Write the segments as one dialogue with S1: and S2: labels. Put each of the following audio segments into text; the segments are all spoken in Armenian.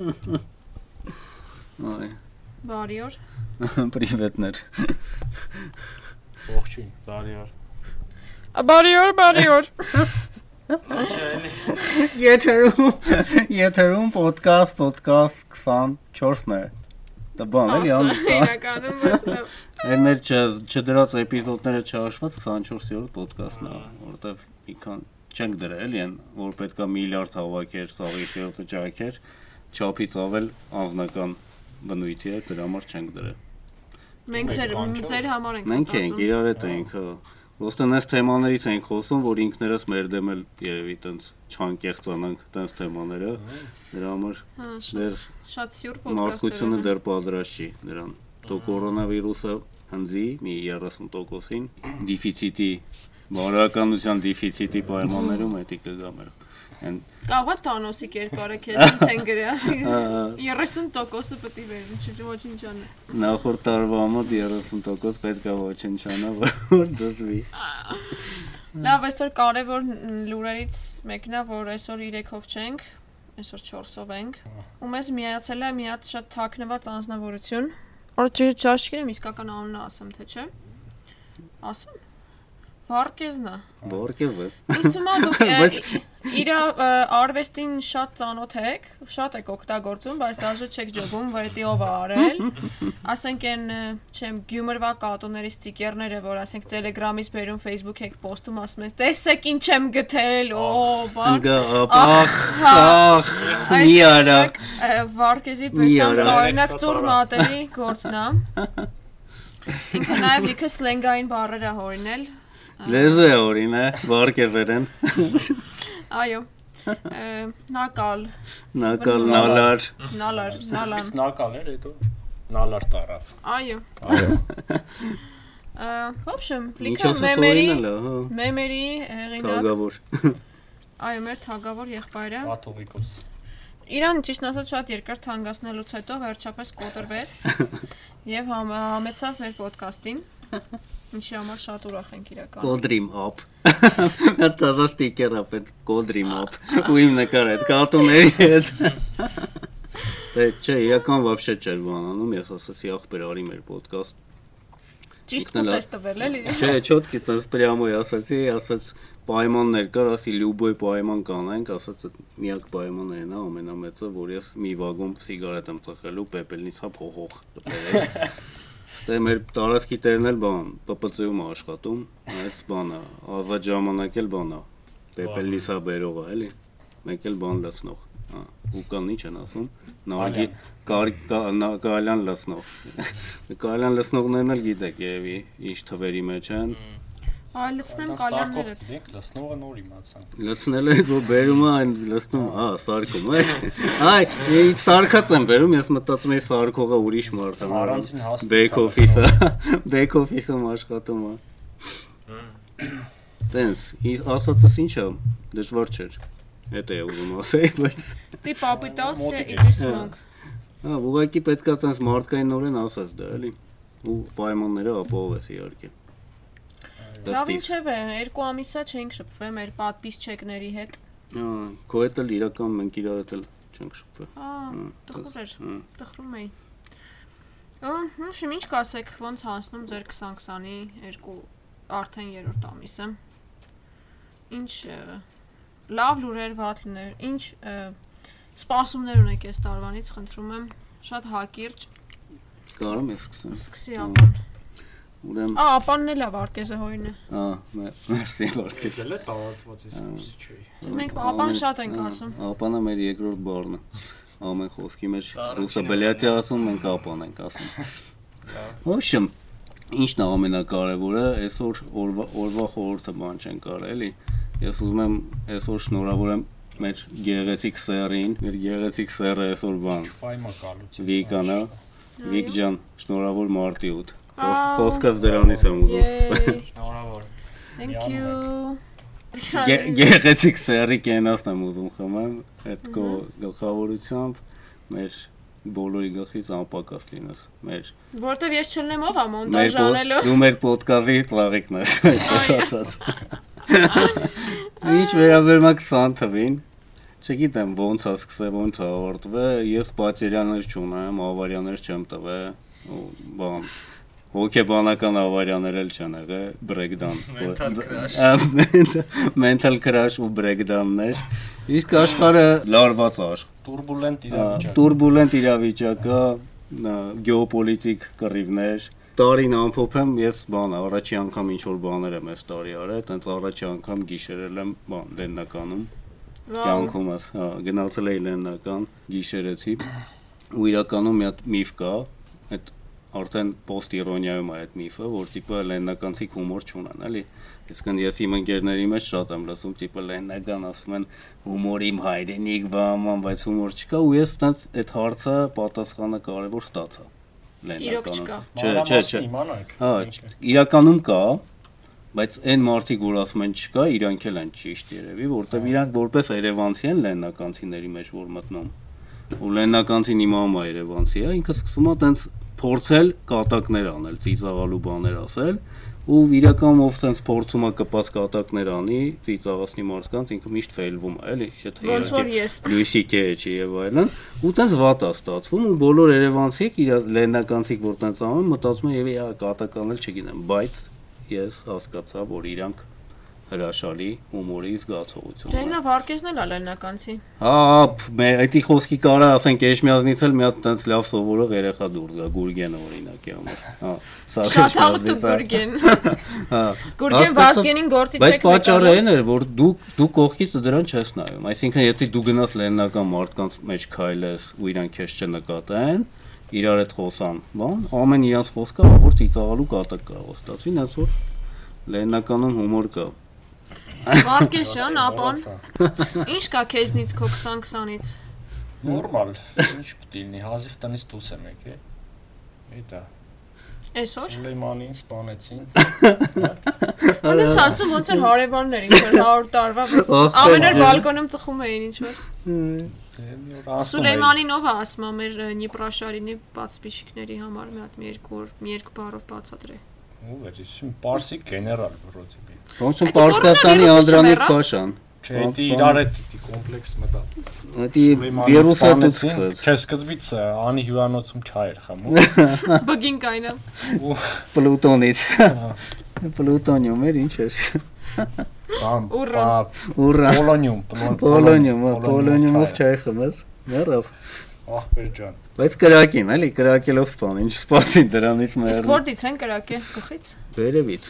S1: Այ,
S2: Բարի օր։
S1: պրիվետներ։
S3: Ողջույն, բարի օր։
S2: Բարի օր, բարի օր։
S3: Չէ,
S1: Եթերում եթերում ոդկաստ, ոդկաստ 24-ն է։ Դա բան էլի անտա։
S2: Իրականում բայց
S1: Այն մեր չզ- չդրած էպիզոդները չհաշված 24-րդ ոդկասթն է, որովհետև մի քան չենք դրել էլի այն, որ պետքա միլիարդ հավաքեր, սաղի սիրտը ճակեր, չափից ավել անznական բնույթի է, դրա համար չենք դրել։
S2: մենք ձեր ձեր համար ենք։
S1: Մենք ենք իրար հետ ենք, հա։ Ոստը նես թեմաներից ենք խոսում, որ ինքներս մեր դեմ էլ երևի տենց չանկեղծանանք տենց թեմաները։ Դրա համար
S2: Հա,
S1: դեր
S2: շատ սյուր պոդքաստ
S1: մարդկությունը դեռ պատրաստ չի դրան։ Դո կորոնավիրուսը հնձի մի 30%-ին դեֆիցիտի բարոյականության դեֆիցիտի պայմաններում էդի կգա մեր։ Այն
S2: Կաղա Թանոսի կերպարը քեզ ցեն գրասից։
S1: Ահա.
S2: 30%-ը պետք է վերին, չի ոչինչ անի։
S1: նախորդ տարվա համար 30% պետք է ոչնչանա, որ դժվի։
S2: Լավ, այսօր կարևոր լուրերից մեկն է, որ այսօր 3-ով չենք, այսօր 4-ով ենք։ Ու մեզ միացել է մի հատ շատ թաքնված անznավորություն։ Օրը ճաշկին եմ իսկական անունը ասեմ, թե չէ։ Ասեմ։ Վարկեզնա։
S1: Բորկեզ է։
S2: Ինձ թվում է դուք ե-
S1: Բայց-
S2: իր ա, ա, արվեստին շատ ծանոթ եք, շատ եք օգտագործում, բայց դաժե չեք ճոգում, որտի ով է արել։ Ասենք այն, ը, չեմ, Գյումրվա կատուներից ծիկերները, որ ասենք Telegram-ից բերում Facebook եք post-ում ասում ես, տեսեք ինչ եմ գտել, օ, բան։ Հա,
S1: Անգա ապախ, ախ, մի արա։
S2: Վարկեզի
S1: Մի
S2: պերսան
S1: արա,
S2: տարնակ
S3: Alexa
S2: ծուր
S3: տարա։
S2: մատերի գործնա։ Ինքը նաև լիքը սլենգային բառեր է հորինել։
S1: Լեզը օրինա, բարգեզերեն,
S2: Այո։ Ը, Նակալ,
S1: նակալ նալար,
S2: նալար, նալան։
S3: ելից նակալ էր հետո նալար տարավ։
S2: Այո։
S3: Այո։
S2: Ա, В общем, լիքը
S1: ինչպես
S2: մեմերի,
S1: օրինել, հա,
S2: մեմերի հեղինակ,
S1: թագավոր։
S2: այո, մեր թագավոր եղբայրը։
S3: Կաթողիկոս։
S2: Իրան ճիշտ ասած շատ երկար թանգացնելուց հետո վերջապես կոտրվեց եւ համ- համեցավ մեր ոդկասթին։ Ինչի համար շատ ուրախ ենք իրական։
S1: Կոդրիմ ապ։ Դա տազա ստիկեր ապ, կոդրիմ ապ։ Ու իմ նկար այդ կատուների հետ։ Դե չէ, իրական вообще չէր բանանում, ես ասացի ախպեր արի մեր ոդկաստ։
S2: Ճիշտ
S1: ինքն էլ
S2: կտես տվել էլի։
S1: Չէ, չոտքի տես պրյամոյ ասացի, ասաց պայմաններ կար, ասի լյուբոյ պայման կանանք, ասաց այդ միակ պայմանը այն է ամենամեծը, որ ես մի վագոն սիգարետ եմ ծխելու պեպելնիցա փողող կպերել։ Ստե մեր տարածքի տերն էլ բան, ՊՊՑ-ում է աշխատում, այս բանը, ազատ ժամանակ էլ բանա, պեպելնիցա բերողը, էլի։ Մեկ էլ բան լցնող։ Հա, ու կան ի՞նչ են ասում։ Նարգի կար կա- նա- կալյան լցնող։ Կալյան լցնողներն էլ գիտեք, երևի ինչ թվերի մեջ են։
S2: Այլցնեմ կալյաններդ։
S3: Մենք լսնողը նոր իմացանք։
S1: լցնել եք որ բերում է այն լցնում, հա, սարկում է։ Այ, ինձ սարկած եմ բերում, ես մտածում եմ սարկողը ուրիշ մարդ է։
S3: Առանցին հաստ
S1: Back
S3: կա
S1: office-ը, back office-ում աշխատում է։ Տենց, իս ասածս ինչ է, դժվար չէր։ Էդ է ուզում ասել, բայց
S2: Տի պապիտաս է
S3: Մոտիկ է։
S2: իդիսմոնք։
S1: հա, ուղղակի պետքա տենց մարդկայինորեն ասած դա, էլի։ Ու պայմանները ապահովես իհարկե։
S2: Լավ ինչև է, երկու ամիսա չենք շփվել մեր պատպիսչեկների հետ։
S1: Հա, քո հետ էլ իրական մենք իրար հետ էլ չենք շփվել։
S2: Ա, տխուր էր։
S1: Հմ։
S2: տխրում էի։ Ահա, շուտ ինչ կասեք, ոնց հանցնում ձեր 2020-ի երկու արդեն երրորդ ամիսը։ Ինչ ը, լավ լուրեր, վատ լուրեր, ինչ ը, սպասումներ ունեք այս տարվանից, խնդրում եմ, շատ հակիրճ
S1: Կարո՞ւմ ես սկսեմ։
S2: սկսի ապան։
S1: Ուրեմն
S2: Ա, ապանն էլ է Վարկեզը հույնը։
S1: Ա, մե- մերսի
S3: Ես
S1: վարդից։
S3: էլ տարածված ես ուսի չի։
S2: Մենք ապան շատ ենք ասում։
S1: Ապանը մեր երկրորդ բառն է։ Ամեն խոսքի մեջ ռուսը բլյատի ասում, մենք ապան ենք ասում։ Ոբշեմ, ինչն է ամենակարևորը, այսօր օրվա օրվա խորհուրդը բան չեն կարել, էլի։ Ես ուզում եմ այսօր շնորհավոր եմ մեր գեղեցիկ սերին, մեր գեղեցիկ սերը այսօր բան։
S3: Ֆայմա կալուց։
S1: Վիկանա, Վիկ ջան, շնորհավոր մարտի 8։ Խոս-
S2: Ա,
S1: Խոսքս դրանից եմ ուզում սկսել։
S2: Yay,
S3: Շնորհավոր։
S2: Thank
S3: Միանում
S2: you։
S1: Գե- Գեղեցիկ սերի կենասն եմ ուզում խմեմ, այդ կո գլխավորությամբ մեր բոլորի գլխից անպակաս լինես։ Մեր
S2: Որտեվ ես չլնեմ ով ա
S1: մեր
S2: մոնտաժ
S1: պո-
S2: անելու։
S1: դու մեր ոդկասի ծաղիկն ես, այդպես ասած։ Ինչ վերաբերում է 20 թվին, Չգիտեմ ոնց է սկսել, ոնց է ավարտվե։ Ես պատերյաններ չունեմ, ավարիաներ չեմ տվե։ ու Բան հոգեբանական ավարիաներ էլ չեն եղել, բրեյքդան։
S4: Mental crash.
S1: Mental crash ու բրեյքդաններ։ Իսկ աշխարհը լարված է, աշխ-
S3: Տուրբուլենտ
S1: Ա,
S3: իրավիճակ։
S1: տուրբուլենտ իրավիճակը, նա, գեոպոլիտիկ կռիվներ։ Տարին ամփոփեմ, ես բան առաջի անգամ ինչ որ բաներ եմ այս տարի արել, այտենց առաջի նականում, անգամ գիշերել եմ բան լեննականում, կյանքումս, հա, գնացել էի լեննական, գիշերեցի։ Ու իրականում մի հատ միֆ կա, այդ արդեն post-իրոնիայում է այդ միֆը, որ տիպը լեննականցի հումոր չունեն, էլի։ Իսկ ընդ ես իմ ընկերների մեջ շատ եմ լսում, տիպը լեննական ասում են հումոր իմ հայրենիք վաման, բայց հումոր չկա ու ես տենց այդ հարցը պատասխանը կարևոր ստացա։
S2: Իրոք չկա։
S1: Չէ, չէ, չէ։
S3: Իմանանք։
S1: Հա, չ- իրականում կա, բայց այն մարդիկ, որ ասում են չկա, իրանք էլ են ճիշտ երևի, որտեվ
S2: Հա։
S1: իրանք որպես երևանցի են լեննականցիների մեջ որ մտնում։ Ու լեննականցին իմամա երևանցի է, ինքը սկսում է տենց փորձել կատակներ անել, ծիծաղալու բաներ ասել, ու իրական ով տենց փորձում է կպած կատակներ անի, ծիծաղացնի մարդկանց, ինքը միշտ ֆեյլվում է, էլի, եթե
S2: Ոնց որ ես։
S1: լույսի կեչի եւ այլն ու տենց վատ է ստացվում ու բոլոր երևանցիք իր լեննականցիկ որ տենց անում մտածում են եւ «Ա, կատականել չգինեմ բայց ես հասկացա որ իրանք հրաշալի հումորի զգացողություն ունեն
S2: Լենա Վարկեսն էլ է լենականցի։
S1: հա պ, մե այդի խոսքի կարա ասենք Էջմիածնից էլ մի հատ տենց լավ սովորող երեխա դուրս գա Գուրգենը օրինակի համար հա սա
S2: Շատ
S1: Էջմիածնից է,
S2: հաղթու Գուրգեն։
S1: հա Հասկացա,
S2: Գուրգեն դե Վազգենին գործի չեք
S1: Բայց պատճառը այն էր, որ դու դու կողքից դրան չես նայում։ Այսինքն, եթե դու գնաս լեննական մարդկանց մեջ քայլես ու իրանք քեզ չնկատեն, իրար հետ խոսան, բան, ամեն իրանց խոսքը որ ծիծաղալու կատակ կարող ստացվի, այնց որ լեննականում հումոր կա։
S2: Վարկեսյան, ապան։ Ինչ կա քեզնից քո 2020-ից։
S3: Նորմալ։ Ինչ պետք է լինի, հազիվ տնից դուրս եմ եկել։ Էդա։
S2: Այսօր։
S3: Սուլեյմանին սպանեցին։
S2: Ոնց ասում ոնց որ հարևաններ ինքն 100 տարվա վեց։
S1: Ախ,
S2: Ամեն օր
S1: տեզ,
S2: բալկոնում ծխում էին ինչ որ։
S3: Դե մի օր ասում
S2: Սուլեյմանինովը ասում է մեր Նիպրաշարինի բացպիշիկների համար մի հատ մի երկու օր մի երկու բառով բացատրե։
S3: էր, Ո՞վ էր, իշմ Պարսի գեներալ բրոդիպի։
S1: Ոնց են
S2: Այդ
S1: Պարսկաստանի
S2: կորոնավիրուսը
S1: Անդրանիկ Փաշան։
S2: չմեռավ։
S3: Չէ,
S1: Բան-
S3: դի
S1: բան-
S3: իրար այդ դի կոմպլեքս մտա։
S1: Դա վիրուսը դուց սկսեց։
S3: Չէ, սկզբից ա, անի հյուրանոցում չայ էր խմում։
S2: Բգին կայնա։
S1: Պլուտոնից։ Պլուտոնիում էր, ինչ էր։
S3: Բամ,
S2: Ուռա։
S3: բա,
S1: Ուրա։
S3: Պոլոնիում, Պոլոն-
S1: Պոլոնիում, հա,
S3: Պոլոնիում
S1: Պոլոնիումով
S3: չայ
S1: չայ խմես։ Մեռավ։
S3: էր։ Ախպեր ջան։
S1: Բայց կրակին, էլի, կրակելով սպան, ինչ սպասին դրանից
S2: Իսկ
S1: մեռնի։
S2: որտից են կրակե գլխից։
S1: Վերևից։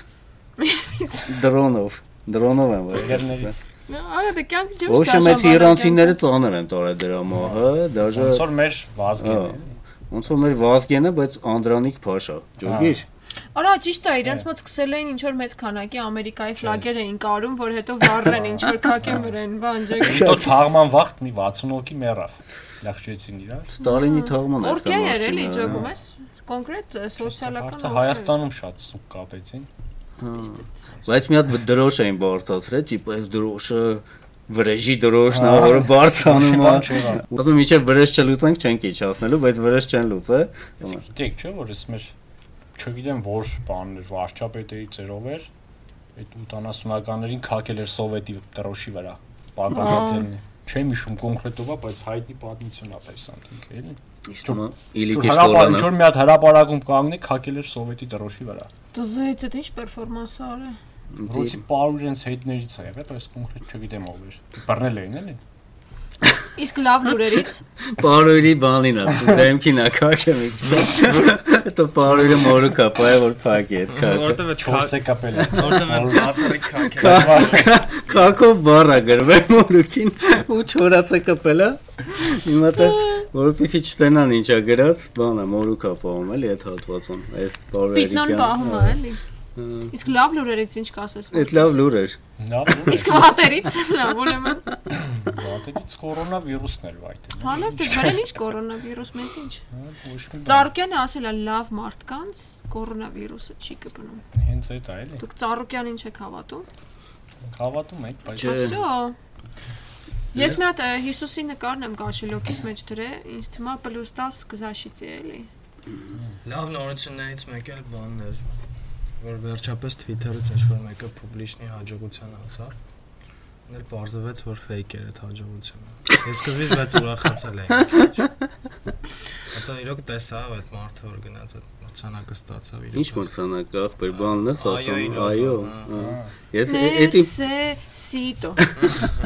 S1: Դրոնով, դրոնով են
S3: Վերևներից։
S1: վայրից։
S2: Արա դա կյանք ջուր
S1: Ոչ է մեծ իրանցիները ծանր են տարել դրա մահը, դաժե
S3: Ոնց որ մեր
S1: հա,
S3: վազգեն։
S1: ոնց որ մեր Վազգենը, բայց Անդրանիկ Փաշա, ճոգիր։
S2: Արա ճիշտ է, իրենց մոտ սկսել էին ինչ որ մեծ քանակի ամերիկայի ֆլագեր էին կարում, որ հետո վառեն ինչ որ քակեն վրան, բան ջեք։
S3: Հետո թաղման վաղտ մի 60 հոգի մեռավ։ Լախջեցին իրար։
S1: Ստալինի թաղման էր
S2: Օրկե էր էլի ջոկում ես։ Կոնկրետ ը, սոցիալական
S3: Հարցը Հայաստանում շատ սուկ կապեցին։
S1: Բայց մի հատ դրոշ էին բարձացրել, տիպ այս դրոշը վրեժի դրոշն է, որը բարձանում է։
S3: Շիբան չեղավ։
S1: Ուզում եմ իջե վրեժ չլուծենք, չենք իջացնելու, բայց վրեժ չեն լուծը։
S3: Գիտեք, դե չէ՞ որ ես մեր չգիտեմ որ բաններ վարչապետերի ծերով էր։ Այդ 80-ականներին քակել էր սովետի դրոշի վրա։ Պարտադրացելն է։ Չեմ հիշում կոնկրետովա, բայց հայտի պատմությունն է տեսան ինքը, էլի։
S1: Իստում
S3: Որ
S1: Իլիկի
S3: Հրապարակ, ինչ
S1: շտորանը։
S3: որ մի հատ հրապարակում կանգնի, քակել էր սովետի դրոշի վրա։
S2: Դզայից այդ ինչ պերֆորմանս է արել։
S1: Դե-
S3: Ռուսի 100 իրենց հետներից է եղել, բայց կոնկրետ չգիտեմ ով էր։ Բռնել էին, էլի։
S2: Իսկ լավ լուրերից
S1: Պարույրի բանին է, դեմքին է քակեմ իքս։ Դա պարույրը մորը կապա է, որ փակի այդ քակը։
S4: Որտեվ այդ քա-
S3: 4-ը կապել էր։
S4: որտեվ այդ բացերի քաքը։
S3: Բայց
S1: Քակով բառա գրվել մորուքին ու չորացը կպելա։ Հիմա տես որովհետեւ չտենան ինչա գրած, բանը մորուքա պահում էլի այդ հատվածում, այս
S2: պիտնոն պահում է,
S1: բարերիկյան։
S2: էլի։ Իսկ լավ լուրերից ինչ կասես։
S1: Այդ լավ լուր էր։
S3: լավ ու
S2: Իսկ հատերից լավ ուրեմն։
S3: Պատերից կորոնավիրուսն էր վայտել։
S2: Հանավ դե վրան ինչ կորոնավիրուս մեզ ինչ։
S3: Ոչ մի բան։
S2: Ծառուկյանը ասել է լավ մարդկանց կորոնավիրուսը չի կպնում։
S3: Հենց այդ է, էլի։
S2: Դուք Ծառուկյանին չեք հավատում։
S3: Հավատում եք, բայց
S1: Չէ։ Դե-
S2: Всё։ Ես մի հատ ը, Հիսուսի նկարն եմ կաշելոկից մեջ դրել, ինձ թվում է +10 գզաշից է էլի։
S4: Լավ նորություններից մեկը էլ բանն էր, որ վերջապես Twitter-ից ինչ-որ մեկը publish-նի հաջողության անցավ։ Ներ բարձվեց, որ fake էր այդ հաջողությունը։ Ես սկզբից բայց ուրախացել էի։ Հետո իրոք տեսա այդ մարդը, որ գնաց այդ մրցանակը ստացավ իրոք։
S1: Ինչ մրցանակ ա, ախպեր, բանն ես ասում,
S4: իրոք,
S1: այո։
S4: ահա,
S1: ա, Ես
S2: Ես
S1: էտի
S2: սիտո։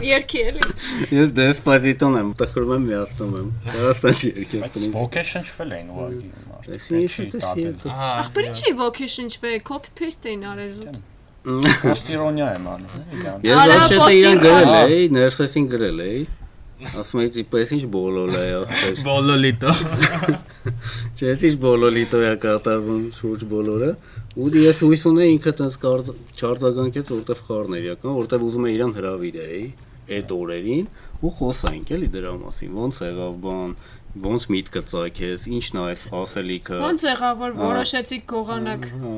S2: Երկի էլի։
S1: ես դեսպոզիտոն եմ, տխրում եմ, միացնում եմ։ Դրաստանց երկես
S3: Բայց
S1: տնից։
S3: ոգե շնչվել էին ուղղակի մարդը։
S1: Էսի էսի էսի։
S4: Ահա։
S2: Ախպեր ինչի ոքի շնչվե, կոպի պեյստ էին արել զուտ։
S3: Պոստիրոնիա եմ անում, հա, իրան։
S1: Ես
S2: Արա,
S1: վաչետ
S2: պոստի-
S1: իրան գրել
S3: Ահա։
S1: էի, ներսեսին գրել էի։ Ասում էի, պես ինչ բոլոլ է, ախպեր։
S4: Բոլոլիտո։
S1: Չես ինչ բոլոլիտո է կատարվում շուրջ բոլորը։ Ու ես հույս ունեի ինքը տես չարձագանքեց, որտեվ խառն էր իրական, որտեվ ուզում է իրան հրավիրեի այդ օրերին ու խոսանք էլի դրա մասին։ Ոնց եղավ բան, ոնց միտքը ծագեց, ինչն է այս ասելիքը։
S2: Ոնց եղավ որ որոշեցիք գողանակ։
S1: Հա,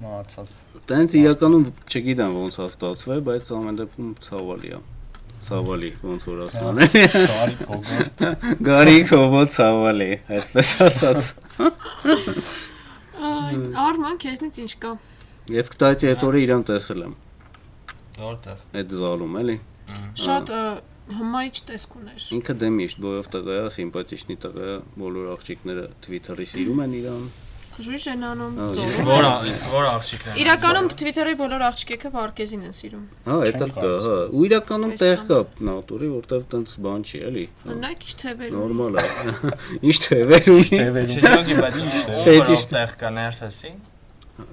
S3: Մահացած։
S1: Տենց իրականում չգիտեմ ոնց է ստացվել, բայց ամեն դեպքում ցավալի է։ Ցավալի, ոնց որ ասման է։
S3: Տարի գոգո։
S1: Գարիկով ո՞նց ցավալի, այդպես ասած։
S2: Այ, Արման, քեզնից ինչ կա։
S1: Ես կտացի այդ օրը իրան տեսել եմ
S4: Որտեղ։
S1: այդ զալում, էլի։
S2: Շատ ը, հմայիչ տեսք ուներ։
S1: Ինքը դե միշտ բոյով տղա է, սիմպաթիչնի տղա է, բոլոր աղջիկները Twitter-ի սիրում են իրան։
S2: Խժույժ են անում,
S1: Ա,
S4: Իսկ
S2: ծորում։
S4: որ ա- իսկ որ աղջիկն է։
S2: Իրականում Twitter-ի բոլոր աղջիկները Վարկեզին են սիրում։
S1: Հա, դա
S3: Չեն
S1: կա, հա։ Ու իրականում
S2: Պես
S1: տեղ
S2: ա։
S1: կա նատուրի, որտեվ տենց բան չի, էլի։
S2: Օրինակ ի՞նչ թևեր։ ունի։
S1: Նորմալ է։ Ինչ թևեր ունի։
S3: Չեվերին։
S4: Շիճոգի բայց
S1: Ֆետիշ-
S4: ով տեղ կա ներսեսի։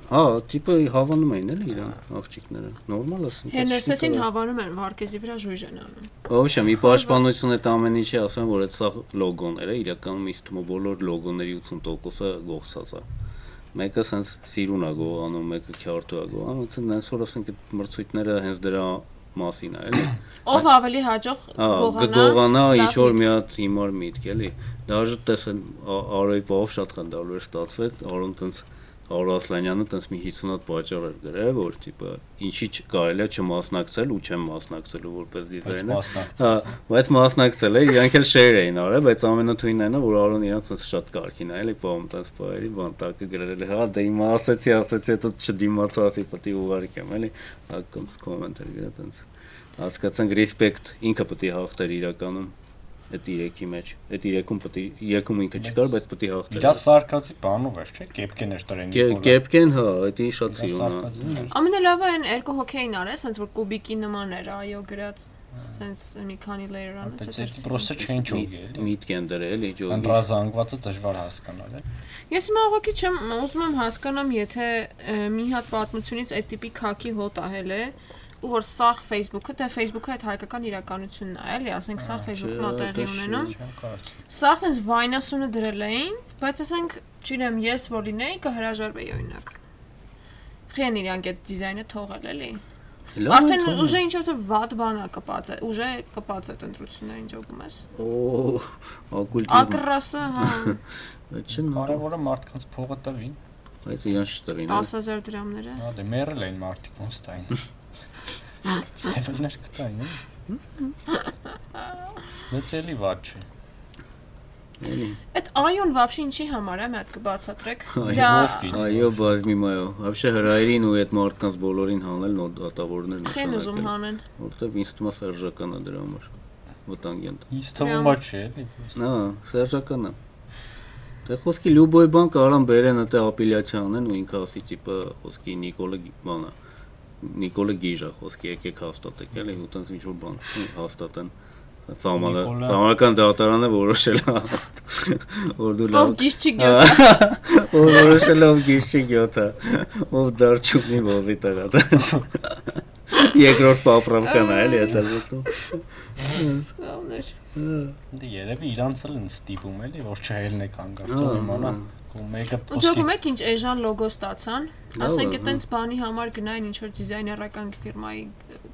S1: Հա, տիպը հավանում էին էլի իրան աղջիկները։ Նորմալ է սինտեզ։
S2: Հեներսեսին հավանում են Վարկեզի վրա ժույժ են անում։
S1: Ոուշը մի պաշտպանություն է ամեն ինչի ասեմ, որ այդ սա լոգոներ է, իրականում ինձ թվում է բոլոր լոգոների 80%-ը գողցած է։ Մեկը սենց սիրուն է գողանում, մեկը քյարտու է գողանում, ցեն նենց որ ասենք այդ մրցույթները հենց դրա մասին է, էլի։
S2: Ով ավելի հաջող
S1: Հա,
S2: գողանա։
S1: գողանա ինչ որ
S2: լավ
S1: մի հատ հիմար միտք էլի։ Դաժե տեսեն Ա- Արոյի բով շատ խնդալու էր ստացվել, Արոն տենց Արո Ասլանյանը տենց մի 50 հատ պատճառ էր գրել, որ տիպը ինչի չկարելի է չմասնակցել ու չեմ մասնակցելու որպես դիզայներ։
S3: մասնակցեց,
S1: Հա, բայց մասնակցել է, իրանք էլ շեյր էին արել, բայց ամենաթույնն է, որ Արոն իրանք տենց շատ կարքին է, էլի բոմ տենց բայերի բանտակը գրել է, հա, դե հիմա ասեցի, ասեցի, հետո չդիմացա, ասի պետք է ուղարկեմ, էլի։ Հա, կոմս կոմենտար գրա տենց։ Հասկացանք ռեսպեկտ ինքը պետք է հաղթեր իրականում այդ երեքի մեջ։ Այդ երեքում պետք է երեքում ինքը չկար, բայց պետք է
S3: Իրա
S1: հաղթեր։
S3: սարկածի բանով էր, չէ՞, կեպկեներ տրեն
S1: Կե- Կեպկեն, հա, այդ ինչ շատ սիրուն է։
S3: սարկածին էր։
S2: Ամենալավը այն երկու հոկեին արես, ոնց որ կուբիկի նման էր, այո, գրած։ Սենց մի քանի layer
S3: Բայց
S2: անց
S3: էլի պրոստը չեն ճոգի, էլի։
S1: Միտք են դրել, էլի ջոգի։
S3: Անդրազանգվածը դժվար հասկանալ է։
S2: Ես հիմա ուղղակի չեմ ուզում եմ հասկանամ, եթե ը, մի հատ պատմությունից այդ տիպի քաքի հոտ ահել է, ու որ սաղ Facebook-ը, դա Facebook-ը այդ հայկական իրականությունն է, էլի, ասենք սաղ Facebook-ը
S1: չէ, դա
S2: մտերի
S1: շուտ
S2: ունենում։
S3: Չեմ կարծում։
S2: Սա այնպես վայնասունը դրել էին, բայց ասենք, չգիտեմ, ես որ լինեի կհրաժարվեի օրինակ։ Խեն իրանք այդ դիզայնը թողել էլի։
S1: Լավ,
S2: Արդեն
S1: թող։
S2: ուժը ինչ-որ վատ բան է կպած, է, ուժը կպած այդ ընտրություններին ճոգում ես։
S1: Օ, ակուլտիզմ։
S2: Ակրասը, հա,
S1: Չեն մարդ,
S3: Կարևորը մարդկանց փողը տվին։
S1: բայց իրան շտվին։
S2: 10000 դրամները։
S3: Հա, դե մերել էին մարդիկ ոնց տային։ Ծեվելներ կտային։ Մեծ էլի վատ չէ։
S1: էլի։
S2: Այդ այոն вообще ինչի համար է, մի հատ կբացատրեք։
S1: Այո,
S2: Դա
S3: ով կի-
S1: Այո, բազմիմայո։ Вообще հրայրին ու այդ մարդկանց բոլորին հանել նո դատավորներ
S2: քեն ուզում հա։
S1: նշանակել,
S2: հանեն։
S1: որտեվ ինձ թվում է սերժական է դրա համար վտանգյան։
S3: Ինչ թվում է չէ, էլի։
S1: Հա, սերժական է։ Դե խոսքի Լյուբոյ բան կարան բերեն այդ ապելյացիա անեն ու ինքը ասի տիպը խոսքի Նիկոլը Գի- բանա։ Նիկոլը Գիժա խոսքի եկեք հաստատեք, էլի ու տենց ինչ որ բան հաստատեն։ Սամանը,
S3: Նիկոլը-
S1: սամանական դատարանը որոշել է հա, որ դու լավ
S2: Ով գիշ չի գյոտ։
S1: Ով որոշելով գիշի 7-ը, ով դարչունի բովի տղա։ Երկրորդ պապրավկան է, էլի այդ ազատում։
S2: Լավներ։
S3: Դե երևի իրանց էլ են ստիպում էլի, որ չհելնե կանգարտում
S1: Ահա,
S3: իմանա։ Ու մեկը
S2: Ու
S3: փոսքի
S2: ճոգում եք ինչ էժան լոգո ստացան։
S1: Լավ է,
S2: Ասենք
S1: հա։
S2: այտենց բանի համար գնային ինչ որ դիզայներական ֆիրմայի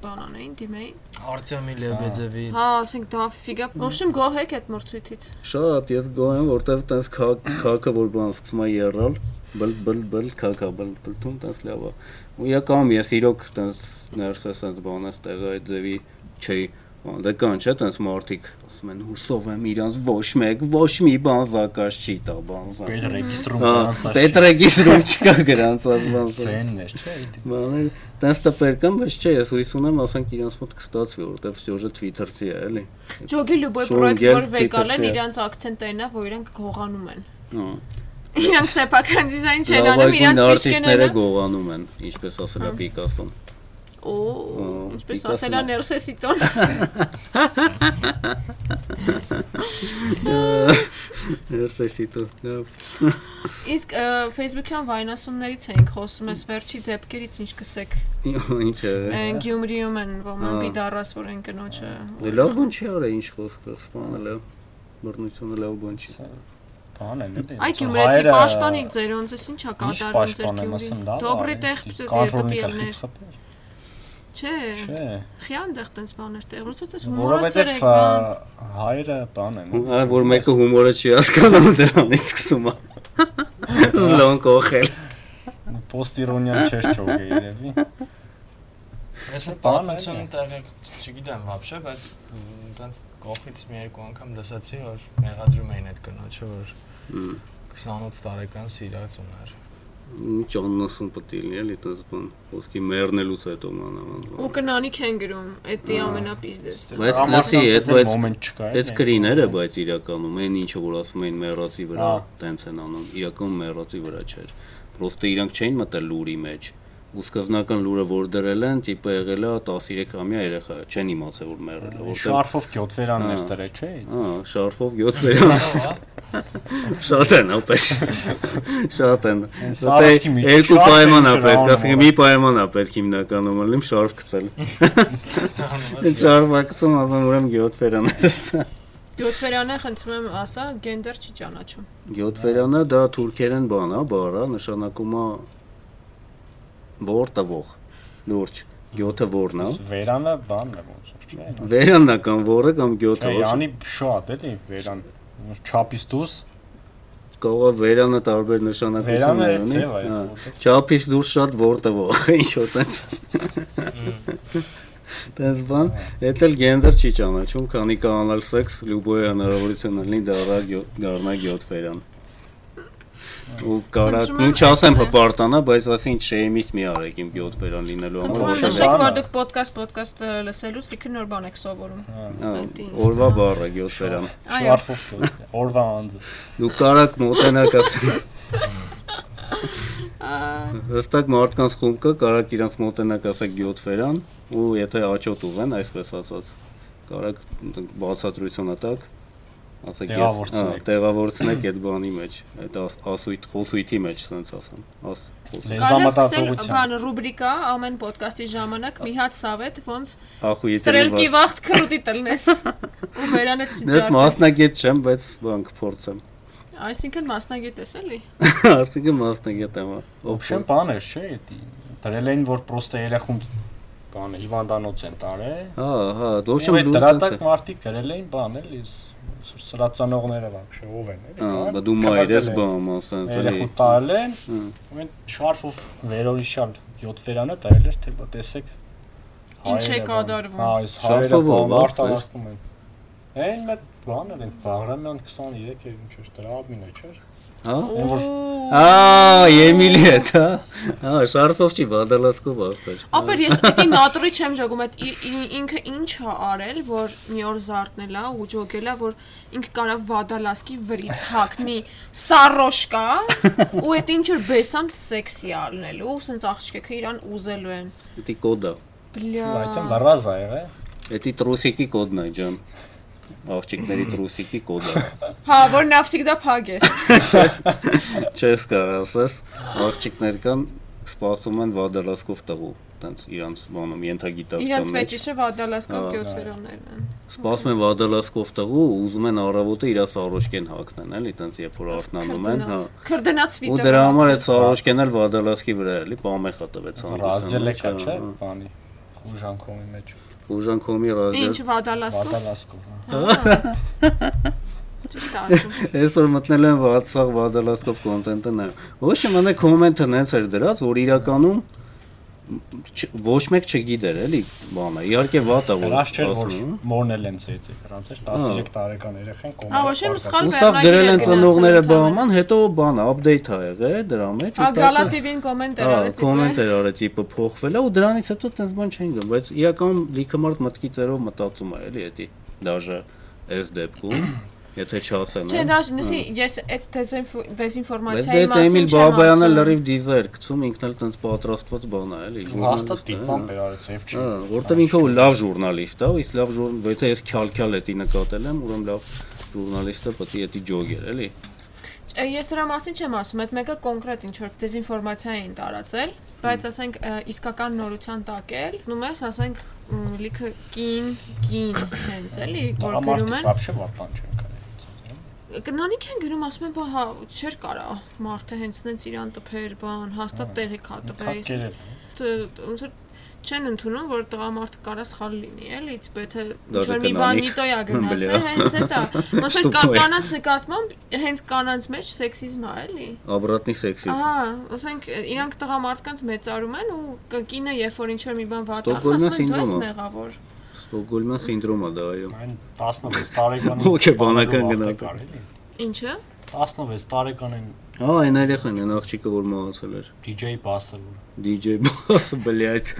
S2: բան անային, դիմեին։
S4: Արտյոմի Լեբեդևի
S2: Հա, ասենք դա ֆիգա։ Ոբշեմ գոհեք այդ մրցույթից։
S1: Շատ ես գոհ եմ, որտեվ տես քակը որ բան սկսում է երրալ, բլ բլ բլ քակա բլ բլտուն տես լավ է։ Ու եկամ ես իրոք տես ներս էսենց բանես տեղը այդ ձևի չի Անդե կան չէ, տենց մարդիկ ասում են հուսով եմ իրանց ոչ մեկ, ոչ մի բան զակաշ չի տա, բան զակաշ։
S3: պետ ռեգիստրում
S1: Հա,
S3: կանցած։
S1: Պետրեգիս ռում չկա գրանցած բան։ զակաշ։
S3: ցեններ, չէ՞,
S1: Մաներ տենց տպեր կան, բայց չէ, ես հույս ունեմ, ասենք իրանց մոտ կստացվի, որովհետև սյուժը Twitter-ցի է, էլի։
S2: Ջոգի լուբոյ
S1: Շոուն
S2: պրոյեկտ
S1: Գերտ
S2: որ վեգան են,
S1: Թիթրսի է։
S2: իրանց ակցենտերն է, որ իրանք գողանում են։
S1: Հա։
S2: Իրանք սեփական դիզայն չեն անում,
S1: Լավագույն
S2: իրանց
S1: արտիստները
S2: ֆիշկները։
S1: գողանում են, ինչպես ասել է Պիկասոն։
S2: Օ,
S1: Ա,
S2: ինչպես
S1: Պիկասոն
S2: ասելա
S1: է։
S2: Ներսեսիտոն։
S1: Ներսեսիտո։ լավ։
S2: Իսկ ը, Facebook-յան վայնասումներից էինք խոսում, ես վերջի դեպքերից ինչ կսեք։
S1: Ինչ է։
S2: Են Գյումրիում են ոմանք
S1: Դե, հա։ Ա. Դե
S2: բիդարաս որ են կնոջը։
S1: Լավ բան չի արա, ինչ խոսքը, սպանել է։ Բռնությունը լավ բան չի։
S3: Բան են դա։
S2: Այ Գյումրեցի պաշտպանիկ ձեր ոնցս ինչա
S3: Ինչ
S2: կատարում ձեր
S3: պաշտպանեմ, ասեմ
S2: Գյումրին։
S3: լավ։
S2: Դոբրի տեղ պետք է
S3: կոնտրոլնիկա
S2: ելներ։
S3: խփել։
S2: Չէ,
S3: Չէ,
S2: խիան դեղ տենց բաներ տեղ, ոնց ոց հումորասեր
S3: որովհետև
S2: եք։
S3: ա,
S2: բան։
S3: հայերը բան են։
S1: Հա, որ մեկը հումորը չի հասկանում դրանից սկսում է։ Զլոն կողել։
S3: Պոստիրոնիա չես ճոգե երևի։ դե,
S4: Ես
S1: Հա,
S3: Բան
S4: այդ
S3: է,
S4: պատմությունը
S3: էլի։
S4: տեղի չգիտեմ вообще, բայց այնպես կողից մի երկու անգամ լսեցի, որ մեղադրում էին այդ կնոջը, որ 28 տարեկան սիրած ուներ։
S1: Ինչ աննասուն պետք է լինի, էլի այդպես բան։ Ոսկի մեռնելուց հետո
S2: Ու
S1: մանավանդ։
S2: կնանիք են գրում, էդի ամենապիզդես։
S1: Բայց լսի, այդ բայց
S3: մոմենտ դե, չկա։
S1: այդ սկրիները, բայց իրականում այն ինչը որ ասում են մեռածի վրա,
S3: Ա.
S1: տենց են անում, իրականում մեռածի վրա չէր։ Պրոստը իրանք չէին մտել լուրի մեջ։ Ու սկզբնական լուրը որ դրել են, տիպը եղել է 13-ամյա երեխա, չեն իմացել որ մեռել է, որտեղ։
S3: շարֆով գյոտվերաններ դրե, չէ՞։
S1: Հա, շարֆով 7 վերան։ Շատ են, ոպես։ Շատ են։
S3: Հենց
S1: Որտե
S3: առաջի միջի
S1: երկու
S3: շարֆ
S1: պայման է պետք,
S3: էին գրանում,
S1: ասենք մի պայման է պետք հիմնականում լինում շարֆ գցել։ Այդ շարֆը գցում, ապա ուրեմն 7 վերան ես։
S2: Գյոթվերանը խնդրում եմ ասա, գենդեր չի ճանաչում։
S1: 7 վերանը դա թուրքերեն բան է, բարա, նշանակում է որտվող, լուրջ։ 7-ը որն է։
S3: Վերանը բանն է ոնց որ, չէ՞։
S1: Վերանն է կամ որը կամ
S3: Չէ,
S1: 7-ը։
S3: յանի շատ էլի վերան չափից դուրս
S1: Կարող է վերանը տարբեր նշանակություն
S3: Վերանը
S1: ունի։
S3: ձև է,
S1: Հա,
S3: որտեղ-
S1: Չափից դուրս շատ որտվող, ինչ որ տենց։ Տենց բան, դա էլ գենդեր չի ճանաչում, քանի կանալ սեքս լյուբոյ հնարավորություն ունի դառնա գյո- դառնա 7 վերան։ Ու կարա,
S2: Խնդրում եմ
S1: ու չասեմ
S2: այսինքն-
S1: հպարտանա, բայց ասին շեյմից մի արեք իմ 7 վերան լինելու
S2: Խնդրում եմ
S3: ոչ,
S1: համար։
S3: շատ
S2: նշեք,
S3: բան
S2: որ
S3: է։
S2: դուք podcast podcast լսելուց իքն նոր բան եք սովորում։
S1: Հա,
S2: Այդ ինչ,
S1: Օրվա
S2: հա։
S1: բառը 7 վերան։
S2: Այո։
S3: շարֆով գյոտվե։ Օրվա անձը։
S1: Դու կարակ մոտենակ ասեմ։ Հստակ մարդկանց խումբը կարակ իրանց մոտենակ ասեք 7 վերան ու եթե աճոտ ուվեն, այսպես ասած, կարակ բացատրությունը տակ, ասեք ես,
S3: Տեղավորցնեք։
S1: հա, տեղավորցնեք այդ բանի մեջ, այդ աս- ասույթ, խոսույթի մեջ, ասենց ասեմ, աս խոսույթ,
S2: Կարո՞ղ եք սկսել
S3: Լեզվամտածողության։
S2: բան ռուբրիկա ամեն podcast-ի ժամանակ մի հատ սավետ ոնց
S1: ախույթի
S2: ստրելկի վախտ քրուտի տլնես ու վերանը
S1: Ես
S2: չճարի։
S1: մասնագետ չեմ, բայց բան կփորձեմ։
S2: Այսինքն մասնագետ ես էլի։
S1: Արդյոք մասնագետ եմ,
S3: Ոբշեն
S1: օբշեմ։
S3: բաներ, չէ, դա դրել էին որ պրոստը երախում բանը հիվանդանոց են տարել։
S1: Հա, հա,
S3: Ոբշեն
S1: ոբշեմ լուրջ
S3: դրատակ
S1: տենց է։
S3: մարտիկ գրել էին բան էլի ս- սրացանողները բաբշե ով են էլի։
S1: Հա,
S3: կան,
S1: բա դու մայրես
S3: կվտել են,
S1: բամ ասենց էլի։
S3: Երախում տարել են,
S1: Հմ։
S3: այն շարֆով վերորիշալ 7 վերանը տարել էր, թե բա տեսեք։
S2: Ինչ է
S3: հայերը բան-
S2: կատարվում։
S3: Հա, այս հայերը
S1: Շարֆով ով, ա՞,
S3: մարտ
S1: վեր։
S3: արածում են։ Այն մեր բանը են Բաղրամյան 23 էր ինչ էր դրա ադմինը չէր։
S1: Հա։
S3: Այն որ
S1: Ա, Եմիլի է դա։ Հա, շարֆով չի բադալացկով արդար։
S2: Ապեր ես դի նատուրի չեմ ճոգում այդ ի- ի- ինքը ինչ է արել որ մի օր զարթնելա ու ճոգելա որ ինքը կարա վադալասկի վրից հակնի սարոշկա ու այդ ինչ որ բեսամ սեքսի ալնելու ու սենց աղջիկը իրան ուզելու են
S1: Էդի կոդա։
S3: այդտեն
S2: բլա
S3: վռազա եղե։
S1: Էդի տրուսիկի կոդն է, ջան։ Աղջիկների տրուսիկի կոդը։
S2: հա որ նա всегда փագես
S1: Չես կարող ասես, աղջիկներ կան սպասում են վադալացկով տղու, տենց իրանց բանում
S2: իրանց
S1: ենթագիտակցում մեջ։
S2: մեջ իշը վադալասկով
S1: Հա,
S2: գյոթվերաններն են
S1: Սպասում են վադալացկով տղու, ու ուզում են առավոտը իր սարոշկեն հագնեն, էլի, տենց երբ որ արթնանում են, հա։
S2: Քրդնաց- քրդնաց
S1: Ու
S2: վիտը
S1: դրա համար այդ սարոշկեն էլ վադալացկի վրա էլի, հա, պամեխա տվեց
S3: Ռազել եկա Հա, չէ, բանի խուժանքովի մեջ։
S1: Ուժան կոմի ռազել։
S2: ինչ վադալասկով
S3: Վատալասկով։ հա։
S2: ճիշտ ասում
S1: Այսօր մտնել եմ WhatsApp վադալաստով կոնտենտը նայ։ Ոչ մի մնա կոմենտը նենց էր դրած, որ իրականում չ- ոչ մեկ չգիտեր էլի բանը։ Իհարկե վատա որ
S3: Հրաշ չէր որ
S1: ասում,
S3: մորն էլ են ծեցի, հրանց էր 13 տարեկան երեխան կոմա։
S2: Ա, ոչ, իմ սխալ
S1: հա։ Ուսավ
S2: վերնագիր
S1: գրել
S2: է
S1: են
S2: գնացել
S1: ծնողները
S2: ընդհանրապես։
S1: բաման, հետո բանը update ա եղել դրա մեջ
S2: Ա
S1: տակը-
S2: Գալա TV-ին կոմենտեր
S1: Հա,
S2: արեցի։
S1: կոմենտեր արա տիպը փոխվել է ու դրանից հետո տենց բան չեն գնում, բայց իական լիքը մարդ մտքի ծերով մտածում է էլի էդի դաժե այս դեպքում, եթե չասեն։
S2: Չէ,
S1: էլ,
S2: դա նսի ես այդ դեզինֆո-
S1: Բայց
S2: դեզինֆորմացիայի
S1: դե դա
S2: մասին
S1: Էմիլ
S2: չեմ
S1: Բաբայանը
S2: ասում։
S1: լրիվ դիզեր գցում, ինքն էլ տենց պատրաստված բան է էլի։
S3: Հաստատ
S1: ժուրնալիստ է,
S3: դիպման բերարեց, եւ չի։
S1: Հա, որտեվ ինքը ու լավ ժուրնալիստ է, ու իսկ լավ ժուրն, եթե ես քյալ-քյալ էտի նկատել եմ, ուրեմն լավ ժուրնալիստը պետք է էտի ջոգեր, էլի։
S2: Չ- Ես դրա մասին չեմ ասում, այդ մեկը կոնկրետ ինչ որ դեզինֆորմացիա էին տարածել, բայց ասենք ա, իսկական նորության տակ էլ, ունում ես ասենք մ, լիքը կին, կին հենց էլի, որ գրում
S1: հա։
S2: են։
S3: Вообще վատ բան չեն կարել։
S2: Կնանիք են գրում, ասում են, բա հա, չէր կարա, մարդը հենց նենց իրան տփեր, բան, հաստատ տեղի կա տպեի։
S3: Քակերել։
S2: Ոնց որ չեն ընդունում, որ տղամարդը կարա սխալ լինի, էլի, ց- եթե ինչ
S1: Դաժե
S2: որ մի բան
S1: կնանիք,
S2: նիտոյա գնաց,
S1: բլյա։
S2: է, հենց է դա։ Ոնց որ կա-
S1: Ստուպոր։
S2: կանանց նկատմամբ հենց կանանց մեջ սեքսիզմ է, էլի։
S1: Աբրատնի սեքսիզմ։
S2: Ահա, ասենք իրանք տղամարդկանց մեծարում են ու կ- կինը երբ որ ինչ որ մի բան վատ անում,
S1: Ստոկհոլմյան
S2: ասում են դու ես
S1: սինդրոմը։
S2: մեղավոր։
S1: Ստոկգոլմյան սինդրոմը դա այո։
S3: Այն 16 տարեկան։
S1: Հոգեբանական գնահատակ։
S2: Ինչը։
S3: 16 տարեկանին
S1: Հա, այն երեխան, այն աղջիկը, որ մահացել էր։
S3: DJ բասել։
S1: DJ Boss, блядь։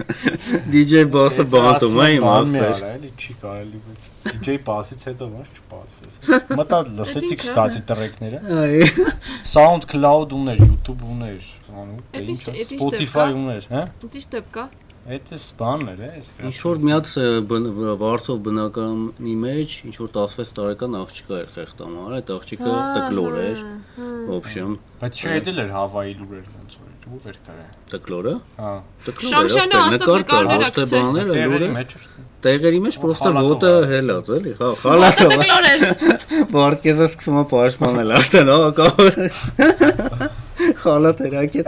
S1: DJ
S3: Դե,
S1: Boss-ը բանտում է իմ
S3: ախպեր։
S1: ախպեր։
S3: Էլի չի կարելի բայց DJ բասից հետո ոնց չբացվես։ Մտա լսեցի
S2: ինչ է,
S3: կստացի տրեքները։
S1: Այ։
S3: SoundCloud ուներ, YouTube ուներ, անու,
S2: Էդ ինչ-
S3: ինչա,
S2: էդ ինչ
S3: Spotify
S2: դեպք ա։
S3: ուներ, հա։
S2: Ինչ տիպ կա։
S3: Էդ էս բանն էր, էս։
S1: Ինչ որ մի հատ ը, բն- վ- վարձով բնակարանի մեջ ինչ որ 16 տարեկան աղջիկա էր խեղտամար, այդ աղջիկը տկլոր էր, ոբշեմ,
S3: Բայց չէ, դա էր Հավայի լուրեր ոնց որ էր, ով էր կարա։
S1: տկլորը։
S3: Հա։
S1: Տկլոր էր,
S2: Շամշյանը
S1: ապեր, նկար կար, ոչ թե
S2: հաստատ նկարներ ա գցել։
S1: բաները,
S3: Տեղերի
S1: լուրը։
S3: մեջ էր։
S1: Տեղերի մեջ պրոստը
S3: խալաթով
S1: ոտը
S3: ա։
S1: հելած էլի, հա, խալաթով։ ա։
S2: Տկլոր էր։
S1: Պարտեզը սկսում է պաշտպանել արդեն, հա, կա։ Խալաթ երակե։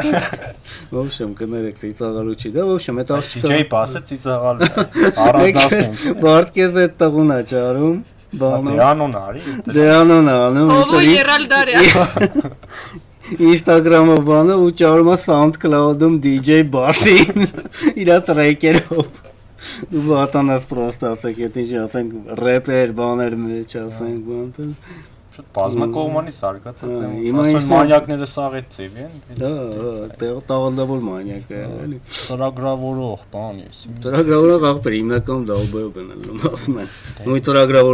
S1: Ոբշեմ, կներեք, ծիծաղալու չի, դա ոբշեմ, այդ աղջիկը։
S3: DJ բասը ծիծաղալ առանձնացնենք։
S1: Պարտեզը այդ տղուն է ճարում, բանը։
S3: Դեանոն արի, դա
S1: Դե, Դրանն է անում, ոնց
S2: Ովո
S1: որ իր-
S2: Երալդարիա։
S1: Instagram-ը բանը ու ճարումա SoundCloud-ում DJ Bassin իր տրեյկերով։ Դու վատանաս պրոստա ասեք, եթե ինչ ասենք ռեպեր, բաներ մեջ ասենք, բանտը։
S3: շատ բազմակողմանի սարկացած
S1: Հա,
S3: եմ։
S1: հիմա
S3: Հիմա
S1: ինչ-
S3: մանյակները սաղ է ծիվ են։
S1: Դա տեղ Հա, տաղանդավոր մանյակ է, էլի։
S3: ծրագրավորող բան ես։
S1: Ծրագրավորող աղբեր հիմնականում դաուբեյով գնալու ասում են։ Նույն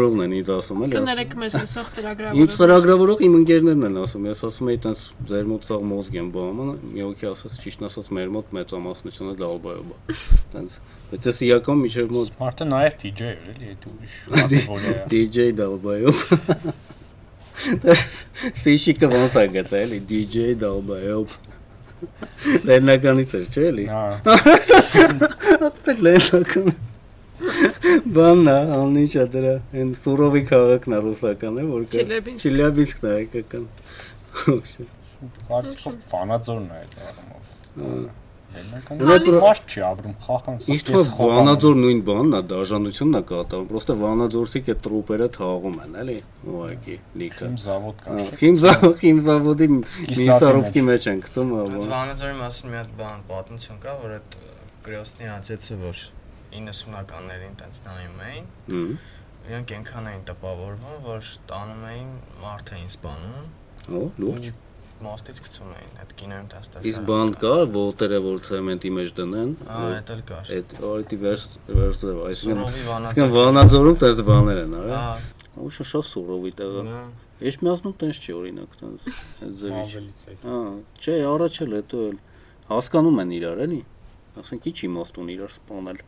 S1: ծրագրավորողն են ինձ ասում, էլի։ ասում։
S2: Կներեք մեզ հսող
S1: Իմ
S2: ծրագրավորը։
S1: ծրագրավորող իմ ընկերներն են ասում, ես ասում եի տենց ձեր մոտ ցավ մոզգ եմ բաման, մի հոգի ասաց ճիշտ ասած մեր մոտ մեծամասնությունը դալբայով է։ Տենց, բայց ես իական միջև մոտ
S3: Մարդը նաև DJ էր, էլի, այդ ուրիշ կատեգորիա է։
S1: DJ դալբայով։ Դաս սիշիկը ոնց է գտել, DJ դալբայով։ Լենականից էր, չէ՞ էլի։
S3: Հա։
S1: Այդպես լենական։ Բանն է, անիջա դրա, այն Սուրովի քաղաքն է ռուսական է, որ կա-
S2: Չելյաբինսկ։
S1: Չելյաբինսկն է հայկական։ Ոչ,
S3: Կարծիքով ֆանաձորն է այդ առումով։ Դենական
S1: Ունե պրո-
S3: մարդ չի ապրում խախան։ սա
S1: Իսկ
S3: կես
S1: թող
S3: խոհան եմ։
S1: Վանաձոր նույն բանն է, դաժանությունն է կատարում, պրոստը Վանաձորցիք է տրուպերը թաղում են, էլի, ուղակի լիքը։
S3: Իմ զավոդ կա։
S1: Ա, Խիմզա- Խիմզավոդի միսարոպկի մեջ են գցում, ա,
S4: Բայց
S1: բան։
S4: Վանաձորի մասին մի հատ բան պատմություն կա, որ այդ Կրեոսնի ացեցը, որ 90-ականներին տենց նայում էին,
S1: Հմ,
S4: իրենք այնքան էին տպավորվում, որ տանում էին մարդ էին սպանում,
S1: Օ, լուրջ։
S4: մոստից գցում էին, այդ կինոյում տենց
S1: Իսկ բան կա, ոտերը որ ցեմենտի մեջ դնեն,
S4: Ահա, դա էլ կար։
S1: այդ օրիդի վերս վերսը, այսինքն
S4: Սուրովի
S1: Իսկան
S4: Վանաձորը։
S1: Վանաձորում տես բաներ են, արա։
S4: Ահա,
S1: Ուշը շա սուրովի տեղը։
S4: նա
S1: Ես միացնում տես չի օրինակ տես այդ ձևի։
S3: Ավելից է։
S1: Հա, չէ, առաջ էլ հետո էլ հասկանում են իրար, էլի։ Ասենք ի՞նչ իմաստ ունի իրար սպանել։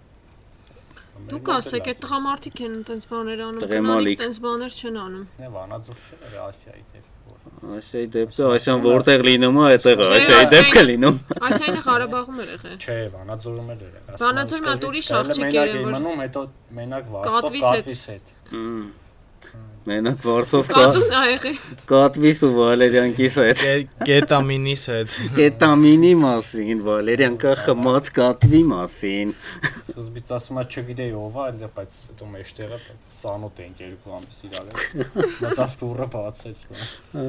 S2: Դուք ասեք, այդ տղամարդիկ են տենց բաներ անում,
S1: Տղեմալիկ։
S2: կնանիք տենց բաներ չեն անում։
S3: Նե Վանաձոր չէ, դա Ասիայի դեպքում։
S1: Այսայի դեպքը, այսան որտեղ լինում է, այդտեղ է,
S2: Չէ,
S1: այսայի
S2: ասենք-
S1: դեպքը լինում։
S2: Այսինքն Ղարաբաղում էր եղել։
S3: Չէ, Վանաձորում էլ էր։ ասում
S2: Վանաձորում
S3: եմ,
S2: հատ ուրիշ
S3: սկզբից
S2: աղջիկ
S3: մենակ
S2: էր,
S3: էի
S2: որ-
S3: մնում, հետո մենակ վարձով
S2: Կատվից հետ։
S3: կատվիս հետ։
S1: Հմ, Մենակ Վարսով կա
S2: Կատուն ա եղել։
S1: Կատվիս ու Վալերյանքիս այդ
S4: կե- կետամինիս այդ
S1: կետամինի մասին, Վալերյանքա խմած կատվի մասին։
S3: Սկզբից ասում եմ, չգիտեի ով է, այնտեղ, բայց հետո մեջտեղը ծանոթ էինք երկու ամիս իրար։ Մտավ դուրը բացեց։ բա։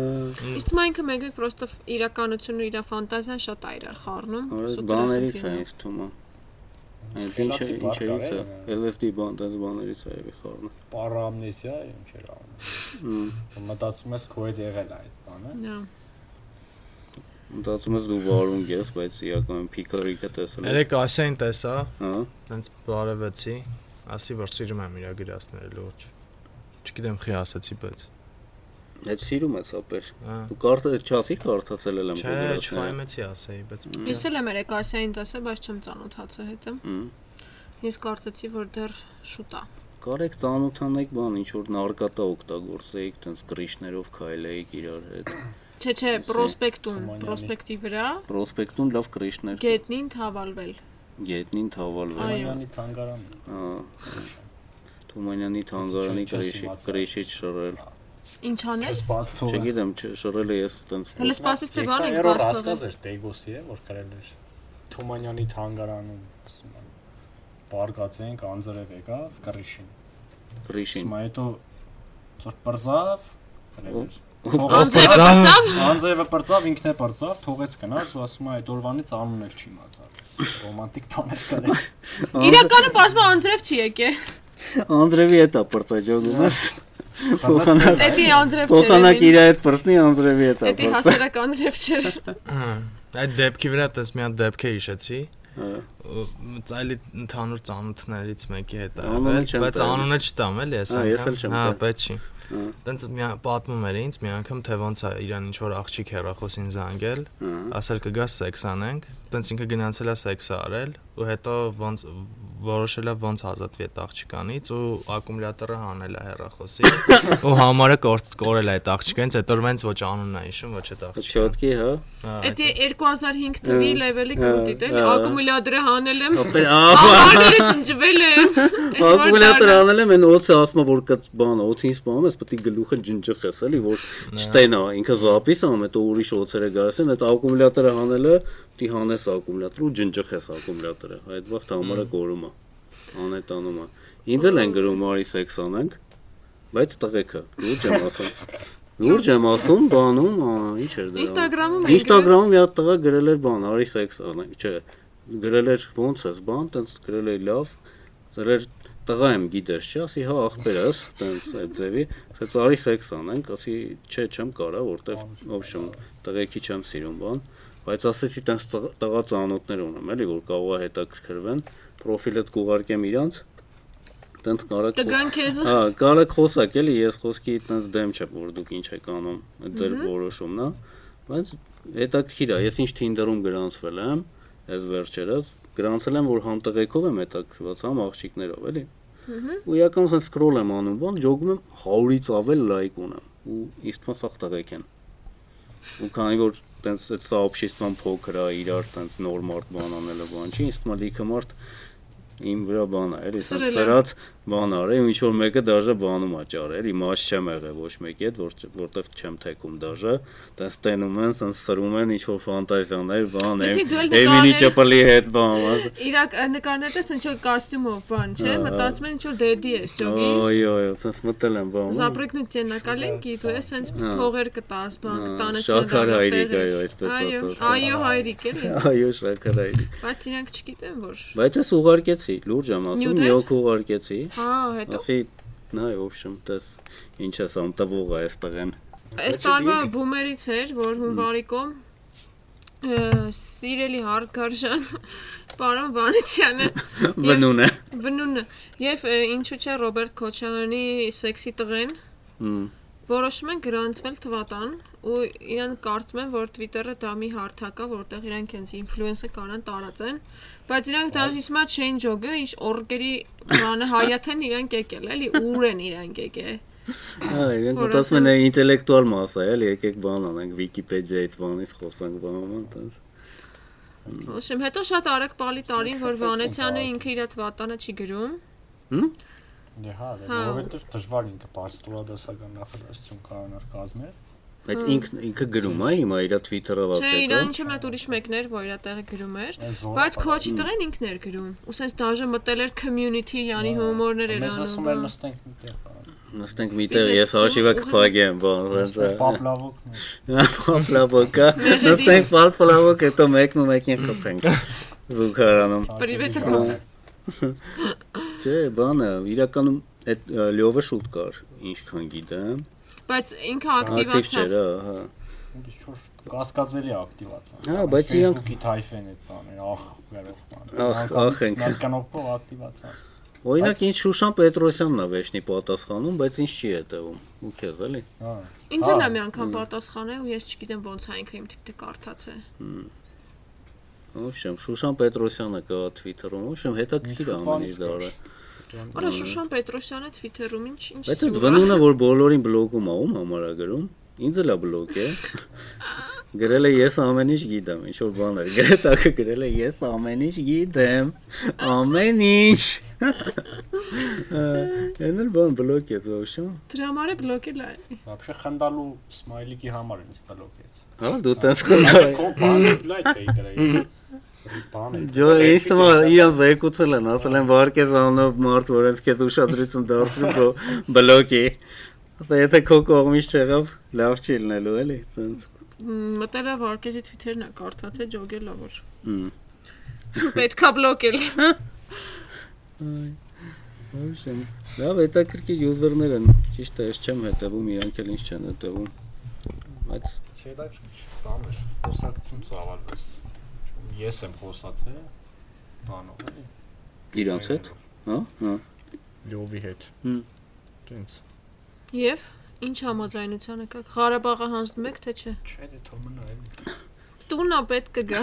S2: Իսկ մա ինքը մեկ-մեկ պրոստը իրականությունն ու իր ֆանտազիան շատ այր էր խառնում։
S1: Որը բաներից է ինձ թվում։ Այդ ինչ
S3: Խելացի բարդ կար,
S1: ինչերից է,
S3: է,
S1: LSD բան, դες բաներից է երևի խառնը։
S3: Պարամնեսիա է, ինչ էր անում։
S1: Մմ,
S3: Մտածում ես քո հետ եղել է այդ բանը։
S2: Դա
S1: Մտածում ես դու վարում ես, բայց իրականում փիկարիկը տեսել ես։
S4: Երեք ասային տեսա,
S1: Հա։
S4: տենց բարևեցի, ասի որ սիրում եմ իրա գրասները լուրջ։ Չգիտեմ խի ասացի, բայց։
S1: Այդ սիրում ես ապեր։
S4: Հա։
S1: Դու կարծես չասի կարծացել եմ
S4: Չէ, չվայմեցի ասեի, բայց
S2: Ես էլ եմ երեք ասիային տեսա, բայց չեմ ճանոթացել հետը։
S1: Մմ,
S2: Ես կարծեցի, որ դեռ շուտ է։
S1: Կարեք ծանոթանեք բան, ինչ որ նարկատա օգտագործեիք, տենց գրիշներով քայլեիք իրար հետ։
S2: Չէ, չէ, պրոսպեկտում,
S3: Թումանյանի։
S2: պրոսպեկտի վրա
S1: Պրոսպեկտում լավ գրիշներ,
S2: գետնին թավալվել։
S1: գետնին թավալվել։
S2: Այո։
S3: Թումանյանի թանգարանը։
S1: Հա։ Թումանյանի թանգարանի
S3: Չեմ
S1: գրիշի
S3: իմացել։
S1: գրիշից շռել։
S2: Ինչ անել։
S3: Չսպասում։
S1: Չգիտեմ, չէ, շռել է ես տենց
S2: Հələ սպասես թե բան ենք հա։
S3: Երրորդ
S2: բարձրացել։
S3: հասկազ էր Տեգոսի է, հա։ որ գրել էր Թումանյանի թանգարանում, ասում են։ Բարգացենք անձրև եկավ կրիշին։
S1: գրիշին։
S3: Հիմա հետո ծոր բրզավ գրել էր։ Թող-
S2: Անձրևը
S4: Ծավ։
S2: ծավ։
S3: Անձրևը բրձավ, ինքն է բրձավ, թողեց գնաց ու ասում է այդ օրվանից անունն էլ չի մացավ։ Ռոմանտիկ բաներ կան։
S2: Իրականում բարձր անձրև չի եկել։
S1: Անձրևի հետ է պրծաջողում ես։
S3: Բանացել է։
S2: Էդի անձրև չէր։
S1: Փոխանակ
S2: էլի,
S1: իր հետ պրծնի անձրևի հետ է
S2: Էդի հասարակ անձրև չէր։
S4: Հա, այդ դեպքի վրա տես մի հատ դեպք է հիշեցի։
S1: Հա։
S4: Ու Ծայլի ընդհանուր ծանոթներից մեկի հետ ա
S1: Անունը
S4: եղել,
S1: չեմ
S4: բայց
S1: տա։
S4: անունը չտամ էլի այս
S1: Հա,
S4: անգամ։
S1: ես էլ չեմ
S4: Հա,
S1: տա։
S4: բայց չի։
S1: Հա։
S4: Տենց մի հատ պատմում էր ինձ մի անգամ, թե ոնց է իրան ինչ որ աղջիկ հեռախոսին զանգել,
S1: Ահա։
S4: ասել կգա սեքս անենք, տենց ինքը գնացել է սեքս արել ու հետո ոնց որոշել է ոնց ազատվի այդ աղջկանից ու ակումուլյատորը հանել է հեռախոսի ու համարը կորց կորել է այդ աղջկանից, այդ օրվանից ոչ անունն է հիշում, ոչ այդ աղջիկը։
S1: Չոտկի, հա։
S4: Հա, այդ
S2: Էդի 2005 թվի
S1: Ա,
S2: լեվելի
S1: ա,
S2: կրուտիտ էլի
S1: ա, ա։
S2: ակումուլյատորը հանել եմ։
S1: Ապեր, ահա։
S2: Ավարները ճնջվել են։ Էս որ
S1: Ակումուլյատոր
S2: դառնա-
S1: անել եմ, այն օծը ասում է որ կած բանը, օծին սպանում ես, պետք է գլուխը ջնջխես, էլի, որ չտենա, ինքը զապիս ամ, հետո ուրիշ օծերը գալիս են, այդ ակումուլյատորը հանելը, պետք է հանես ակումուլյատորը ու ջնջխես ակումուլյատորը։ Այդ վաղ համարը կորում է, անետանում է։ Ինձ էլ են գրում արի սեքս անենք, բայց տղեկը, լուրջ եմ ասում։ Լուրջ եմ ասում, բանում, ա, ինչ էր դա։
S2: Instagram-ում էի գրել։
S1: Instagram-ում մի հատ տղա գրել էր բան, արի սեքս անենք, չէ, գրել էր ոնց էս բան, տենց գրել էր լավ, գրել էր տղա եմ գիտես, չէ, ասի հա ախպեր ես, տենց այդ ձևի, ասեց արի սեքս անենք, ասի չէ, չեմ կարա, որտեվ օբշեմ տղեկի չեմ սիրում բան, բայց ասեցի տենց տղ- տղա ծանոթներ ունեմ, էլի, որ կարող է հետաքրքրվեն, պրոֆիլդ կուղարկեմ իրանց, տենց կարա կու-
S2: Կգան քեզ։
S1: Հա, կարա խոսակ էլի, ես խոսքի այտենց դեմ չեմ, որ դուք ինչ եք անում, այդ ձեր որոշումն է, բայց հետաքրքիր է, ես ինչ Tinder-ում գրանցվել եմ, այս վերջերս գրանցել եմ, որ համ տղեկով եմ հետաքրված, համ աղջիկներով, էլի։ Ու իրականում սա սկրոլ եմ անում, բան ջոգում եմ 100-ից ավել լայք ունեմ, ու իսկապես սաղ տղեկ են։ Ու քանի որ տենց այդ սա օբշիստվան փոքր է, իրար տենց նոր մարդ բան անելը բան չի, իսկապես լիքը մարդ իմ վրա բան է, էլի, սա
S2: Սրել է։
S1: սրած բան արի, ու ինչ որ մեկը դաժե բանում է ճարը, էլի, մաշ չեմ եղել ոչ մեկի հետ, որ որտեվ չեմ թեքում դաժե, տես տենում են, տես սրում են ինչ որ ֆանտազիաներ, բան,
S2: Լսի, դու էլ
S1: Էմինի
S2: նկարել-
S1: Չապլի հետ բան, ասա
S2: Իրակ նկարնետես ինչ որ կոստյումով բան, չէ՞,
S1: Ահա։
S2: մտածում են ինչ որ դեդի ես, ջոգի։
S1: Այո, այո, ցած մտել եմ բան։
S2: Զապրեկնի ցենակալին գի դու ես սենց
S1: Ահա։
S2: փողեր կտաս, բան
S1: Ահա,
S2: կտանես
S1: շաքար
S2: սրան
S1: հայրիկ,
S2: տեղեր։
S1: այո, այսպես
S2: Այո,
S1: ասած,
S2: այո, հայրիկ էլի։
S1: Այո, շաքարային։
S2: Բայց իրանք չգիտեն որ։
S1: Բայց ես ուղարկեցի, լուրջ եմ ասում,
S2: Նյութեր?
S1: մի օք ուղարկեցի։
S2: Հա, հետո
S1: Ասի, նայ, ոբշեմ, տես ինչ ես ամտվող է այստեղ են։
S2: այս տարվա բումերից էր, որ հունվարի կոմ ը, սիրելի հարգարժան պարոն Վանեցյանը
S1: Բնուն է։
S2: վնունը եւ ը, ինչու՞ չէ Ռոբերտ Քոչարյանի սեքսի տղեն
S1: Հմ,
S2: որոշում են գրանցվել թվատան ու իրենք կարծում են, որ Twitter-ը դա մի հարթակ է, որտեղ իրանք հենց ինֆլուենսը կանան տարածեն, բայց իրանք դա հիմա չեն ջոգը, ինչ օրգերի բանը հայաթեն իրանք եկել, էլի ուր են իրանք եկել։
S1: Հա, իրենք
S2: Որ
S1: մտածում են
S2: ասեմ-
S1: այն ինտելեկտուալ մասը, էլի, եկեք բան անենք Վիկիպեդիայից բանից խոսանք բանման, տես։
S2: Ոչմ, հետո շատ արագ բալի տարին, որ Վանեցյանը ինքը իր թվատանը չի գրում։
S3: Հա, դա
S2: Հա։
S3: որովհետև դժվար ինքը բարձրացական նախաձեռնություն կանար կազմել։
S1: Բայց ինքն ինքը գրում է հիմա իր Twitter-ով
S2: Չէ,
S1: ասել։
S2: իրան ինչի՞ մատ ուրիշ մեկներ, որ իր տեղը գրում էր։
S3: Այս զորը
S2: Բայց
S3: պատահել։
S2: քոչի տղեն ինքն էր գրում։ Ու սենց դաժե մտել էր community, յանի հումորներ էր
S3: Մեզ ասում են
S2: անում։
S3: նստենք միտեղ։ բան,
S1: Նստենք միտեղ,
S2: Ֆիզես
S1: ես արշիվը
S2: սու-
S1: կփակեմ, բան,
S3: նստենք
S1: ասա։
S3: Պապլավոկն է։
S1: Պապլավոկա, նստենք պապլավոկ, հետո մեկն ու մեկին խփենք։ Զուգարանում։
S2: Привет,
S3: Ա,
S2: Ռոզ։
S1: Չէ, բանը, իրականում այդ ա, լյովը շուտ կար, ինչքան գիտեմ։
S2: Բայց ինքը
S1: Ակտիվ չէր,
S2: ակտիվացավ։
S1: հա։
S3: Ինչ որ կասկածելի ակտիվացան։
S1: Հա, բայց իրանք-
S3: Facebook-ի թայֆեն այդ բաները, ախ, վերով բան։
S1: Ախ, ախ ենք։
S3: Նականոպով ակտիվացան։
S1: Օրինակ
S3: Բայց-
S1: ինչ Շուշան Պետրոսյանն է վերջնի պատասխանում, բայց ինչ չի հետևում։ Ու քեզ էլի։
S3: Հա։
S2: Ինձ էլ
S3: Հա,
S2: է մի անգամ պատասխանել ու ես չգիտեմ ոնց է ինքը իմ թիփը կարդաց է։
S1: Ովշեմ, Շուշան Պետրոսյանը կա Twitter-ում, ովշեմ, հետաքրքիր է
S3: Ինչու
S1: ամեն ինչ
S3: բանից կար։
S1: դարը։
S2: Արա Շուշան Պետրոսյանը Twitter-ում ինչ ինչ
S1: Բայց այդ
S2: սուր է։
S1: վնունը, որ բոլորին բլոկում ա, ում համար է գրում։ Ինձ էլ է բլոկ է։ Գրել է ես ամեն ինչ գիտեմ, ինչ որ բան էր։ Գրետակը գրել է ես ամեն ինչ գիտեմ։ Ամեն ինչ։ Էնել բան բլոկ է ովշեմ։
S2: Դրա համար է բլոկել այն։
S3: Вообще խնդալու սմայլիկի համար ինձ բլոկեց։
S1: Հա դու տես խնդրել։
S3: Կոմպանի լայթ էի դրել։ Բան է։
S1: Ջո, ես թվա իրան զեկուցել են, ասել են Վարկես անով մարդ, որ ինձ քեզ ուշադրություն դարձրու, բո- բլոկի։ Ասա եթե քո կողմից չեղավ, լավ չի լինելու, էլի, ցենց։
S2: Մտերա Վարկեզի Twitter-ն է կարդաց է ջոգելա որ։
S1: Հմ։
S2: Պետքա բլոկել։
S1: Ուրիշն։ Լավ, հետաքրքիր user-ներ են։ Ճիշտ է, ես չեմ հետևում, իրանք էլ ինչ չեն հետևում։ Բայց
S3: Չէ, դա բան է։ Խոսակցում ծավալվեց։ Ես եմ խոսացել բանով, էլի։
S1: իրանց հետ, հա? Հա։
S3: Լյովի հետ։
S1: Հմ։
S3: Տենց։
S2: Եվ ինչ համաձայնության եկաք։ Ղարաբաղը հանձնում եք թե չէ։
S3: Չէ, դա թող մնա էլի։
S2: Տունը պետք կգա։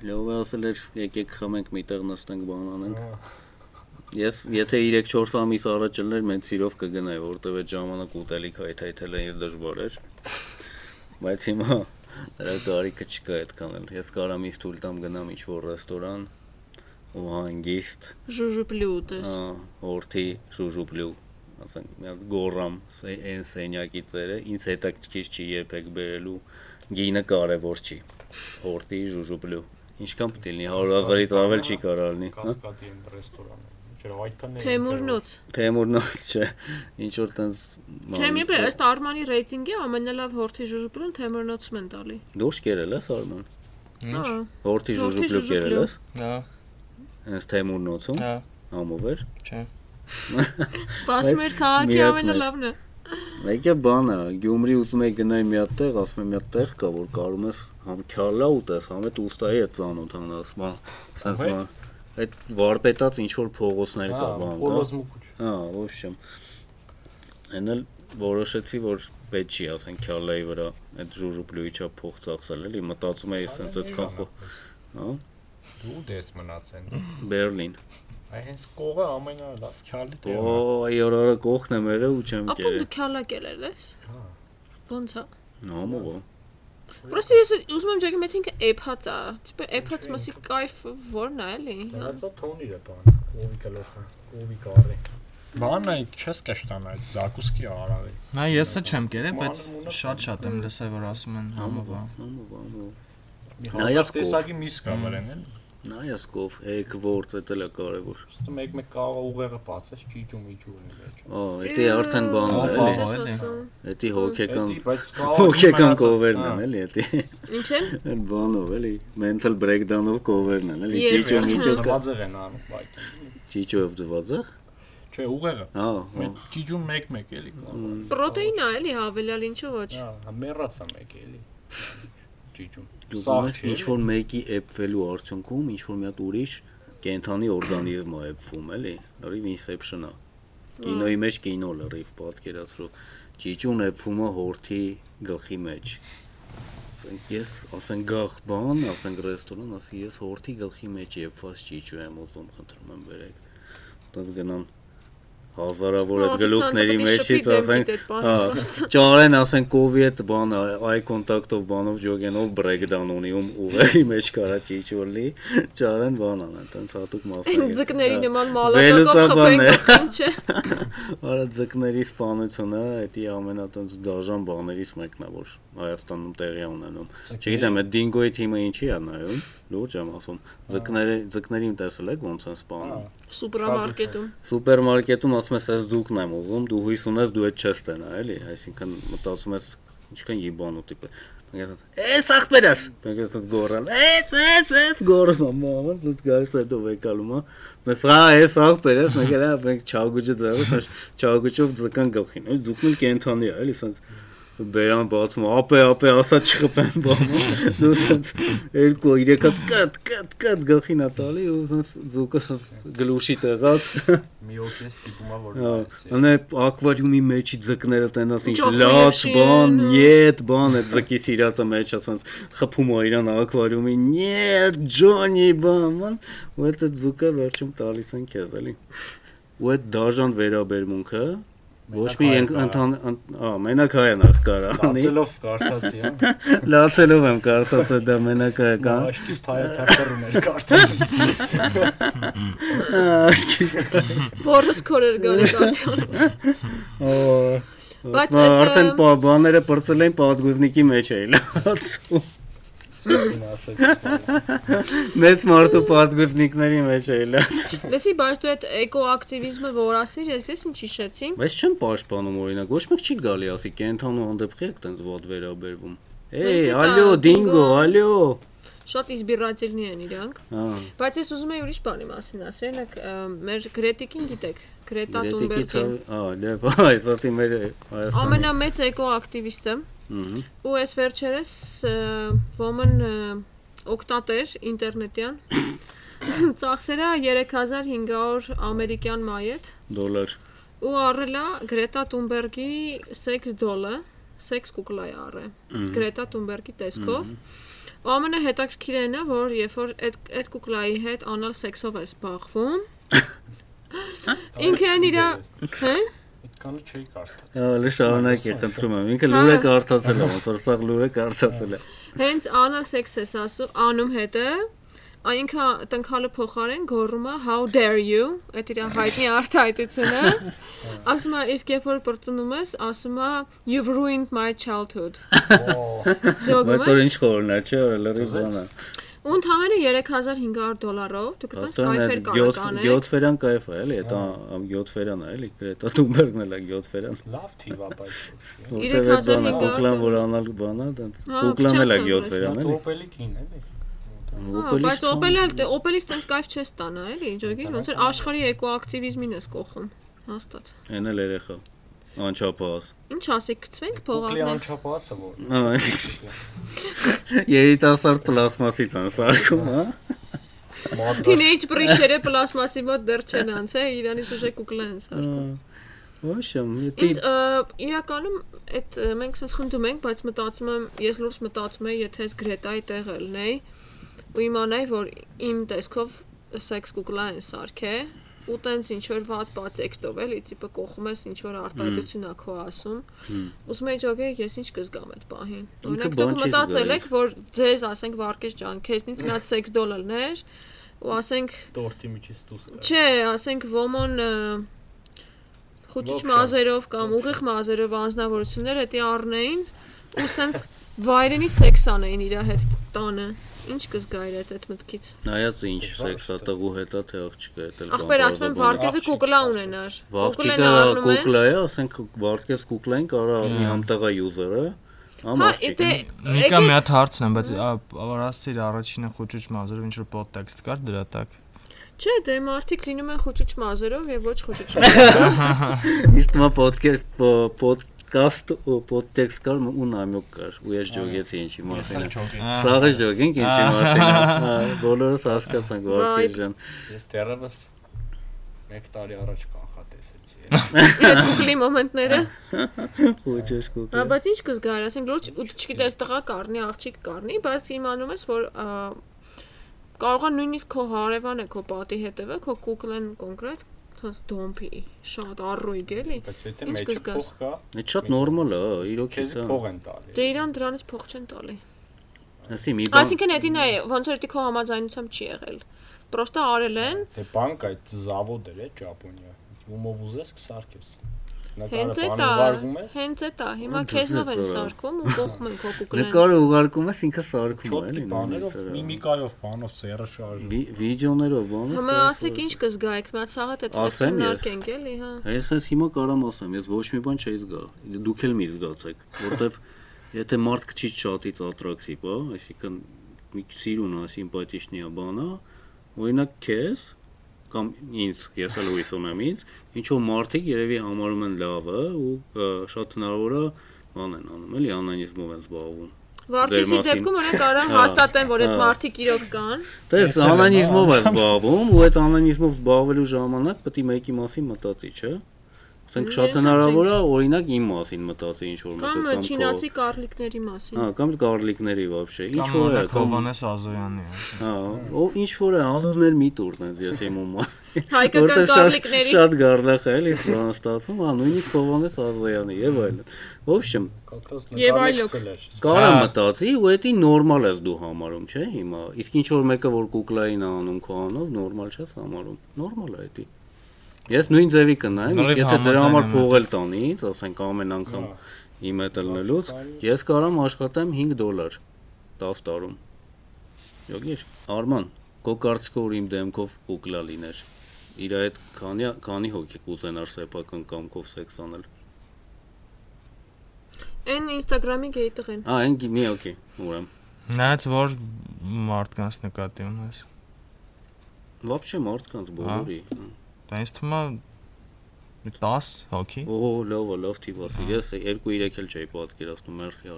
S1: Լավ է ասել էր, եկեք խմենք միտեղ նստենք բան անենք։ Ես եթե 3-4 ամիս առաջ լներ մենք սիրով կգնայի, որտեվ այդ ժամանակ ուտելիք հայթայթել էր դժվար էր։ Բայց հիմա դրա կարիքը չկա այդքան էլ։ Ես կարամ ինձ թույլ տամ գնամ ինչ-որ ռեստորան ու հանգիստ
S2: Ժուժուպլյուտես։
S1: օրթի շուժուպլու ասենք մի հատ գորամ սե- այն սենյակի ծերը ինձ հետաքրքիր չի երբեք բերելու գինը կարևոր չի օրթի շուժուպլու ինչքան պետք է լինի 100000-ից ավել չի կարող լինի հա?
S3: Կասկադի ընդ ռեստորան։ Ինչեւ այդքան է։
S2: Թեմուրնոց։
S1: թեմուրնոց չէ ինչ որ տենց
S2: Թեմ իբե ըստ Արմանի ռեյտինգի ամենալավ հորթի ժուժուպլուն Թեմուրնոցն են տալի։
S1: դուրս կերել ես արման
S4: Ինչ։
S2: Հա։
S1: օրթի
S2: Հորթի
S1: շուժուպլու
S2: շուժուպլու։
S1: կերել ես
S4: Հա,
S1: հենց թեմուրնոցում
S4: հա,
S1: համով էր
S4: չէ։
S2: Պասում էր քաղաքի
S1: միակն էր։
S2: ամենալավն է։
S1: Մեկը բանը, Գյումրի ուզում եի գնալ մի հատ տեղ, ասում եմ մի հատ տեղ կա, որ կարում ես համ քյալա ուտես, համ այդ ուստայի է ծանոթանաս, բան, ասենք
S3: Ո՞վ է։
S1: բան։ Այդ վարպետած ինչ որ փողոցներ
S3: Հա,
S1: կա, բան կա։
S3: Պոլոզմուկուչ։
S1: Հա, ոբշեմ։ Էնել որոշեցի, որ պետք չի, ասենք քյալայի վրա այդ ժուժուպլուի չափ փող ծախսել, էլի մտածում էի, ասենց այդքան խո, հա,
S5: Դու դես մնացեն։
S1: Բերլին։
S5: Այ հենց
S3: Կողը ամենալավ քյալի
S1: Օ,
S3: դեր։
S1: այ օրը կողքն եմ եղել ու չեմ
S2: Ապա
S1: գերել։
S2: դու քյալակ ելել ես։
S3: Հա։
S2: Ոնց է։
S1: Համով։
S2: Պրոստի ես ուզում եմ ջակի մեթինքը էփած է։ Տիպը էփած մսի կայֆ որն է էլի։
S3: Դրանցա թոնիր է բան, կովի գլոխը, կովի կարի։ Բանը չես կշտան այդ զակուսկի արարի։
S4: Հա, ես էլ չեմ գերել, բայց շատ-շատ եմ լսել, որ ասում են համով է։
S1: Համով, համով։ Նայած
S3: Նայած
S1: կով։
S3: տեսակի միս կա վրան էլ։
S1: Նայես կով, հեկ որց է դելա կարևոր։
S3: Ոստը մեկ-մեկ կարող է ուղեղը բացես, ճիճում իջում ունի մեջ։
S1: Ա, դա արդեն բան է, էլի։
S4: Ապա, էլի։
S1: Դա հոգեկան
S3: Էդի, բայց կարող
S1: հոգեկան կովերն են, էլի, դա
S2: Ինչ է։
S1: այդ բանով, էլի, mental breakdown-ով կովերն են, էլի,
S2: Ես-
S1: ճիճո միջո կա,
S3: Ծվածեղ են անում այդ։
S1: ճիճով դվածախ։
S3: Չէ, ուղեղը։
S1: Հա, հա,
S3: Մեկ ճիճում մեկ-մեկ էլի։
S2: Պրոտեին է էլի հավելյալ ինչու ոչ։
S3: Հա, մեռածա մեկ էլի։ Ճիճում։
S1: դու
S3: Սաղ
S1: ես
S3: չէ։
S1: ինչ որ մեկի էփվելու արդյունքում ինչ որ մի հատ ուրիշ կենթանի օրգանիզմ է էփվում, էլի, լրիվ inception-ա։ Կինոյի մեջ կինո լրիվ պատկերացրու։ Ճիճուն էփվում է հորթի գլխի մեջ։ ասենք ես ասենք գախ բան, ասենք ռեստորան, ասի ես հորթի գլխի մեջ եփված ճիճու եմ ուզում, խնդրում եմ բերեք։ Ուտած գնան հազարավոր այդ
S2: Օֆիցիանտը
S1: գլուխների
S2: պիտի շփի
S1: մեջից
S2: դեմքիդ
S1: ասենք
S2: այդ բանը
S1: հա, ճարեն ասենք կովի այդ բանը
S2: ոնց։
S1: այ կոնտակտով բանով ջոգենով բրեյքդաուն ունի ում ուղերի մեջ կարա ճիճու լի ճարեն բան անա տենց հատուկ
S2: Այն
S1: մասնակից
S2: ձկների
S1: Հա,
S2: նման
S1: Վելուցաբան է։
S2: մալակակով խփենք գլխին, չէ։
S1: Արա ձկների սպանությունը, դա ամենատոնց դաժան բաներից մեկն է, որ Հայաստանում տեղի է ունենում։ Չգիտեմ, այդ դինգոյի թիմը ինչի է նայում, լուրջ եմ ասում։ Ձկները, ձկներին տեսել եք ոնց են սպանում։
S2: Սուպերմարկետում։
S1: Սուպերմարկետում ասում ես, «Ես ձուկն եմ ուզում, դու հույս ունես, դու այդ չես տենա, էլի»։ Այսինքն մտածում ես, ինչքան յիբանու տիպը։ Եկած էս ախպերս։ Եկած գորալ։ Էս էս էս գորը մամա, դուք գալիս է դու վեկալումա։ Մեզ հա էս ախպերս, նկելա «Հա, մենք չաղուջը ձևս, աշ չաղուջով ձկան գլխին։ Ու ձուկն կենթանի է, էլի սենց բերան բացում ապե ապե ասա չխփեմ բամա դու սենց երկու երեքած կատ կատ կատ գլխին ա տալի ու սենց ձուկը սենց գլուշի տեղած
S5: Մի օքես տիպումա որ
S1: Անե ակվարիումի մեջի ձկները տենաս ինչ
S2: Ճոխ
S1: լաց բան, նետ
S2: լեշին, ու-
S1: բան է ձկի սիրածը մեջ ասած խփում է իրան ակվարիումի, նետ Ջոնի բան, ման, ու այդ ձուկը վերջում տալիս են քեզ էլի։ Ու այդ դաժան վերաբերմունքը ոչ մի
S3: հայ
S1: ընդ-
S3: կարա։
S1: ընթան, ընդ- ա, մենակ հայան ախկարա անի։
S3: Բացելով կարտացի, հա։
S1: Լացելով եմ կարծած այդ դա մենակ հայ կա։
S3: Աշկիս թայը թարթռում էր կարտացից։
S1: Աշկիս։
S2: Որս քորեր գալիս արդյոք։
S1: Օ։
S2: Բայց
S1: Բայց
S2: այդ,
S1: արդեն
S2: ը,
S1: պա- բաները բրծել էին պատգուզնիկի մեջ էի լացում։
S3: Սուտին ասեց։
S1: Մեծ մարդու պատգուզնիկների մեջ է լաց։
S2: Լսի, բայց դու այդ էկոակտիվիզմը որ ասիր, ես ինչ հիշեցի։
S1: Բայց չեմ պաշտպանում օրինակ, ոչ մեկ չի գալի ասի կենթանու հանդեպ քեք տենց ոդ վերաբերվում։ Էй,
S2: Ինձ է տա,
S1: ալո, դինգո,
S2: դինգո։
S1: ալո։
S2: Շատ իզբիրատիվնի են իրանք։
S1: Հա։
S2: Բայց ես ուզում եի ուրիշ բանի մասին ասել, օրինակ ը, մեր Գրետիկին գիտեք, Գրետա
S1: Դետիկի
S2: Թունբերգին։
S1: ցավ, հա, լավ, այս ասի մեր Հայաստանը։
S2: Ամենամեծ էկոակտիվիստը
S1: Ահա։
S2: ու այս վերջերս ը, woman ը, օկտատեր ինտերնետյան ծախսերա 3500 ամերիկյան մայեթ
S1: Դոլար։
S2: ու առելա Գրետա Թունբերգի sex doll-ը, sex kukla է առը։ Գրետա Թունբերգի տեսքով։ Ու ամենահետաքրքիրն է, որ երբ որ այդ այդ կուկլայի հետ անալ սեքսով է զբաղվում, ինքն իր հա
S3: Այդքանը չի կարտաց։
S1: Հա, լե շարունակ եք ընտրում եմ։ Ինքը
S2: Հա։
S1: լուրը կարծացել է, ոնց որ սա լուրը կարծացել է։
S2: Հենց anal sex ես ասում, անում հետը այնքա տնքալը փոխարեն գոռում է how dare you այդ իր հայտնի արտահայտությունը ասում է իսկ երբ որ բրծնում ես ասում է you've ruined my childhood
S1: Բայց որ
S2: ժողովուրդ
S1: ինչ խորն է, չէ, որ լրի բանա։
S2: ու ընդամենը 3500 դոլարով դու կտաս
S1: Աստանը
S2: կայֆեր
S1: 7 7
S2: կանկանես
S1: ֆերան կայֆ է, էլի, դա 7 ֆերան է, էլի, Գրետա Թունբերգն էլ է 7 ֆերան։
S3: Լավ թիվա, բայց
S1: Որտեվ
S3: ոչ։
S1: այդ բանը
S2: 3500
S1: կուկլան որ անալ բանա, դից
S2: Հա,
S1: կուկլան էլ է 7 վերան էլի։
S2: փչացան
S3: Դա դոպելի կին էլի։
S2: բայց օպելը օպելից տես կայֆ չես տանա էլի ժողովուրդ ոնց որ աշխարհի էկոակտիվիզմին ես կողում հաստատ
S1: Էն էլ երեխա։ Անչափահաս։
S2: ինչ ասեք գցվենք
S3: Ուկլի
S2: փողակներ
S3: անչափահասը որ։
S1: Երիտասարդ պլաստմասից են սարքում, հա։
S3: Մոդը
S2: Teenage Breacher-ը պլաստմասի մոտ դեռ չեն անցել, հա, իրանից ուժե կուկլեն սարկում։
S1: Ոշեմ,
S2: Ինձ
S1: դի
S2: ը, իրականում այդ ը, մենք sense խնդում ենք, բայց մտածում եմ, ես լուրջ մտածում եմ, եթե ես Գրետայի տեղը լնեի ու իմանայի, որ իմ տեսքով sex կուկլան սարքե, ու տենց ինչ որ ված պատեքստով էլի, տիպը կողում ես ինչ որ արտահայտություն ա քո ասում։ Ուզում եի ճոգե, ես ինչ կզգամ այդ պահին։ Օրինակ
S1: բան
S2: դուք
S1: չի
S2: մտածել
S1: զգալիս։
S2: եք, որ ձեզ ասենք վարկես ջան, քեզնից մի հատ sex doll լներ ու ասենք
S3: տորտի միջից դուս։
S2: Չէ, ասենք ոմոն ը, խոճիչ
S3: Լոփշա,
S2: մազերով կամ ուղիղ մազերով անznավորություններ էտի առնեին ու սենց վայրենի սեքս անեին իր հետ տանը։ Ինչ կզգայր այդ այդ մտքից։
S1: նայած ինչ սեքսա տղու հետա թե աղջիկա էդ էլ։
S2: Ախպեր ասում եմ վարկեզը
S3: աղջիկ
S2: կուկլա
S3: ասաց։
S2: ունենար։ Կուկլեն
S1: Վաղճիկա
S2: առնում են։
S1: կուկլա է, ասենք վարկես կուկլային կարա առնի համտեղա user-ը, համ աղջիկ։
S2: Հա, դե Չէ, դե մարդիկ լինում են խոճիչ մազերով եւ
S4: Միկա մի հատ հարցն եմ, բայց որ ասիր առաջինը խոճուճ մազերով ինչ որ պոդքասթ կար դրա տակ։
S2: ոչ խոճիչ մազերով։
S1: Իսկ մա պոդքասթ պոդքասթ ու պոդտեքստ կար ու նամյոկ կար ու ես ջոգեցի ինչի մասին։ է։ Սաղը ջոգենք ինչի մասին։ է։ Հա, Բոլորս հասկացանք
S2: Vibe.
S1: վարկեր ջան։
S3: Ես դեռևս 1 տարի առաջ կանխատեսեցի։
S2: Այդ կուկլի մոմենտները։
S1: Խոճես
S2: Հա,
S3: Դե։
S1: կուկլա։
S2: բայց ինչ կզգայր, ասենք լուրջ ու դու չգիտես տղա կառնի, աղջիկ կառնի, բայց իմանում ես, որ ա, կարող է նույնիսկ քո հարևանը քո պատի հետևը, քո կուկլեն կոնկրետ ցած դոմփի, շատ առույգ էլի։
S3: Բայց եթե
S2: Ինչ
S3: մեջը
S2: կզգաս։
S3: փող կա,
S1: Այդ շատ նորմալ է, իրոքից
S3: քեզ
S1: է։
S3: փող են տալի։
S2: Դե իրան դրանից փող չեն տալի։
S1: Ասի մի բան։
S2: Այսինքն դա նա է, ոնց որ դի քո համաձայնությամբ չի եղել։ Պրոստա արել են,
S3: Դե բանկ այդ զավոդ էր է Ճապոնիա։ Ումով ուզես կսարքես։ Նա
S2: հենց
S3: կարա
S2: էտա,
S3: բանը վարգում ես։
S2: հենց էտա։ Հիմա
S1: Դու
S2: քեզնով են
S1: զծը։
S2: սարկում ու կողմ են քո կուկլեն։
S1: Նկարը ուղարկում ես ինքը սարքում է,
S3: Չոթի
S1: էլի։
S3: բաներով,
S1: նույնիսկ, հա։
S3: միմիկայով, բանով ծերը շարժում։
S1: Վի- Վիդեոներով բան։
S2: Հիմա ասեք ինչ կզգայիք, մի հատ սաղատ այդ հետ
S1: Ասեմ ես։
S2: քննարկենք էլի, հա։
S1: Ես ես հիմա կարամ ասեմ, ես ոչ մի բան չէի զգա։ Դուք էլ մի զգացեք, որտեվ Եթե մարդ քիչ շատից attractive է, այսինքն մի սիրուն է, սիմպաթիչնի է, բանա, օրինակ քեզ կամ ինձ, ես էլ լույսում եմ ինձ, ինչ որ մարդիկ երևի համարում են լավը ու ը, շատ հնարավոր է բան են անում, էլի անանիզմով են զբաղվում։
S2: Վարտիզի
S1: Ձեր
S2: դեպքում օրինակ կարան
S1: Հա,
S2: հաստատեն, որ այդ
S1: հա.
S2: մարդիկ իրոք կան։
S3: Ես
S1: Տես
S3: էլ եմ,
S1: անանիզմով
S3: հա,
S1: է զբաղվում ու այդ անանիզմով զբաղվելու ժամանակ պետք է մեկի մասին մտածի, չէ՞։ Ասենք շատ
S2: Ներեցեք,
S1: հնարավոր է օրինակ իմ մասին մտածի ինչ որ մեկը
S2: Կամ չինացի կարլիկների մասին։
S1: Հա, կամ կարլիկների вообще։ Ինչ
S4: Կամ
S1: որ է,
S4: օրինակ Հովանես Ազոյանի։
S1: Հա, ով ինչ որ է անուններ մի տուրն ես ես իմ ումա։
S2: Հայկական կարլիկների
S1: շատ գարնախ է, էլի սրան ստացվում, հա, նույնիսկ Հովանես Ազոյանի եւ այլն։ Ոբշեմ,
S3: Կոկրոս
S2: Եվ
S3: նկարը
S2: այլոք։
S3: գցել էր։
S1: կարա
S4: Հա.
S1: մտածի ու դա նորմալ ես դու համարում, չէ՞, հիմա։ Իսկ ինչ որ մեկը որ կուկլային է անում քո անունով, նորմալ չես համարում։ Նորմալ է դա։ Ես նույն ձևի կնայեմ,
S4: Նորից
S1: իսկ եթե դրա
S4: համաձայն
S1: համար
S4: եմ
S1: փողել տանից, ասենք ամեն անգամ
S3: Հա,
S1: իմ հետ ելնելուց, ես կարամ աշխատեմ 5 դոլար 10 տարում։ Յոգիր, Արման, քո կարծիքով որ իմ դեմքով ուկլա լիներ։ Իր այդ քանի քանի հոգի կուզենար սեփական կամքով սեքս անել։
S2: այն Instagram-ի գեյ տղեն։
S1: Ա, այն մի օքեյ, ուրեմն։
S4: Նայած որ մարդկանց նկատի ունես։
S1: Вообще մարդկանց բոլորի։
S4: Դա ինձ թվում է մի 10 հոգի։
S1: Օհո, լավ, լավ տիպասի։ Ես 2-3 էլ չէի պատկերացնում, մերսի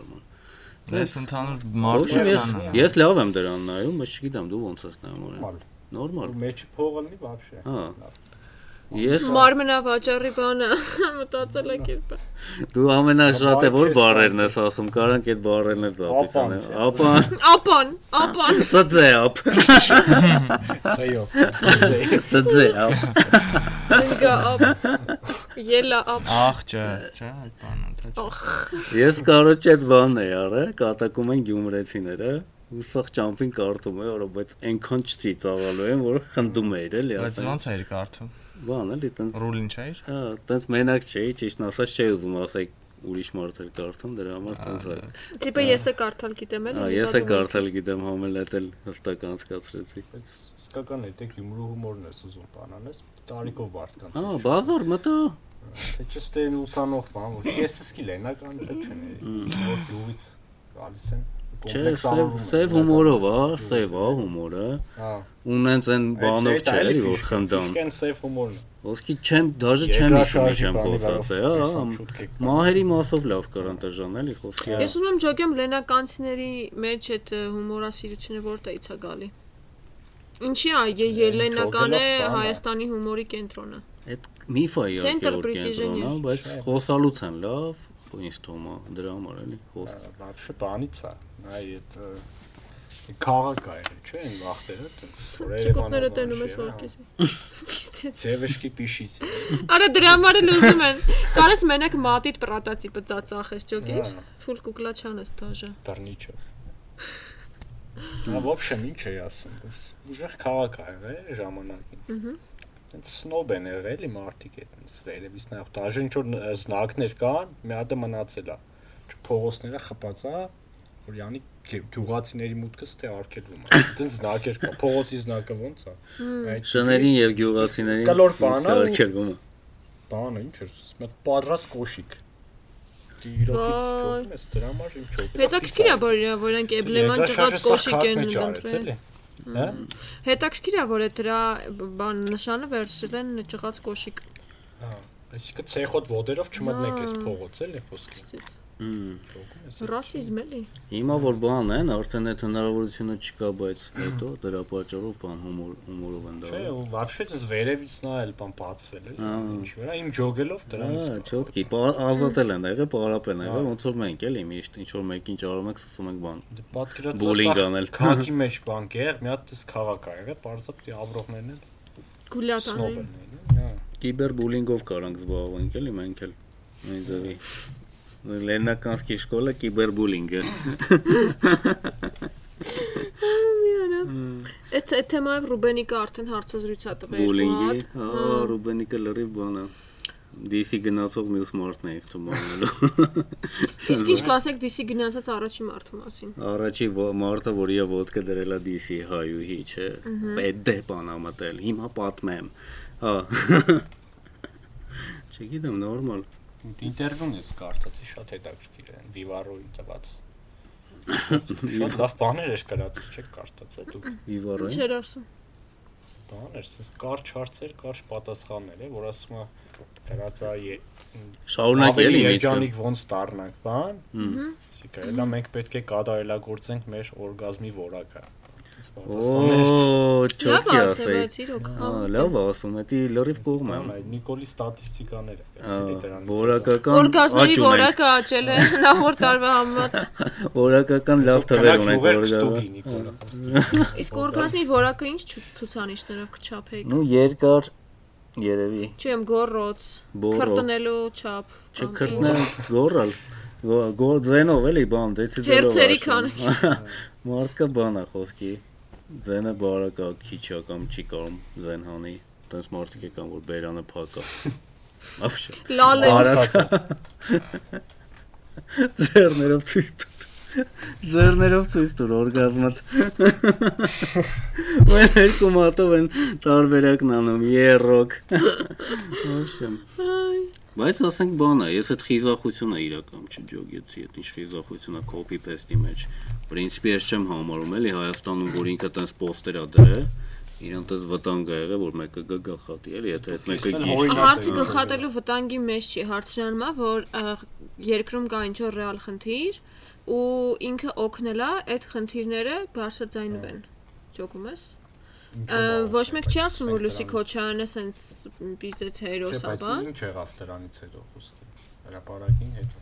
S1: Արման։
S4: Ես ընդհանուր
S1: Ոբշեմ ես
S4: մարդկությանը։
S1: ես լավ եմ դրան նայում, բայց չգիտեմ դու ոնց ես նայում օրեն։
S3: Նորմալ։
S1: Նորմալ։
S3: Մեջի փողը լի բաբշե։
S1: Հա։ Ես
S2: Մարմնավաճառի բանը մտածել եք երբ։
S1: Դու ամենաշատը
S3: Բայց
S1: որ
S3: ես
S1: բառերն
S3: անի-
S1: ես ասում, կարանք այդ բառերն էլ
S3: Ապան
S1: ծափիսան։
S3: չէ։
S1: Ապա
S2: Ապան, ապան։
S1: ծծե ապ,
S2: Հա։
S3: Ծեյով։
S1: ծծե ապ։
S2: Ընկա ապ։ Ելա ապ։
S4: Աղջը, չէ, այդ բանը, թե չէ։
S1: Ես կարոջ այդ բանն էի արը, կատակում են գյումրեցիները։ Ուսախ ճամփին կարդում է, որը բայց այնքան չծիծաղալու են, որ խնդում էր էլի
S4: Բայց ո՞նց էր կարդում։
S1: Բան էլի տենց,
S4: Ռուլին չէր։
S1: հա, տենց մենակ չէի, ճիշտ ասած չէի ուզում ասեք ուրիշ մարդ էլ կարդում, դրա համար տենց է։
S2: Տիպը ես է կարդալ գիտեմ էլ։
S1: Հա, ես է կարդալ գիտեմ, համելատել հստակ անցկացրեցի։
S3: Բայց իսկական է, դեք յումորը հումորն ես ուզում բանանես, տարիքով մարդկանց։
S1: Հա,
S3: էլ շուտ։
S1: բազար մտա։
S3: Թե չստե ուսանող բան, որ քեսս կի լենականից էլ չեն էլի, որ գյուղից գալիս են։
S1: Չէ, սև
S3: կոմպլեքսանում են
S1: սև
S3: իրականից,
S1: հումորով է, սև
S3: գյուղից
S1: է
S3: էլ։
S1: հումորը։
S3: Հա։
S1: ունենց այն բանով չէ, էլի, որ խնդան։
S3: Իսկեն սև հումորն է։
S1: Ոսկի չեմ, դաժե չեմ հիշում ինչ եմ խոսացել, հա։ Մահերի մասով լավ կարան տժան էլի խոսքի։
S2: Ես ուզում եմ ճոգեմ լենականցիների մեջ այդ ը, հումորասիրությունը որտեղից է գալի։ Ինչի՞ է ե- ելենական է
S3: Ջոգելը սպան է։
S2: Հայաստանի հումորի կենտրոնը։
S1: Այդ միֆա է
S2: Center
S1: իհարկե որ
S2: British
S1: կենտրոնն է,
S2: Engineer,
S1: բայց
S3: չէ։
S1: խոսալուց են լավ, ինձ թվում է դրա համար էլի խոսքը։
S3: Հա, Բաբշե բանից է։ Այ այդ քաղաք է, չէ՞, այն վախտերը, Հա, այդպես որ
S2: Չիկոտները տենում ես որ քեզ։
S3: Ձևեշկի պիշից։
S2: Արա դրա համար էլ ուզում են։ Կարես մենակ մատիտ պրատացի պտածախես ճոգիր։
S3: Ա.
S2: Ֆուլ կուկլա չանես դաժը։
S3: Բռնիչով։ Նա вообще ինչ է ասում, ես ուժեղ քաղաք ա եղել ժամանակին։ Ահա։ Այդ սնոբ են եղել իմ արդիկ է, այնց երևից նա դաժե ինչ որ ն- զնակներ կան, մի հատ է մնացել է։ Փողոցները խփածա, որ յանի գե- գյուղացիների մուտքը ստե արկելվում է։ Այդտենց զնակեր կա, փողոցի զնակը ոնց է։ Այդ
S1: Շներին եւ գյուղացիներին
S3: Կլոր բան ա ու-
S1: արկելվում է։
S3: բանը ինչ էր, մտ պատրաստ կոշիկ։ Տիրոցից
S2: Վայ։
S3: ճոպում ես դրա համար ինչ ճոպ։
S2: Հետաքրքիր է որ որ իրենք էբլեման ճղած կոշիկ են
S3: ընդդրել։
S2: ընտրել։
S3: Հա։
S2: Հետաքրքիր է որ այդ դրա բ- բան նշանը վերցրել են ճղած կոշիկ։
S3: Այսինքն ցեխոտ ոդերով
S1: Հա։
S3: չմտնեք այս
S2: Ա.
S3: փողոց էլի խոսքը։
S2: Ստից։
S1: Մմ,
S3: ճոկում ես,
S2: Ռասիզմ էլի։
S1: Հիմա որ բան են, արդեն այդ հնարավորությունը չկա, բայց հետո դրա պատճառով բան հումոր հումորով են
S3: Չէ,
S1: դառնում։
S3: ու вообще դες վերևից նայել բան բացվել էլի։
S1: Ա.
S3: Ինչի վրա իմ ջոգելով դրանից։
S1: Հա,
S3: կա։
S1: չոտքի, ազատել են եղել, պարապեն եղել,
S3: Հա.
S1: ոնց որ մենք էլի միշտ ինչ որ մեկին ճարում եք, ասում ենք բան։
S3: Դե պատկերացա
S1: Բուլինգ անել։
S3: քաղաքի մեջ բան կեր, մի հատ էս քաղաք ա եղել, բարձր ապրողներն էլ սնոբ
S2: Գուլյատան։
S3: են էլի։ Հա։
S1: Կիբերբուլինգով կարանք զբաղվենք էլի մենք էլ նույն ձևի։ Լեննականսկի շկոլա կիբերբուլինգ է։
S2: Այս այդ թեմայով Ռուբենիկը արդեն հարցազրույց է տվել։
S1: Բուլինգի,
S2: Պատ,
S1: հա,
S2: հա,
S1: Ռուբենիկը լրիվ բան է։ DC գնացող մյուս մարդն է ինձ թվում անելու։
S2: Իսկ ինչ կասեք DC գնացած առաջի մարդու մասին։
S1: Առաջի ո- մարդը, որ իա ոդկը դրելա DC հայուհի, չէ։ Պետք է բան ամտել։ Հիմա պատմեմ։ Հա։ Չգիտեմ, նորմալ։
S3: Ինտերվյուն ես կարծացի շատ հետաքրքիր գիտեմ, Vivarro-ի տված։ Շատ լավ բաներ էր գրած, չեք կարծած այդ ու
S1: Վիվարը։
S2: Չէր ասում։
S3: բաներ, սենց կարճ հարցեր, կարճ պատասխաններ է, որ ասում է գրած է ե-
S1: Շարունակ
S3: ավելի
S1: էլի
S3: երջանիկ ոնց դառնանք, բան։
S1: Հմ.
S3: Սիկա, ելա մենք պետք է կատարելագործենք մեր օրգազմի որակը։ Այդպես պատասխաններ էր
S1: Օ,
S2: Լավ
S1: չոքի
S2: ասել,
S1: ասեի։
S2: բայց դե- իրոք։
S1: Հա, լավ ասում, դա լրիվ կողմ է։
S3: Ան այդ Նիկոլի ստատիստիկաները
S1: հա։ Ա,
S3: կարելի դրանից
S1: Որակական
S2: Օրգազմերի
S1: աճ ունենք,
S2: որակը աճել է նախորդ տարվա համեմատ։
S1: Որակական լավ թվեր ունենք Հա։
S3: Ստուգի
S1: որակը։
S3: Նիկոլը խոսքը։
S2: Իսկ օրգազմի որակը ինչ չու- ցուցանիշներով կչափեք։
S1: Ну երկար երևի
S2: Չեմ գորոց,
S1: Բորո։
S2: քրտնելու չափ, կամ ինչ։
S1: չկրտնեմ գորալ գորձենով էլի բան դե- դեցիդելով
S2: Հերցերի
S1: աշխում։
S2: քանակի։
S1: մարդկա բան է խոսքի ձենը բարակա քիչա կամ չի կարող ձեն հանի տես մարդիկ է կամ որ բերանը փակա Ավշե
S2: Լալ է։
S1: Արած։ ձեռներով ցույց տուր ձեռներով ցույց տուր օրգազմատ Մենք երկու մատով են տարբերակն անում երրոք Ավշե Բայց ասենք բանա, ես այդ խիզախությունը իրական չջոգեցի, այդ ինչ խիզախությունը կոպի պեստի մեջ։ Պրինցիպի ես չեմ համարում, էլի Հայաստանում, որ ինքը տես պոստեր ա դրել, իրան տես վտանգ ա եղել, որ մեկը գգա խատի, էլի, եթե այդ մեկը
S3: Քիստեն
S1: գիշ
S3: հորինակ
S2: Հարցը գլխատելու վտանգի մեջ չի, հարցն այն է, որ ա, երկրում կա ինչ որ ռեալ խնդիր ու ինքը օգնելա այդ խնդիրները բարձրաձայնվեն։ Ճոգում ես։ Ա, Ոչ մեկ չի ասում, որ Լուսի հա։ Քոչարյանը սենց բիզնես հերոս է,
S3: Բայց
S2: բա։
S3: ինչ եղավ դրանից հետո խոսքը։ Հրապարակին հետո։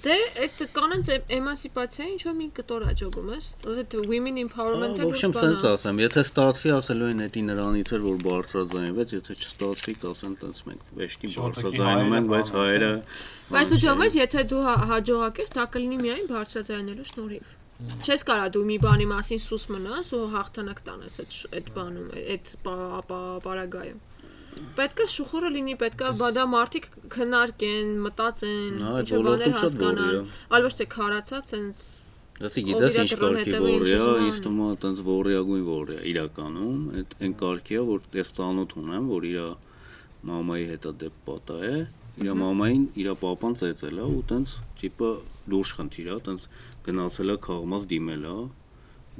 S2: Դե այդ կանանց է- էմանսիպացիա ինչ որ մի կտոր ա ճոգում ես։ Այդ women empowerment-ը
S1: Ոբշեմ սենց ասեմ, եթե ստացվի, ասելու են դա նրանից էր, որ բարձրաձայնվեց, եթե չստացվի, կասեն տենց մենք վեշտի
S3: Շոտոքի
S1: բարձրաձայնում ենք, բայց հայերը
S3: հայերը բան են,
S2: Բայց դու ճոգում ես, եթե դու հա- հաջողակես, դա կլինի միայն բարձրաձայնելու շնորհիվ։ Չես կարա դու մի բանի մասին սուս մնաս ու հաղթանակ տանես այդ շ- այդ բանում, այդ պա- պա- պարագայում։ Պետք է շուխուրը լինի, պետք է բադա մարդիկ քնարկեն, մտածեն,
S1: Նա այդ
S2: ինչ բաներ
S1: ոլորտում շատ
S2: հասկանան,
S1: գորի
S2: այլ ոչ թե քարացած, սենց
S1: Լսի,
S2: Ով
S1: գիտես
S2: իրա
S1: ինչ
S2: կրոն
S1: կարգի
S2: հետևը ինչ
S1: որիա,
S2: ուզում է
S1: իսկ
S2: անում։
S1: ումա տենց որիագույն որիա իրականում, այդ այն կարգի է, որ ես ծանոթ ունեմ, որ իր մամայի հետ է դեպ պատա է, իր մամային իր papan ծեծել է ու տենց տիպը լուրջ խնդիր է, տենց գնացել է քաղմաս դիմել է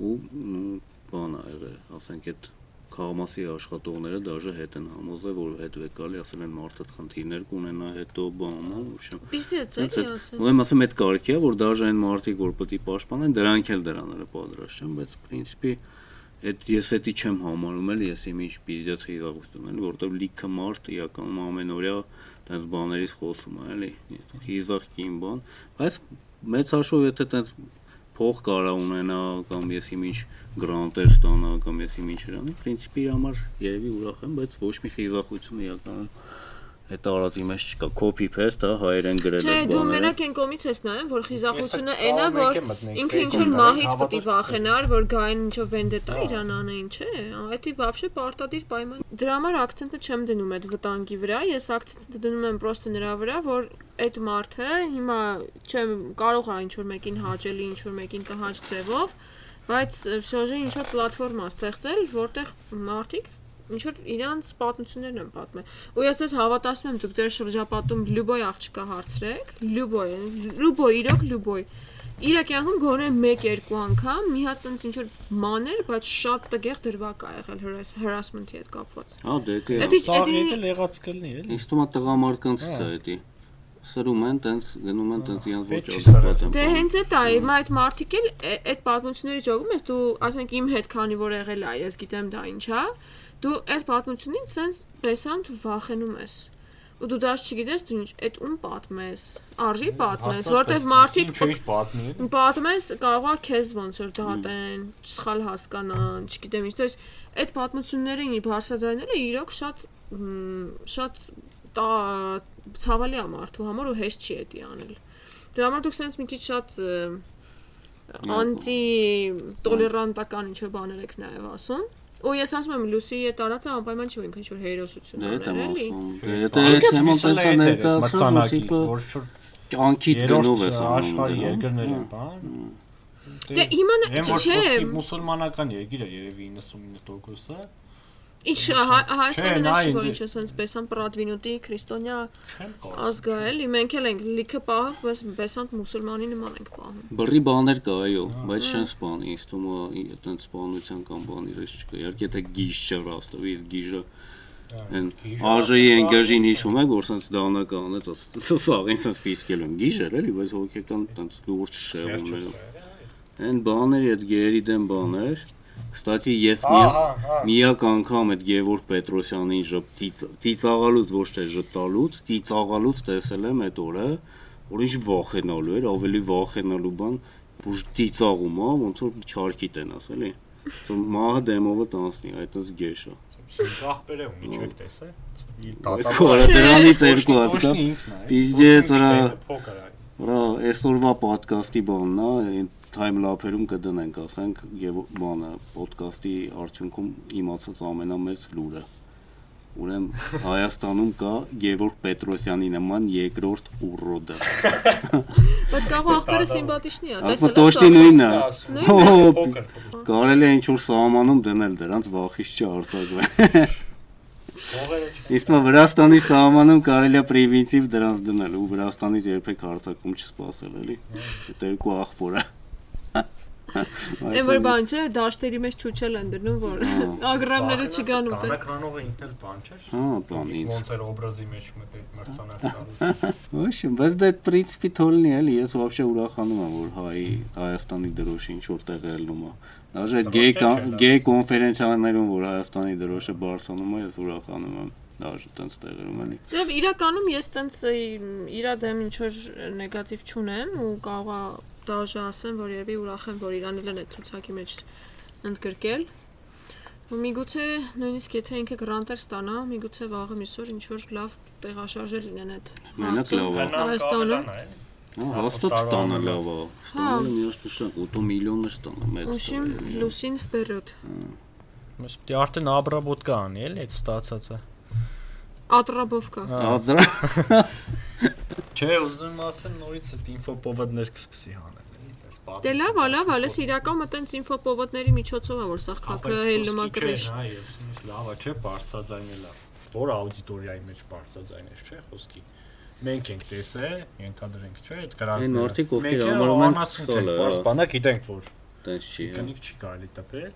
S1: ու մ, բան ա եղել, ասենք այդ քաղմասի աշխատողները դաժե հետ են համոզել, որ հետ վեկալի ասել են մարդը խնդիրներ կունենա հետո բան, ուրիշ
S2: բիզնես է,
S1: Հենց
S2: էլի
S1: այդ
S2: ասեմ։
S1: ուրեմն ասեմ այդ կարքի է որ դաժե այն մարդիկ որ պետք է պաշտպանեն դրանք էլ դրանները պատրաստ չեն բայց principi այդ ես էդի չեմ համարում էլ ես իմ ինչ բիզնես հիզախություն էլ որտեղ լիքը մարդ իրականում ամենօրյա տենց բաներից խոսում է էլի հիզախ կին բան բայց մեծ հաշվով եթե տենց փող կարա ունենա կամ ես իմ ինչ գրանտեր ստանա կամ ես իմ ինչ հրանի principi իր համար երևի ուրախ եմ բայց ոչ մի հիզախություն իրականում այդ արածի մեջ չկա copy paste հա հայերեն գրել
S2: Չէ,
S1: այդ
S2: դու
S1: բաները։
S2: մենակ այն կողմից ես նայում, որ խիզախությունը
S3: Ես այդ
S2: այնա, որ
S3: կողմը
S2: ինքը ինչ որ
S3: եկեմ մտնենք, եկեք մտնենք,
S2: մահից
S3: հավատացեք։
S2: պետք է վախենար, որ գային ինչով վենդետա իրան անեն, չէ։ Այդի բաբշե պարտադիր պայման։ Դրա համար акցենտը չեմ դնում այդ վտանգի վրա, ես акցենտը դնում եմ պրոստը նրա վրա, որ այդ մարդը հիմա չեմ կարող է ինչ որ մեկին հաճելի, ինչ որ մեկին տհաճ ձևով, բայց շոժի ինչ որ պլատֆորմա ստեղծել, որտեղ մարդիկ ինչ որ իրանց պատմություններն են պատմել։ Ու ես ես հավատացնում եմ, դուք ձեր շրջապատում լյուբոյ աղջիկա հարցրեք, լյուբոյ, լյուբոյ, իրոք լյուբոյ։ Իրա կյանքում գոնե 1-2 անգամ մի հատ այնց ինչ որ մաներ, բայց շատ տգեղ դրվակ ա եղել հրաս հրասմնտի հետ կապված։
S1: Հա, դե դա
S2: Էդի
S3: Սա
S2: էդի
S3: դիտել եղած կլինի, էլի։
S1: ինձ թվում է տղամարդկանցից է դա։ Սրում են, տենց գնում են, տենց իրանց ոչ
S3: Պետք չի
S1: ազատ են։
S2: Դե հենց էդ է, հիմա այդ մարտիկ էլ է- այդ պատմությունների ճոգում ես դու, ասենք իմ հետ քանի որ եղել է, ես գիտեմ դա ինչ է։ Դու այդ պատմությունից sense տեսամ դու վախենում ես։ Ու դու դաշ չգիտես դու ինչ, այդ ում պատմես, արժի պատմես, որտեղ մարտիկ
S3: չի պատմի։ էլի։
S2: պատմես կարող է քեզ ոնց որ դատեն, սխալ հասկանան, չգիտեմ ինչ, այս այդ պատմությունները ինի բարձրաձայնելը իրոք շատ մ, շատ տա- ցավալի է մարդու համար ու հեշտ չի էդի անել։ Դրա համար դուք sense մի քիչ շատ անտի տոլերանտական ինչ-որ բաներ եք նաև ասում։ Ու ես ասում եմ Լուսիի հետ արածը անպայման չի ու ինքն ինչ որ հերոսություն
S1: Դե դա
S2: անել, էլի։
S1: մասում։ Եթե այդ թեման տենց է ներկայացնում,
S3: մրցանակի,
S1: տիպը
S3: որ շուտ
S1: կյանքի գնով
S3: երրորդ
S1: ես
S3: աշխարհի
S1: անում, դե, Հա։
S3: երկրներ են, բան։
S2: Դե հիմա
S3: Եմ
S2: ն-
S3: որ
S2: չէ,
S3: խոսքի մուսուլմանական երկիր է երևի 99%-ը,
S2: Ինչ Հայ- Հայաստանը
S3: Չէ,
S2: նա
S3: նա
S2: չի
S3: ինձ-
S2: որ ինչ ասենց Բեսան Պրադվինուտի քրիստոնյա
S3: Չեմ կարող։
S2: ազգա էլի, մենք էլ ենք լիքը պահ, բայց Բեսանտ մուսուլմանի նման ենք պահում։
S1: Բռի բաներ կա, այո, բայց չեն սպան, ինձ թվում է ի- այտենց սպանության կամ բան իրենց չկա։ Իհարկե դա գիժ չէ Ռաստովի, իսկ գիժը այն
S3: գիժը
S1: ԱԺ-ի
S3: ասես,
S1: ընկաժին հիշում եք, որ sense դանական է, սաղ ինքս պիսկել են գիժ էր, էլի, բայց հոգեկան sense լուրջ շեղումներ։ Այն բաների այդ գերի դեմ բաներ։ Կստացի ես մի
S3: Ահա,
S1: միակ անգամ այդ Գևորգ Պետրոսյանին ժպտից ծիծաղալուց ոչ թե ժպտալուց, ծիծաղալուց տեսել եմ այդ օրը, որ ինչ վախենալու էր, ավելի վախենալու բան, որ ծիծաղում է, ոնց որ չարքի տենաս, էլի։ Որ մահը դեմովը տանցնի, այտենց գեշա։
S3: ախպեր է ու ինչ եք տեսել։
S1: Որը դրանից երկու հատ կա։ Պիզդեց, րա։
S3: փոքր է։
S1: Հա, այսօրվա ոդկասթի բանն է, այն թայմլափերում կդնենք, ասենք, եւ բանը, ոդկասթի արդյունքում իմացած ամենամեծ լուրը։ Ուրեմն Հայաստանում կա Գևորգ Պետրոսյանի նման երկրորդ ուռոդը։
S2: Բայց կարող ախբերը սիմպաթիչնի է,
S1: Ասում տոշտի նույնն է։
S3: Ասում
S1: Հո,
S3: փոքր, փոքր։
S1: Կարելի է ինչ որ սահմանում դնել դրանց վախից չարցակվել։
S3: Փողերը չէ։
S1: Իսկ մա Վրաստանի սահմանում կարելի է պրիվինտիվ դրանց դնել ու Վրաստանից երբեք հարցակում չսպասել, էլի։ Այդ երկու ախորը։
S2: Այն որ բան չէ, դաշտերի մեջ ճուճել են դնում, որ ագրամները չգան ուտել։
S3: Տանականողը ինքն էլ բան չէր։
S1: Հա, բան ինձ։
S3: Ոնց էր օբրազի մեջ մտել մրցանակ տալուց։
S1: Ոչ, բայց դա այդ պրինցիպի թոլնի էլի, ես вообще ուրախանում եմ, որ հայ Հայաստանի դրոշը ինչ որտեղ է ելնում։ Դաժե այդ գեյ կա- գեյ կոնֆերենցիաներում, որ Հայաստանի դրոշը բարձանում է, ես ուրախանում եմ։ Դաժե տենց տեղերում էլի։
S2: Դե իրականում ես տենց իր դեմ ինչ որ նեգատիվ չունեմ ու կարող է դաժե ասեմ, որ երևի ուրախ եմ, որ Իրանն էլ է ցուցակի մեջ ընդգրկել։ Ու միգուցե նույնիսկ եթե ինքը գրանտեր ստանա, միգուցե վաղը միսօր ինչ որ լավ տեղաշարժեր լինեն այդ։
S1: Մենակ
S2: հարցում։
S1: լավ է։
S2: Հայաստանը։
S1: Հա, Հաստատ
S3: Տարվա
S1: ստանը
S3: ամենը։
S1: լավ է։ Ստանը միաշտուշակ 8 միլիոններ ստանը մեծ։
S2: Ուշիմ լուսին վբերոտ։
S5: Մեզ պետք է դե արդեն աբրաբոտկա անի էլի այդ ստացածը։
S2: Ատրաբովկա։
S1: Ադրա։
S3: Չէ, ուզում ասեմ նորից այդ ինֆոպովդներ կսկսի հանել, էլի, պես բան։
S2: Դե լավ, ա, լավ, հա, ալես իրականում այտենց ինֆոպովոտների միջոցով է որ սա
S3: Ապա
S2: քաքը
S3: այս
S2: հել
S3: խոսքի
S2: նոմակրիշ։
S3: չէ, Հա, ես ինձ լավա չէ բարձրաձայնելա։ Որ աուդիտորիայի մեջ բարձրաձայնես, չէ, խոսքի։ Մենք ենք տեսել, ենթադրենք, չէ, այդ հա,
S1: Այն
S3: կրասնը։
S1: մարդիկ, ովքեր համարում են սոլը, հա։
S3: Պարսպանա գիտենք, որ
S1: Տես չի։ հա։
S3: քնիկ չի կարելի տպել։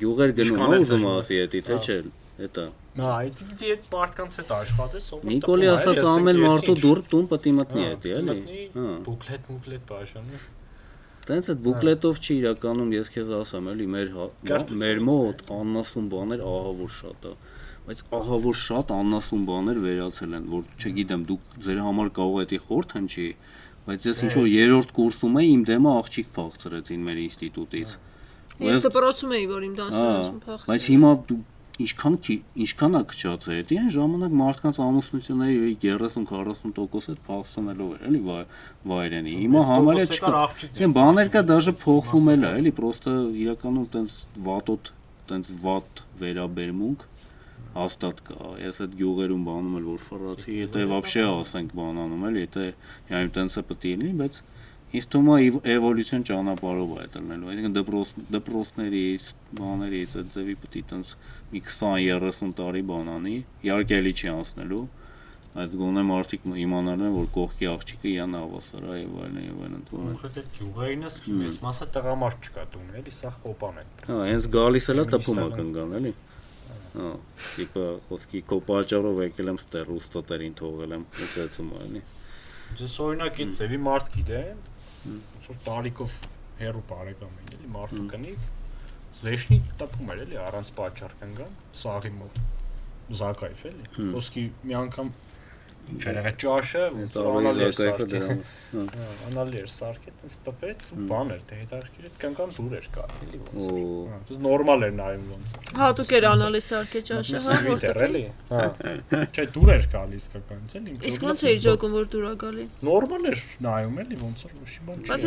S1: Գյուղեր գնում
S3: Իշխանել
S1: ա ուզում
S3: դժվար։
S1: ասի էդի, թե չէ։ Էտա։
S3: Նա Հա, այդ դի այդ մարդկանց հետ աշխատես, ով
S1: Նիկոլի
S3: հա,
S1: ասած ամեն մարդու դուր տուն պետք է մտնի էդի, էլի։ Հա։
S3: Բուկլետ, բուկլետ բաժանը։
S1: Տենց այդ բուկլետով չի իրականում ես քեզ ասեմ, էլի մեր հա-
S3: Կրթությունից
S1: մեր մոտ աննասուն բաներ ահա որ շատ է։ Բայց ահա որ շատ աննասուն բաներ վերացել են, որ չգիտեմ, դուք ձեր համար կարող է դա խորթ հնչի, բայց ես ինչ որ երրորդ կուրսում էի, իմ դեմը աղջիկ փախցրեցին մեր ինստիտուտից։
S3: հա։
S2: Ես դպրոցում էի, որ իմ դասերում
S1: Հա,
S2: փախցրի։
S1: Բայց հիմա դու ինչքան քի- ինչքան է կճացել էդի այն ժամանակ մարդկանց ամուսնությունների 30-40% այդ փախսնելով էր, էլի վայ- վայրենի։ Հիմա
S3: Այս
S1: համարյա
S3: տոկոսը
S1: չկա։
S3: կար աղջիկներ։
S1: Դեն բաներ կա դաժե փոխվում էլ է, էլի, պրոստը իրականում տենց վատոտ, տենց վատ վերաբերմունք հաստատ կա։ Ես այդ գյուղերում բանում եմ որ ֆռացի, եթե вообще ասենք բանանում էլ, եթե հիմա տենց է պետք է լինի, բայց ինձ թվում է իվ- էվոլյուցիոն ճանապարհով է դառնալու։ Այսինքն դպրոց դպրոցների ս- բաներից այդ ձևի պետք է տենց մի 20-30 տարի բանանի, իհարկե էլի չի անցնելու։ Այդ գոնե մարդիկ մ- իմանալու են, որ կողքի աղջիկը իրան հավասար է եւ այլն եւ այլն ընդունում։
S3: Կոնկրետ գյուղերինս մեծ մասը տղամարդ չկա տուն, էլի սա խոպան է։
S1: Հա, հենց գալիս էլա տպում
S3: Մինիստր բան։
S1: ակնկան, էլի։ Հա, տիպը խոսքի քո պատճառով եկել եմ ստեր ռուստոտերին թողել եմ, ինչ ասում է, էլի։
S3: Ես օրինակ այդ ծևի մարդ գիտեմ, ոնց որ տարիքով հերո բարեկամ են, էլի մարդու կնիկ զեշնի տպում էր, էլի առանց պատճառ կնգան, սաղի մոտ։ Զակայֆ էլի։ Ոսկի մի անգամ չերեղա ճաշը,
S1: Այդ
S3: ոնց որ
S1: առողջ
S3: անալի
S1: զակայքը դրան։ Հա,
S3: էր սարքել։ Հա, Անալի էր սարքել, տես տպեց, ու բան էր, դե հետաքրքիր էր, կնկան դուր էր կա, էլի ոնց։ որ,
S1: Ու
S3: հա, դες նորմալ էր նայում ոնց։
S2: Հատուկ էր անալիս արկե ճաշը, հա, որ
S3: Միսվիտեր էլի։ Հա։ Չէ, դուր էր գալիս կականից էլի։ ինքը
S2: Իսկ
S3: գնաց
S2: ոնց էի
S3: դուր։
S2: ջոկում, որ դուր է գալի։
S3: Նորմալ էր նայում էլի ոնց որ ուշի բան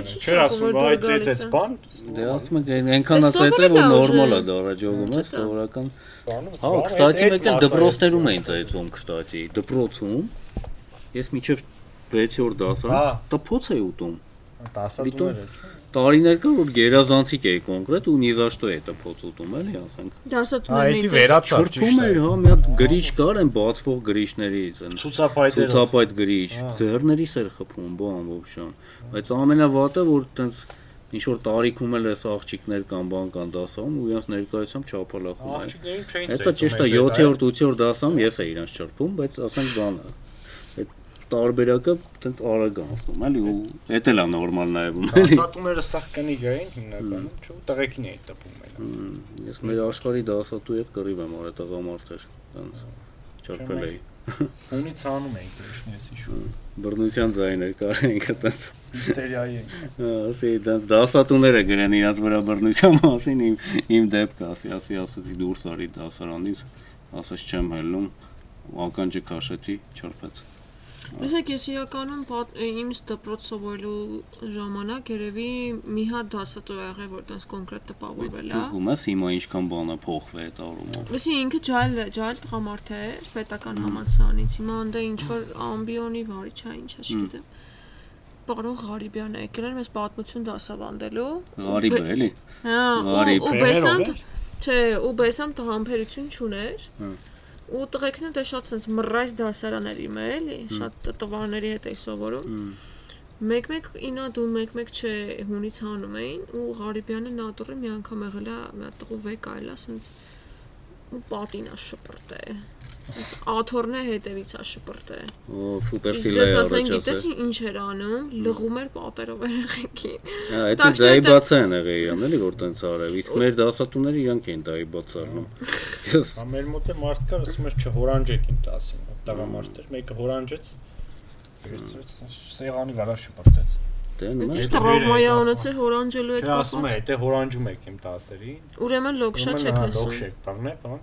S2: Բայց չի շոկում, որ դուր գալիս
S3: եղել։ Չէր ասում, այ ծեծեց
S2: է։
S3: բան։
S1: դե ասում եք այն- այնքան
S2: Դե
S1: ասեցել
S2: սովորել
S1: որ
S2: է
S1: նորմալ է
S2: ուժը։
S1: դա ռաջոգում է,
S2: Չէ՞ դա։
S1: սովորական։
S3: բանը,
S1: Հա,
S3: բանը,
S1: կստացի
S3: էդ-
S1: մեկ էլ
S3: էդ
S1: դպրոցներում
S3: մասը
S1: էին ծայցում, կստացի, դպրոցում։ Ես միջև 6-րդ դասա
S3: Հա։
S1: տփոց էի ուտում։
S3: տասատուներ է։ չէ՞։
S1: Տարիներ կա որ գերազանցիկ էի կոնկրետ ու նիզաշտո է տփոց ուտում էլի, ասենք։
S5: Ահա դա
S2: Դասատուներն էին։
S5: վերացավ
S1: Չրթում էր, հա, մի հատ գրիչ կար այն բացվող գրիչներից, այն
S3: Ցուցապայտերը։
S1: ցուցապայտ գրիչ, ձեռներիս էր խփում, բան ոբշան։ Բայց ամենավատը որ տենց ինչ որ տարիքում էլ էս աղջիկներ կամ բան կան դասում ու իրենց ներկայությամբ չափալախում են։
S3: Աղջիկներին չէին ծեծում։
S1: Հետո ճիշտ է 7-րդ 8-րդ դասում ես էի իրենց չրփում, բայց ասենք բանը։ Այդ տարբերակը տենց արագ անցնում էլի ու դա էլ է նորմալ նայվում էլի։
S3: Տասատուները սախ կնիկ էին հիմնականում, չէ՞, ու տղեկին էին տպում այն։
S1: Մմ, Ես մեր աշխարհի դասատու հետ կռիվ եմ արել տղամարդեր, այնց չարփել էի։
S3: Ֆոնից հանում էին քրիշն ես հիշում։
S1: Բռնության ձայներ կարենք այդպես։
S3: Հիստերիայի էին։
S1: Ասի դաս դասատուները գրեն իրաց վրա բռնության մասին իմ իմ դեպքը, ասի, ասի, ասեցի դուրս արի դասարանից, ասես չեմ հելնում, ու ականջը քաշեցի, չարփեց։
S2: Իսկ ես իրականում պատ- իմ դպրոց սովորելու ժամանակ երևի մի հատ դասատու ա եղել, որ տես կոնկրետ տպավորվել հա, է։
S1: Ճուղում ես հիմա ինչքան բան է փոխվել այդ առումով։
S2: Լսի ինքը ջայլ ջայլ տղամարդ է պետական համալսարանից։ Հիմա անդե ինչ որ ամբիոնի վարիչ է, ինչ է, չգիտեմ։ Պարոն Ղարիբյանը եկել էր մեզ պատմություն դասավանդելու։
S1: Ղարիբ է, էլի։
S2: Հա, ու-
S1: Ղարիբ,
S2: ու
S5: Ֆերերով
S2: բեսանտ
S5: էր։
S2: չէ, ու բեսանտ համբերություն չուներ։
S1: Հա։
S2: Ու տղեկն էլ դե շատ sense մռայս դասարաների մը էլի, շատ տ- տվարների հետ էի սովորում։
S1: Հմ,
S2: Մեկ-մեկ ինա դու մեկ-մեկ չէ հունից հանում էին ու Ղարիբյանը նատուրը մի անգամ եղել է մի հատ տղու վեկ այլա sense ու պատին է շպրտե։ Այս աթորն է հետևից է շպրտե։
S1: Օ, սուպեր
S2: Իսկ
S1: սիլա
S2: դες
S1: է
S2: ասեն
S1: առաջ
S2: գիտես
S1: ասել։
S2: ինչ էր անում, լղում էր պատերով երեխեքին։
S1: Հա, Այդ
S2: Տաշտը
S1: դայի
S2: դա-
S1: բացը են եղել իրան, էլի որ տենց արել։ Իսկ մեր դասատուները իրանք են դայի բաց առնում։ Ես
S3: Հա մեր մոտ է մարդ կար, ասում էր չհորանջեք իմ տասին, տղամարդեր։ Մեկը հորանջեց։ Վերցրեց, սեղանի վրա շպրտեց։
S1: դեն նա։
S2: Ինչ
S3: Այդ
S2: տրավմա է
S3: դերը
S2: ունեցել հորանջելու հետ
S3: Չէ, ասում է,
S2: կապված։
S3: դե հորանջում եք իմ տասերին։
S2: Ուրեմն լոքշա չեք լսում։
S3: Լոքշեք, բան է, բան։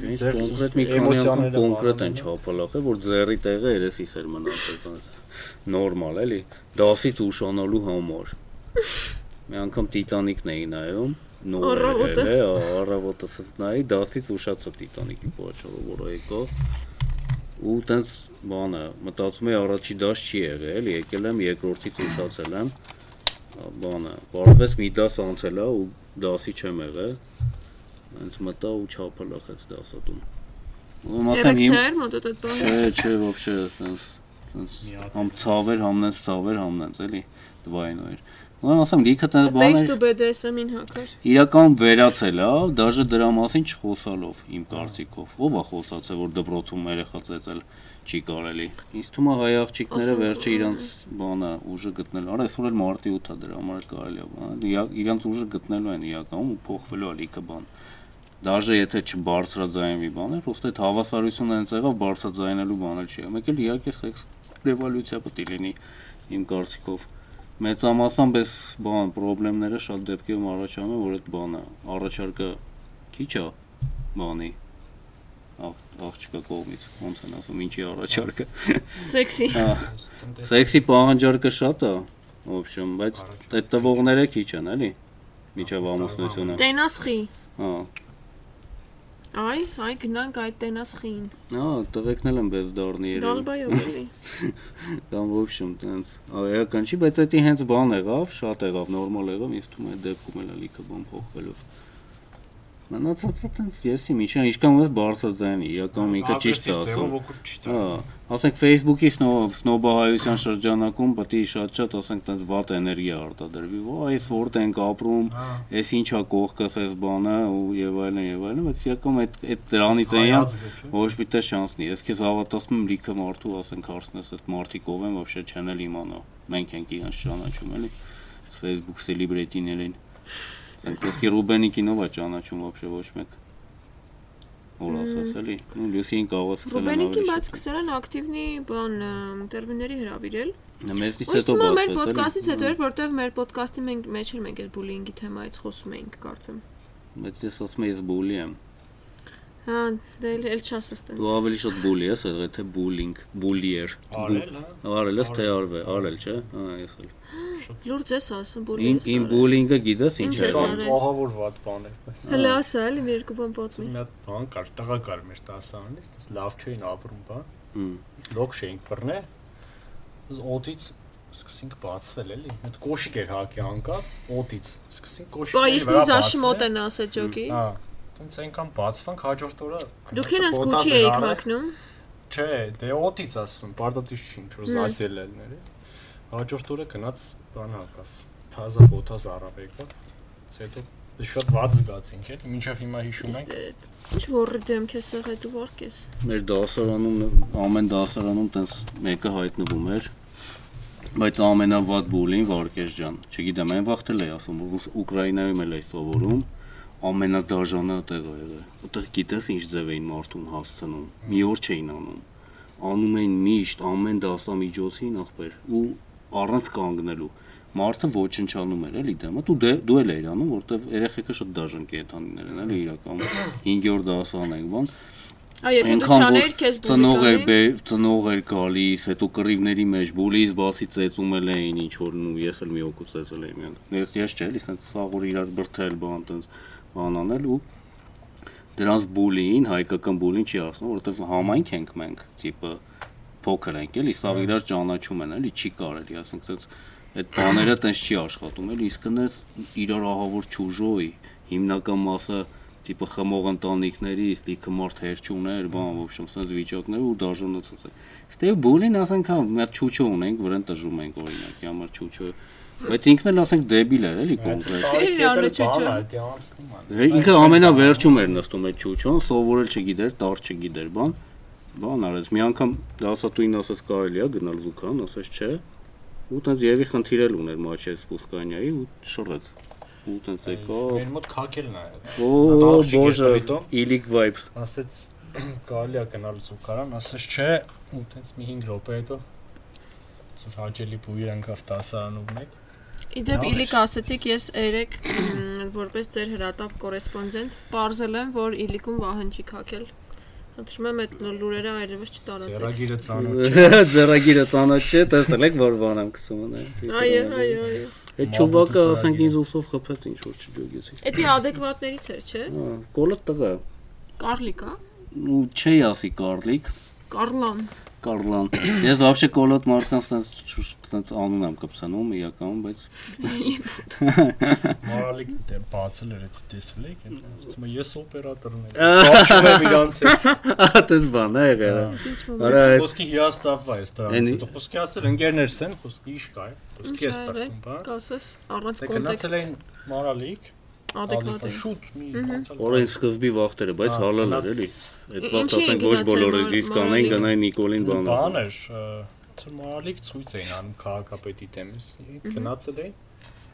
S1: Ինչ
S3: ձեր
S1: կոնկրետ մի քանի անգամ
S3: էմոցիաները հա?
S1: կոնկրետ են
S3: բանում,
S1: չափալախել, որ ձերի տեղը երեսիս էր մնացել։ Նորմալ էլի։ Դասից ուշանալու համար։ Մի անգամ Տիտանիկն էի նայում, նոր
S2: Առավոտը։
S1: էր, առավոտըս նայի, դասից ուշացա Տիտանիկի փոչորը, որը եկա։ Ու տենց բանը, մտածում եի առաջի դաս չի եղել, էլի, եկել եմ երկրորդից ուշացել եմ։ Բանը, բարվեց մի դաս անցելա ու դասի չեմ եղել։ Հենց մտա ու չափալախեց դասատուն։ Ու ասեմ իմ
S2: Երեքներ մոտ այդ բանը։
S1: Չէ, չէ, вообще, այնս, այնս
S3: հատ
S1: համ ցավեր, համնես ցավեր, համնես, էլի, դվայնո էր։ Ու ասեմ, լիքը տես
S2: Տեքս
S1: բաներ
S2: դու BDSM-ին Դե հակար։
S1: իրական վերացել է, դաժե դրա մասին չխոսալով իմ կարծիքով։ Ո՞վ է խոսացել, որ դպրոցում երեխա ծեծել չի կարելի։ Ինձ թվում է հայ աղջիկները
S2: Ասում,
S1: վերջի իրանց բանը ուժը գտնել։ Արա այսօր էլ մարտի 8-ա դրա համար էլ կարելի է։ բան, իրա- Իրանց ուժը գտնելու են իրականում ու փոխվելու է լիքը բան։ Դաժե եթե չբարձրաձայնվի բանը, просто այդ հավասարությունը հենց եղավ բարձրաձայնելու բանը չի։ Մեկ էլ իհարկե սեքս ռևոլյուցիա պետք է լինի իմ կարծիքով։ Մեծամասամբ էս բան խնդիրները շատ դեպքերում առաջանում, որ այդ բանը առաջարկը քիչ է բանի աղ- աղջկա կողմից ոնց են ասում ինչի առաջարկը
S2: Սեքսի։
S1: սեքսի պահանջարկը շատ է ոբշում բայց այդ տվողները քիչ են էլի միջավ ամուսնությունը
S2: Դե- Տենասխի։
S1: հա
S2: Այ, այ գնանք այդ տենասխին։
S1: հա տղեկնել եմ բես դառնի երևի
S2: Դալբայով էլի։
S1: կամ ոբշում տենց արական չի բայց դա հենց բան եղավ շատ եղավ նորմալ եղավ ինձ թվում է այդ դեպքում էլ ալիքը բան փոխվելով մնացածը տենց եսի միջա ինչքան ես բարձրաձայն իրական ինքը ճիշտ է ասում
S3: ոքուտ չի
S1: Հա, ասենք Facebook-ի սնո- սնոբահայության շրջանակում պետք է շատ-շատ ասենք տես վատ էներգիա արտադրվի։ Ո, այս որտ ենք ապրում,
S3: Հա։
S1: այս ինչա կողքս այս բանը ու եւ այլն եւ այլն, բայց եկում այդ այդ դրանից այնց ոչ մի տեղ շանսնի։ Ես քեզ հավատացնում եմ լիքը մարդու ասենք հարցնես այդ մարդիկ ով են, вообще չեն էլ իմանա։ Մենք ենք իրենց ճանաչում, էլի։ Այս Facebook celebrity-ներ են։ Ասենք ոսկի Ռուբենիկին ով է ճանաչում вообще ոչ մեկ։ Որ ասաս էլի, նույն լյուսին կարող է
S2: Ռուբենիկի բայց կսերան ակտիվնի բան ինտերվյուների հրավիրել։
S1: Նա մեզնից
S2: Ույս
S1: հետո
S2: թվում է մեր
S1: բացվեց,
S2: ոդկասից հետո էր, որտեղ մեր ոդկասթի մենք մեջ էլ մենք այդ բուլինգի թեմայից խոսում էինք, կարծեմ։
S1: Բայց ես ասում եմ, ես բուլի եմ։
S2: Հա, դե էլ էլ չաս ասեն։
S1: Դու ավելի շատ բուլի ես, այլ թե բուլինգ, բուլիեր։
S3: արել, հա։
S1: Արել ես թե արվել, արել, չէ՞։ Հա, ես էլ։
S2: Լուրջ ես
S1: Իմ
S2: ասում բուլինգ։
S1: իմ բուլինգը գիտես ինչ
S2: Ինչ
S1: է։
S2: ես
S1: սա։
S2: արել։
S3: Շատ ահավոր ված բան էր։ բայց
S2: Հələ ասա, էլի մի երկու բան
S3: Մի
S2: ողոցմի։
S3: հատ բան կար, տղա կար մեր տասանից, դες լավ չէին ապրում, բա։
S1: Հմ,
S3: Լոքշ էինք բռնե։ Օտից սկսենք բացվել էլի։ Այդ կոշիկ էր հակի անկապ օտից։ Սկսենք կոշիկների
S2: Պայիսնի
S3: վրա
S2: զաշի մոտ
S3: բացվել։
S2: են ասա ջոկի։
S3: Հա։ Տենց այնքան բացվանք հաջորդ օրը։
S2: Դուք ինձ գուչի
S3: քննեցի, պոտասը
S2: էիք
S3: գալը։
S2: հակնում։
S3: Չէ, դե օտից ասում, բարդատից չի ինչ որ զացել էլները։ Հաջորդ օրը գնաց բան հակավ։ Թազա պոտազ առավ եկավ։ Ց հետո դե շատ վատ զգացինք էլի, մինչև հիմա հիշում ենք։
S2: Ինչ որը դեմք է սեղը դու արկես։
S1: Մեր դասարանում ամեն դասարանում տես մեկը հայտնվում էր։ Բայց ամենավատ բուլին Վարկես ջան, չգիտեմ, այն վախտել է ասում, որ ռուս Ուկրաինայում էլ է սովորում, ամենադաժանը այդտեղ է եղել։ Այդտեղ գիտես ինչ ձև էին մարդուն հասցնում։ Մի օր չէին անում։ Անում էին միշտ ամեն դասամիջոցին ախպեր ու առանց կանգնելու։ Մարդը ոչնչանում էր էլի դեմը, դու դե- դու էլ էիր անում, որտեվ երեխեքը շատ դաժան կենդանիներ են էլի իրականում։ 5-րդ դասան եք, բան
S2: Այ եթե դու
S1: Էնքան
S2: չաներ
S1: որ
S2: քեզ
S1: ծնող էր
S2: բուլիկային։
S1: բե- ծնող էր գալիս, հետո կռիվների մեջ բուլից բացի ծեծում էլ էին ինչ որ ու ես էլ մի օկու ծեծել եմ միանգ։ Ես ես չէ, էլի սենց սաղուր իրար բրթել բան տենց բան անել ու դրանց բուլին, հայկական բուլին չի ասում, որովհետև համայնք ենք մենք, տիպը փոքր ենք էլի, սաղ իրար ճանաչում են էլի, չի կարելի, ասենք տենց այդ բաները տենց չի աշխատում էլի, իսկ նես իրար ահավոր ճուժոյի հիմնական մասը տիպը խմող ընտանիքների, ստիքը մարդ հերճուներ, բան, ոբշեմ, սենց վիճակներ ու դաժանացած է։ Ստե բուլին ասենք հա մի հատ ճուճո ունենք, որեն տժում ենք օրինակ, համար ճուճո։ Բայց ինքն էլ ասենք դեբիլ է էլի կոնկրետ։
S2: Իրանը չուչու։
S3: դա անցնում ան։
S1: Հե, Ինքը ամենավերջում էր նստում այդ ճուճոն, սովորել չգիտեր, տար չգիտեր, բան։ Բան արեց։ Մի անգամ դասատուին ասաց կարելի է գնալ Լուկան, ասաց չէ։ Ու տենց Եվի խնդիր էլ ուներ Մաչե Սպուսկանյայի ու շռեց։ Ու տենց եկավ։
S3: Մեր մոտ քակելն է։
S1: Օ,
S3: աղջիկ էր
S1: բоже,
S3: պրիտո։
S1: Իլիկ vibes։
S3: Ասեց կարելի է գնալ ցուկարան, ասես չէ, ու տենց մի 5 րոպե հետո ծուր հաճելի բույր անկավ դասարանում մեկ։
S2: Իդեպ
S3: Լավ էր։
S2: Իլիկ ասեցիք ես երեք որպես ձեր հրատապ կորեսպոնդենտ բարձել եմ որ Իլիկում վահան չի քակել։ Հտնում եմ այդ նոր լուրերը այլևս չտարածեք։
S3: Ձեռագիրը ծանոթ չէ։
S1: Ձեռագիրը ծանոթ չէ, տեսել եք որ բան եմ գցում այն։
S2: Այո, այո, այո։
S1: Այդ
S3: Մավուտը
S1: ճուվակը ասենք
S3: ծրագիրը։
S1: ինձ ուսով խփեց ինչ որ չջոգեցի։
S2: Էդի adekvatներից էր, չէ՞։
S1: Հա, կոլը տղա։
S2: Կարլիկա։
S1: Ու չէի ասի կարլիկ,
S2: Կարլան։
S1: Կարլան։ Ես вообще կոլոտ մարդկանց տենց տենց անուն եմ կպցնում իրականում, բայց
S3: Մորալիկ դե բացել էր այդ տեսվել եք, ասում եմ ես օպերատորն եմ։ Բացում եմ իրանց հետ։
S1: ահա Հա, տենց բան է եղել։ հա։
S2: Ինչ մոմ։
S1: Արա այդ
S3: Խոսքի հիաստավա է
S1: Էնի-
S3: դրանից։ Դու խոսքի ասել ընկերներս են, խոսքի իշ կա, խոսքի ես տակում, բա։
S2: Կասես առանց
S3: Դե
S2: կոնտեքստ
S3: գնացել էին մորալիկ,
S2: adekvat։
S3: ալիքը շուտ մի բացել։
S1: օրեն սկզբի վախտերը, բայց
S3: Ա,
S1: հալալ էր
S3: գնաց-
S1: էլի։ Այդ վախտ
S2: Ի- Հա, ինչի
S1: ասենք ոչ
S2: գնացել
S1: բոլորը
S2: մար-
S1: դիսկ
S2: մարալի։
S1: անեն, գնային Նիկոլին բան
S3: բան
S1: ասում։
S3: էր ծմալիկ ցույց էին անում քաղաքապետի դեմից գնացել էին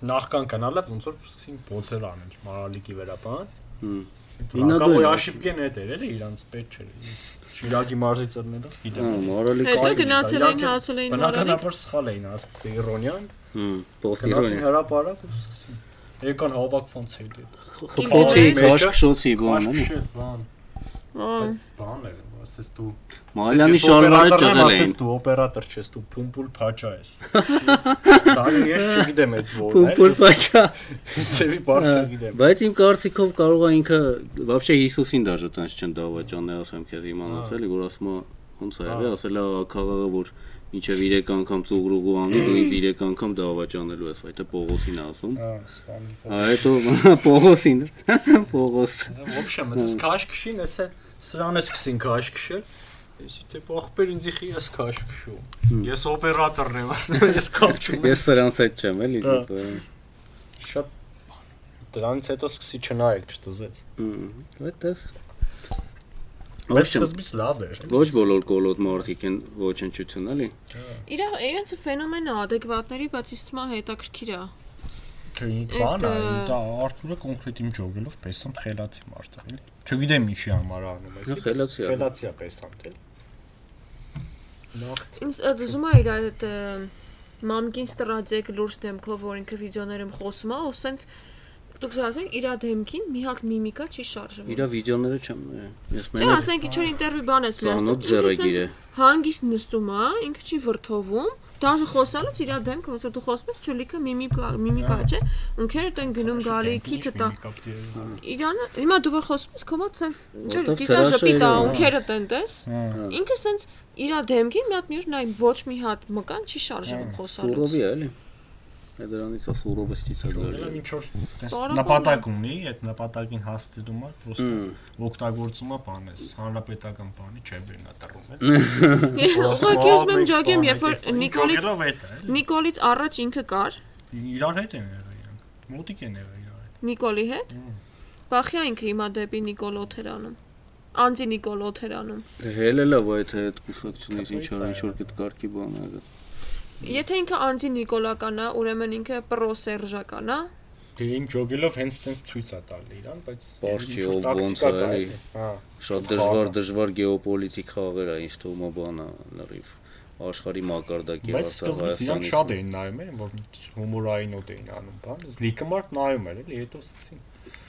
S3: նախքան գնալը ոնց որ սկսին փոցել անել մալիկի վրա բան
S1: Հմ։
S3: Հինակոյ
S1: Ինադոյն է։
S3: աշիպկեն հետ էր էլի իրանց պետ չէր ես Շիրակի մարզի ծռներով
S1: Հա,
S3: գիտեմ
S1: մորալի
S2: Հետո
S1: կա։
S3: Կարիք չկա,
S2: գնացել
S3: իրանք
S2: էին,
S3: էլ
S2: հասել էին Մարալիկ։
S3: բնականաբար սխալ էին ասած Իրոնյան
S1: Հմ, Պոստի
S3: գնացին
S1: հոն։
S3: հրաապարակ ու սկսին եկան հավաքվան ցելի
S1: Խոփոցի,
S2: Կինգերի
S3: մեջը,
S1: քաշք շոցի բան էլի։
S3: Քաշքշե բան
S2: Ահա։
S3: բայց բան էր ասես դու
S1: Մալյանի
S3: Ասես, ես
S1: շարժարը
S3: օպերատորն եմ,
S1: ճղել
S3: ասես
S1: էին։
S3: դու օպերատոր ես դու փումփուլ փաչա ես դարի ես չգիտեմ այդ
S1: Պուպուլ
S3: ո՞րն
S1: փաչա։
S3: է ծեվի բարձ չգիտեմ
S1: Բայց իմ կարծիքով կարող է ինքը вообще Հիսուսին դաժե տենց չնդավաճան է ասեմ քեզ իմանաս էլի որ ասում է ոնց է եղել ասել է քաղաքը որ մինչև 3 անգամ ծուղրուղու անի դու ինձ 3 անգամ դավաճանելու ես այդ է Պողոսին ասում
S3: հա սպան
S1: Հա, հետո Պողոսին Պողոս
S3: Вообще, մտած քաշքշին, էսը սրան է սկսին քաշքշել։ Եսի թե ախպեր ինձի խի ես քաշքշում։ Ես օպերատորն եմ, ասում եմ, ես կապչում եմ։
S1: ես սրանց հետ չեմ էլի
S3: Հա.
S1: դու,
S3: Շատ դրանից հետո սկսի չնայել, չտզեց։
S1: հմ, այդպես
S3: Բայց
S1: Ոբշեմ
S3: սկզբից լավ էր։
S1: ոչ բոլոր կոլոտ մարդիկ են ոչնչություն էլի
S2: Իրա իրենց ֆենոմենը adekvatների, բայց իստումա հետաքրքիր է։
S3: Թե
S2: Էդ,
S3: բանը,
S2: ը,
S3: դա Արտուրը կոնկրետ իմ ջոգելով պեսամ խելացի մարդ է, էլի։ Չգիտեմ ինչի համար անում
S1: Նա
S3: էսի։
S1: խելացի է։
S3: Խելացիա պեսամ դել։ Նախ
S2: Ինձ ա, դժում է իր այդ ը, մամկին ստրաձեկ լուրջ դեմքով, որ ինքը վիդեոներում խոսում է, ու սենց դուք ասեն իր դեմքին մի հատ միմիկա չի շարժվում։
S1: իր վիդեոները չեմ նայել ես
S2: Չէ,
S1: մենակ
S2: ասենք ինչ որ ինտերվյու բան ես միացնում։
S1: ծանոթ ձեռագիր է
S2: Հանգիստ նստում է, ինքը չի վրթովում, Դաժե խոսալուց իր դեմքը ոնց որ դու խոսում ես չլիկը միմիկա միմիկա չէ։ Ունքերը տեն գնում գալի քիչը տա։ Իրանը հիմա դու որ խոսում ես կոմոդ սենց
S1: Որտև
S2: ճիշտ ժպիտ
S1: թրաշերը,
S2: է
S1: հա։
S2: ունքերը տեն տես։
S1: Հա։
S2: Ինքը սենց իր դեմքին մի հատ մյուր նայ ոչ մի հատ մկան չի շարժվում խոսալուց։
S1: Սուրովի է, էլի։ Է դրանից է սուրովստից է
S3: Որը
S1: գալի։
S3: ինչ որ տես
S2: Կարապանը։
S3: նպատակ ունի, այդ նպատակին հասնելու համար
S1: Հմ,
S3: պրոստը օգտագործում է բանես, հանրապետական բանի չէ բերնա տրում է։
S2: Ես ուղղակի ուզում եմ ճակեմ, երբ որ Նիկոլից
S3: Նիկոլից հետ է։
S2: Նիկոլից առաջ ինքը կար,
S3: Իրար հետ են եղել իրանք։ Մոտիկ են եղել իրար հետ։
S2: Նիկոլի հետ։ Բախյա ինքը հիմա դեպի Նիկոլ Օթերանում։ Անձի Նիկոլ Օթերանում։
S1: դե հելը լավ է, թե այդ կուսակցունից ինչ որ ինչ որ կտկարկի բան է։
S2: Եթե ինքը անձի Նիկոլական է, ուրեմն ինքը պրոսերժական է։
S3: Դե իմ ջոգելով հենց տենց ցույց է տալի իրան, բայց
S1: Պարզ չի,
S3: ինչ որ
S1: ով ոնց
S3: տաքսիկա
S1: է,
S3: կա
S1: էլի։
S3: էլ, Հա։
S1: Շատ դժվար դժվար գեոպոլիտիկ խաղեր է, ինձ թվում է բանը լրիվ աշխարհի մակարդակի
S3: Բայց սկզբից իրանք շատ էին նայում են, որ հումորային նոտ էին անում, բան։ Զլիկը մարդ նայում էր, էլի, հետո սկսին։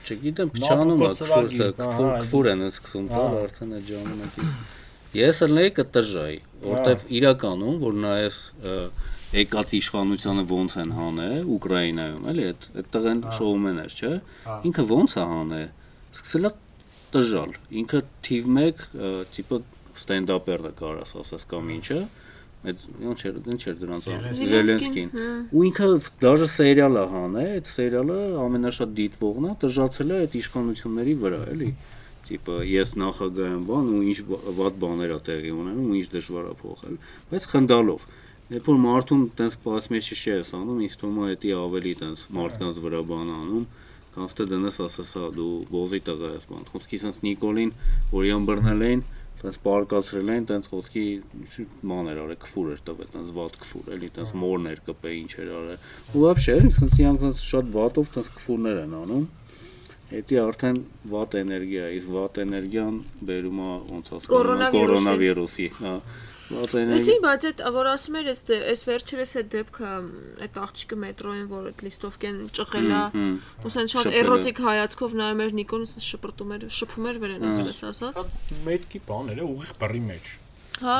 S1: Չգիտեմ, փչանում է,
S3: Նապուկո ծրագիր,
S1: քֆուրտը, քֆուր,
S3: ահա,
S1: քֆուր են սկսում տալ
S3: Ահա.
S1: արդեն այդ ժամանակին։ Ես էլ նեի կտժայ, որտեվ իրականում որ նայես ը, եկած իշխանությունը ոնց են հանե Ուկրաինայում, էլի այդ այդտեղ են շոումեներ, չէ՞։ Ինքը ոնց է հանե։ Սկսել է տժալ։ Ինքը թիվ 1 տիպը ստենդափերն է կարաս ասես կամ ինչը։ Այդ ոնց էր, ինչ էր դրանց անունը։ Զելենսկին։ Ու ինքը դաժե սերիալը հան է, այդ սերիալը ամենաշատ դիտվողն է, դժացել է այդ իշխանությունների վրա, էլի։ Տիպը ես նախագահ եմ բան ու ինչ վա- վատ բաներ է տեղի ունենում ու ինչ դժվար է փոխել, բայց խնդալով։ Երբ որ մարդուն տենց պասմեջի շես անում, ինձ թվում է դա ավելի տենց մարդկանց վրա բան անում, Կանց թե դնես ասես, հա դու բոզի տղա ես, բան։ Խոսքի sense Նիկոլին, որ իրան բռնել էին, sense պարկացրել էին, sense խոսքի մաներ արել, քֆուր էր տվել, sense վատ քֆուր, էլի sense մորներ կպե ինչ էր արել։ Ու вообще, էլի sense իրանք sense շատ վատով sense քֆուրներ են անում։ Էդի արդեն վատ էներգիա, է, իսկ վատ էներգիան բերում է ոնց հասկանում, է,
S2: Կորոնավիրուսի։
S1: կորոնավիրուսի, հա։ Վատ
S2: Լսի,
S1: էներգիա։
S2: բայց այդ որ ասում էր, այս դե- այս վերջերս այդ դեպքը, այդ աղջիկը մետրոյին, որ այդ լիստովկեն ճղել է,
S1: հմ, հմ,
S2: ոսեն շատ
S1: Շփվել է։
S2: էրոտիկ հայացքով նայում էր Նիկոլսը շփրտում էր, շփում էր վերեն, ասես ասած։
S3: Մետքի բան էր, ուղիղ բռի մեջ։
S2: Հա,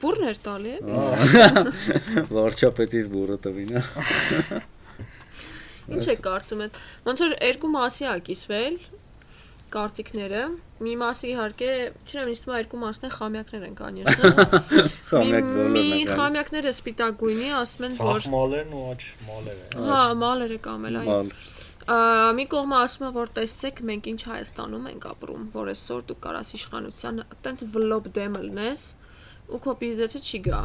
S2: բուրն էր տալի էլի։
S1: Վարչապետից բուրը տվին, հա։
S2: Ինչ է կարծում այդ։ Ոնց որ երկու մասի է կիսվել կարծիքները։ Մի մասը իհարկե, չնայեմ ինձ թվում է երկու մասն է խամյակներ են կանյեսը։
S1: Խամյակ բոլորն
S2: Մի
S1: են։ կան։
S2: խամյակները սպիտակ գույնի, ասում են որ
S3: Ծախմալերն ու աչ մալերը։
S2: Հա, մալերը կամել
S1: Բալ։
S2: այո։ Ա, Մի կողմը ասում է, որ տեսեք, մենք ինչ Հայաստանում ենք ապրում, որ այսօր դու կարաս իշխանությանը այդտենց վլոբ դեմը լնես ու քո բիզնեսը չի գա։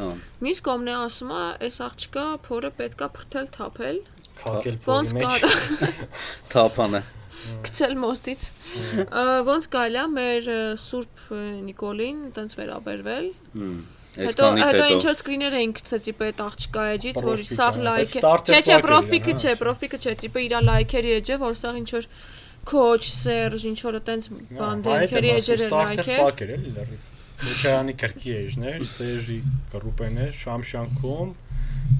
S1: Հա։
S2: Մյուս կողմն է ասում է, այս աղջկա փորը պետքա փրթել, թափել,
S3: Քակել
S2: ոնց
S3: փողի մեջ։
S2: կարա
S1: Թափանը։
S2: գցել մոստից։ Ա, Ոնց կարելի է մեր ը, Սուրբ ը, Նիկոլին այդտենց վերաբերվել։
S1: Հմ,
S2: Հետո
S1: Այսքանից
S2: հետո
S1: հետո։
S2: ինչ որ սկրիներ էինք գցեցի պետ աղջկա էջից, որ սաղ լայք է։ Չէ, չէ, պրոֆպիկը
S3: Պրոֆպիկա, բայց ստարտեր պակել իրան,
S2: չէ, պրոֆպիկը չէ, տիպը իր լայքերի էջ է, որ սաղ ինչ որ քոչ, սերժ, ինչ որ այտենց
S3: Հա,
S2: բանդերքերի էջեր են լայքեր։
S3: Պակեր էլի լրիվ։ Մեջանի քրքի էջներ, Սերժի գրուպեներ, Շամշանքում,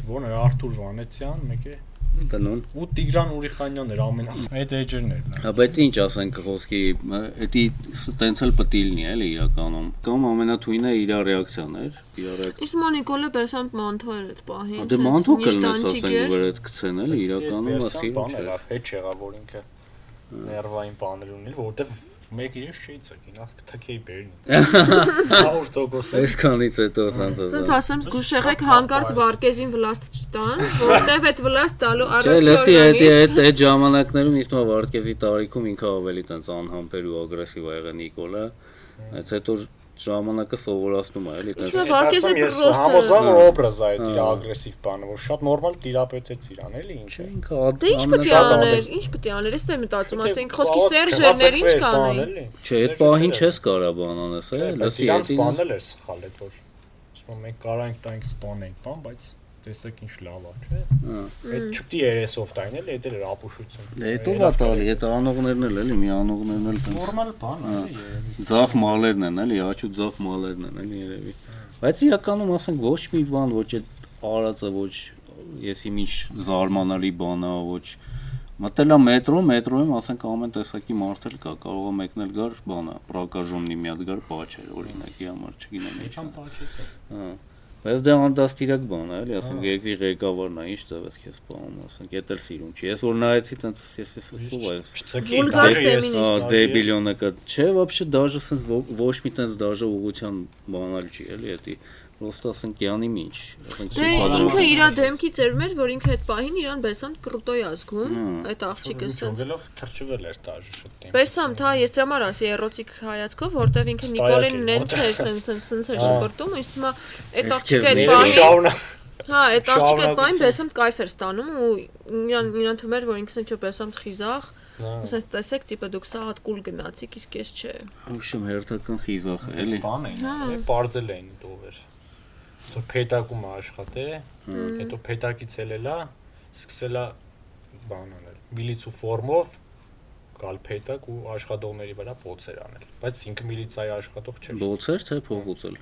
S3: որն էր Արթուր Վանեցյան, մեկը
S1: տնուն։
S3: ու Տիգրան Ուրիխանյանն էր ամենա։ Այդ էջերն էր նա։
S1: Հա, Բայց ինչ ասենք խոսքի, մը, էդի ս- տենց էլ պետք է լինի էլի իրականում։ Կամ ամենաթույնը իր ռեակցիան էր, իր ռեակցիան։
S2: Իսկ մա Նիկոլը բեսանտ մանթո էր այդ պահին։
S1: Դե
S2: չես,
S1: մանթու
S2: միշտ
S1: կլնես
S2: անջիկ
S1: ասենք
S2: էր։
S1: որ այդ գցեն էլի իրականում ասիլու
S3: դե բան
S1: չէ։
S3: էր, հետ չեղա որ ինքը ներվային բաներ ունի, որովհետև մեկը ես չէի ցակի, նախ թքեի բերնի։ 100%
S1: Այսքանից հետո ցած
S2: Ցենց
S1: ասա։
S2: ասեմ զգուշեղեք հանկարծ Վարկեզին վլաստ չտան, որտեվ այդ վլաստ տալու
S1: Չէ,
S2: առաջ
S1: լսի, այդ այդ
S2: օրվանից
S1: այդ ժամանակներում ինձ թվում է Վարդկեզի տարիքում ինքը ավելի տենց անհամբեր ու ագրեսիվ ա եղել Նիկոլը։ Այս հետո ժամանակը սովորացնում է էլի
S2: Իսկ
S1: տենց։
S2: նա Վարկեզը
S3: Ես
S2: պրոստը
S3: համոզվամ որ օբրազա է իր ագրեսիվ բանը, որ շատ նորմալ տիրապետեց իրան, էլի ինչ
S1: Չէ,
S3: է։
S1: ինքը ա-
S2: Դե ինչ պետք է
S1: ամենաշատ
S2: աներ,
S3: ամեն-
S1: Չէ, այդ պահին չես կարա բան անես, է, լսի, էդին
S2: ինչ պետք է աներ, ես դե մտածում, ասենք խոսքի Սերժերներ ինչ կանեին։
S3: Պա- քվացակվեր բան, էլի։ Սերժը չէր Բայց իրան սպանել էր սխալ այդ որ։ Ասում եմ մենք կարանք տանք սպանենք, բան, բայց տեսեք ինչ լավ է, չէ՞։ Այդ չպտի 30-ով տային էլ, էդ էլ էր ապուշություն։
S1: Դե հետո բա տալի, այդ անողներն էլ էլի, մի անողներն էլ տենց։
S3: Նորմալ բան է, երևի։
S1: Ձախ մալերն են, էլի, աչու ձախ մալերն են, էլի երևի։ Բայց իրականում ասենք ոչ մի բան, ոչ այդ արածը, ոչ եսի միջ զարմանալի բանա, ոչ մտելա մետրո, մետրոյում ասենք ամեն տեսակի մարդ էլ կա, կարող է մեկնել գար բանա, պրակաժումնի մի հատ գար, բաչեր օրինակի համար, չգիտեմ ինչ։
S3: Ինչան
S1: է,
S3: պատճեցա։
S1: հա, Բայց դա անդաստիրակ բան է, էլի, ասենք երկրի ղեկավարն է, ինչ տվեց քեզ բանում, ասենք, դա էլ սիրուն չի։ Ես որ նայեցի, տենց ես ես սուղ ես։
S3: Ցքի
S2: Վուլգար
S1: Ա,
S2: ֆեմինիստ։
S1: դեբիլյոնը կա։ Չէ, вообще даже sense ոչ մի տենց դաժե ուղղության բանալ չի, էլի, դա Պրոստը ասենք յանի միջ, ասենք
S2: Դե
S1: ցուցադրում
S2: ինքը
S1: է։
S2: իր դեմքի ծերում էր, որ ինքը այդ պահին իրան բեսան կրուտոյ ազգում, այդ աղջիկը սենց։
S3: Չունելով թրջվել էր տաժը շտին։
S2: Բեսամ, թա ես համար ասի էրոտիկ հայացքով, որտեվ ինքը Նիկոլին
S3: Ստայակ է,
S2: նենց էր, սենց սենց սենց էր շփորտում, իսկ հիմա այդ
S1: Իսկ
S2: աղջիկը այդ
S1: ները
S2: պահին
S3: Շաունա
S2: Հա, այդ աղջիկը այդ բան
S3: Շարունակություն։
S2: բեսամ кайֆ էր ստանում ու իրան իրան թվում էր որ ինքս էլ չէ բեսամ խիզախ։
S3: Հա,
S2: Ոսես տեսեք, տիպը դուք սա հատ կուլ գնացիք, իսկ ես չէ։
S1: Ուշում հերթական խիզախ է, էլի։
S3: բան էին,
S1: Հա։
S3: դե բարձել էին դովեր։ Որ փետակում է աշխատե,
S1: Հա։
S3: հետո փետակից ելելա, սկսելա բան անել։ Միլիցու ֆորմով գալ փետակ ու աշխատողների վրա փոցեր անել։ Բայց ինքը միլիցայի աշխատող չէ։
S1: Բոցեր թե փողոցել։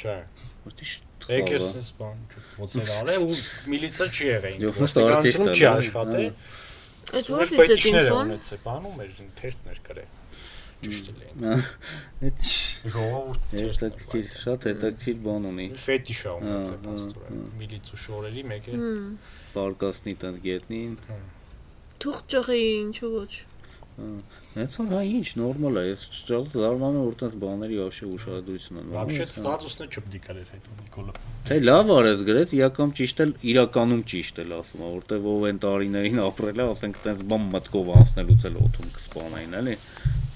S3: Չէ։
S1: Որտի
S3: Եկեր
S1: շտկա։
S3: ես բան չէ, փոցեր արել ու միլիցա չի եղել։
S1: Եվ
S3: ինքը,
S1: հուստ արտիստ էլ,
S2: Այդ ո՞նց է դա ինքոն։
S3: ոստիկանությունը չի աշխատել։ Ու ֆետիշները ունեցե, բանում էր թերթ ներկրել։ Ճիշտ էլ էին։
S1: Այդ
S3: Ժողովուրդ թերթ ներկրել։
S1: հետաքրքիր, շատ հետաքրքիր բան ունի։
S3: ֆետիշա ունեցա
S1: Ա, ա,
S3: աստորը միլիցու շորերի մեկը
S1: Պարկասնի տան գետնին։
S2: Թուղ ճղի, ինչու ոչ։
S1: Հենց հա ինչ նորմալ է, ես շատ զարմանում եմ որ տես բաների вообще ուշադրություն են։ հա։
S3: Вообще ստատուսն է չպետք է գալեր հետո Նիկոլը։
S1: Թե լավ արես գրեց, իրական ճիշտ էլ իրականում ճիշտ էլ ասում է, որտեվ ով այն տարիներին ապրել է, ասենք տենց բան մտկով անցնելուց էլ օթում կսպանային, էլի։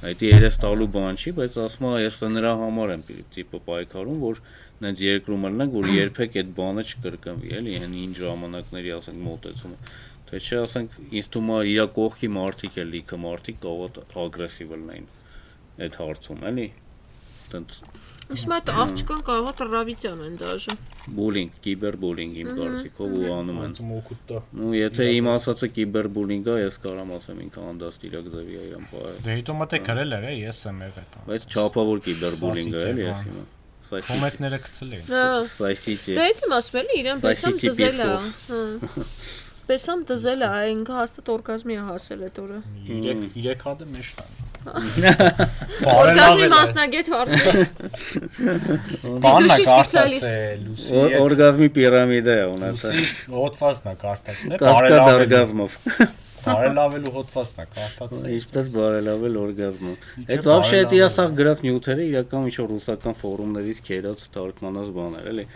S1: Այդ երես տալու բան չի, բայց ասում է ես նրա համար եմ պի- տիպը պայքարում, որ նենց երկրում ելնենք, որ երբեք այդ բանը չկրկնվի, էլի, այն ինչ ժամանակների ասենք մոտեցումը։ Թե չէ, ասենք ինձ թվում է իր կողքի մարդիկ է լիքը մարդիկ կարող ագրեսիվ լինեն այդ հարցում, էլի։ Տենց
S2: Իսկ մա այդ աղջիկան կարող է տրավիճան են դաժե։
S1: բուլինգ, կիբերբուլինգ իմ կարծիքով ու անում են։
S3: Ոնց մոկուտա։
S1: Ну, եթե իմ ասածը կիբերբուլինգ է, ես կարամ ասեմ ինքը անդաստիրակ ձևի է իրան պահել։
S3: Դե հետո մտե գրել էր, է, ես եմ եղել։ բան։
S1: Բայց չափավոր կիբերբուլինգ է,
S3: Սասից է,
S1: էլի ես
S3: բան։
S1: հիմա։
S3: Կոմետները գցել էին։
S1: Սայսիջի։
S2: Դա Հա, դե այդ իմ ասում էլի, իրան բեսամ
S1: Սայսիցի
S2: դզել է։
S1: պիսոս։
S2: հա, Բեսամ դզել է, այ ինքը հաստատ օրգազմի է հասել այդ օրը։
S3: 3 3 հատը մեջ տան։
S2: Օրգազմի մասնագետ հարցը։
S3: բաննա
S2: դուշի
S3: կարտած
S2: սպեցիալիստ։
S3: է լուսի։ հետ,
S1: Օրգազմի պիրամիդա է ունեցել։
S3: Լուսի հոդվածն է կարտածն է,
S1: Կասկադ
S3: բարելավելու
S1: օրգազմով։
S3: բարելավելու հոդվածն է
S1: Ինչպես բարելավել օրգազմը։
S3: կարտածն է։ Իչե
S1: Այդ вообще այդ
S3: բարելավել։
S1: իրասախ գրած նյութերը իրական ինչ որ ռուսական ֆորումներից քերած թարգմանած բաներ, էլի։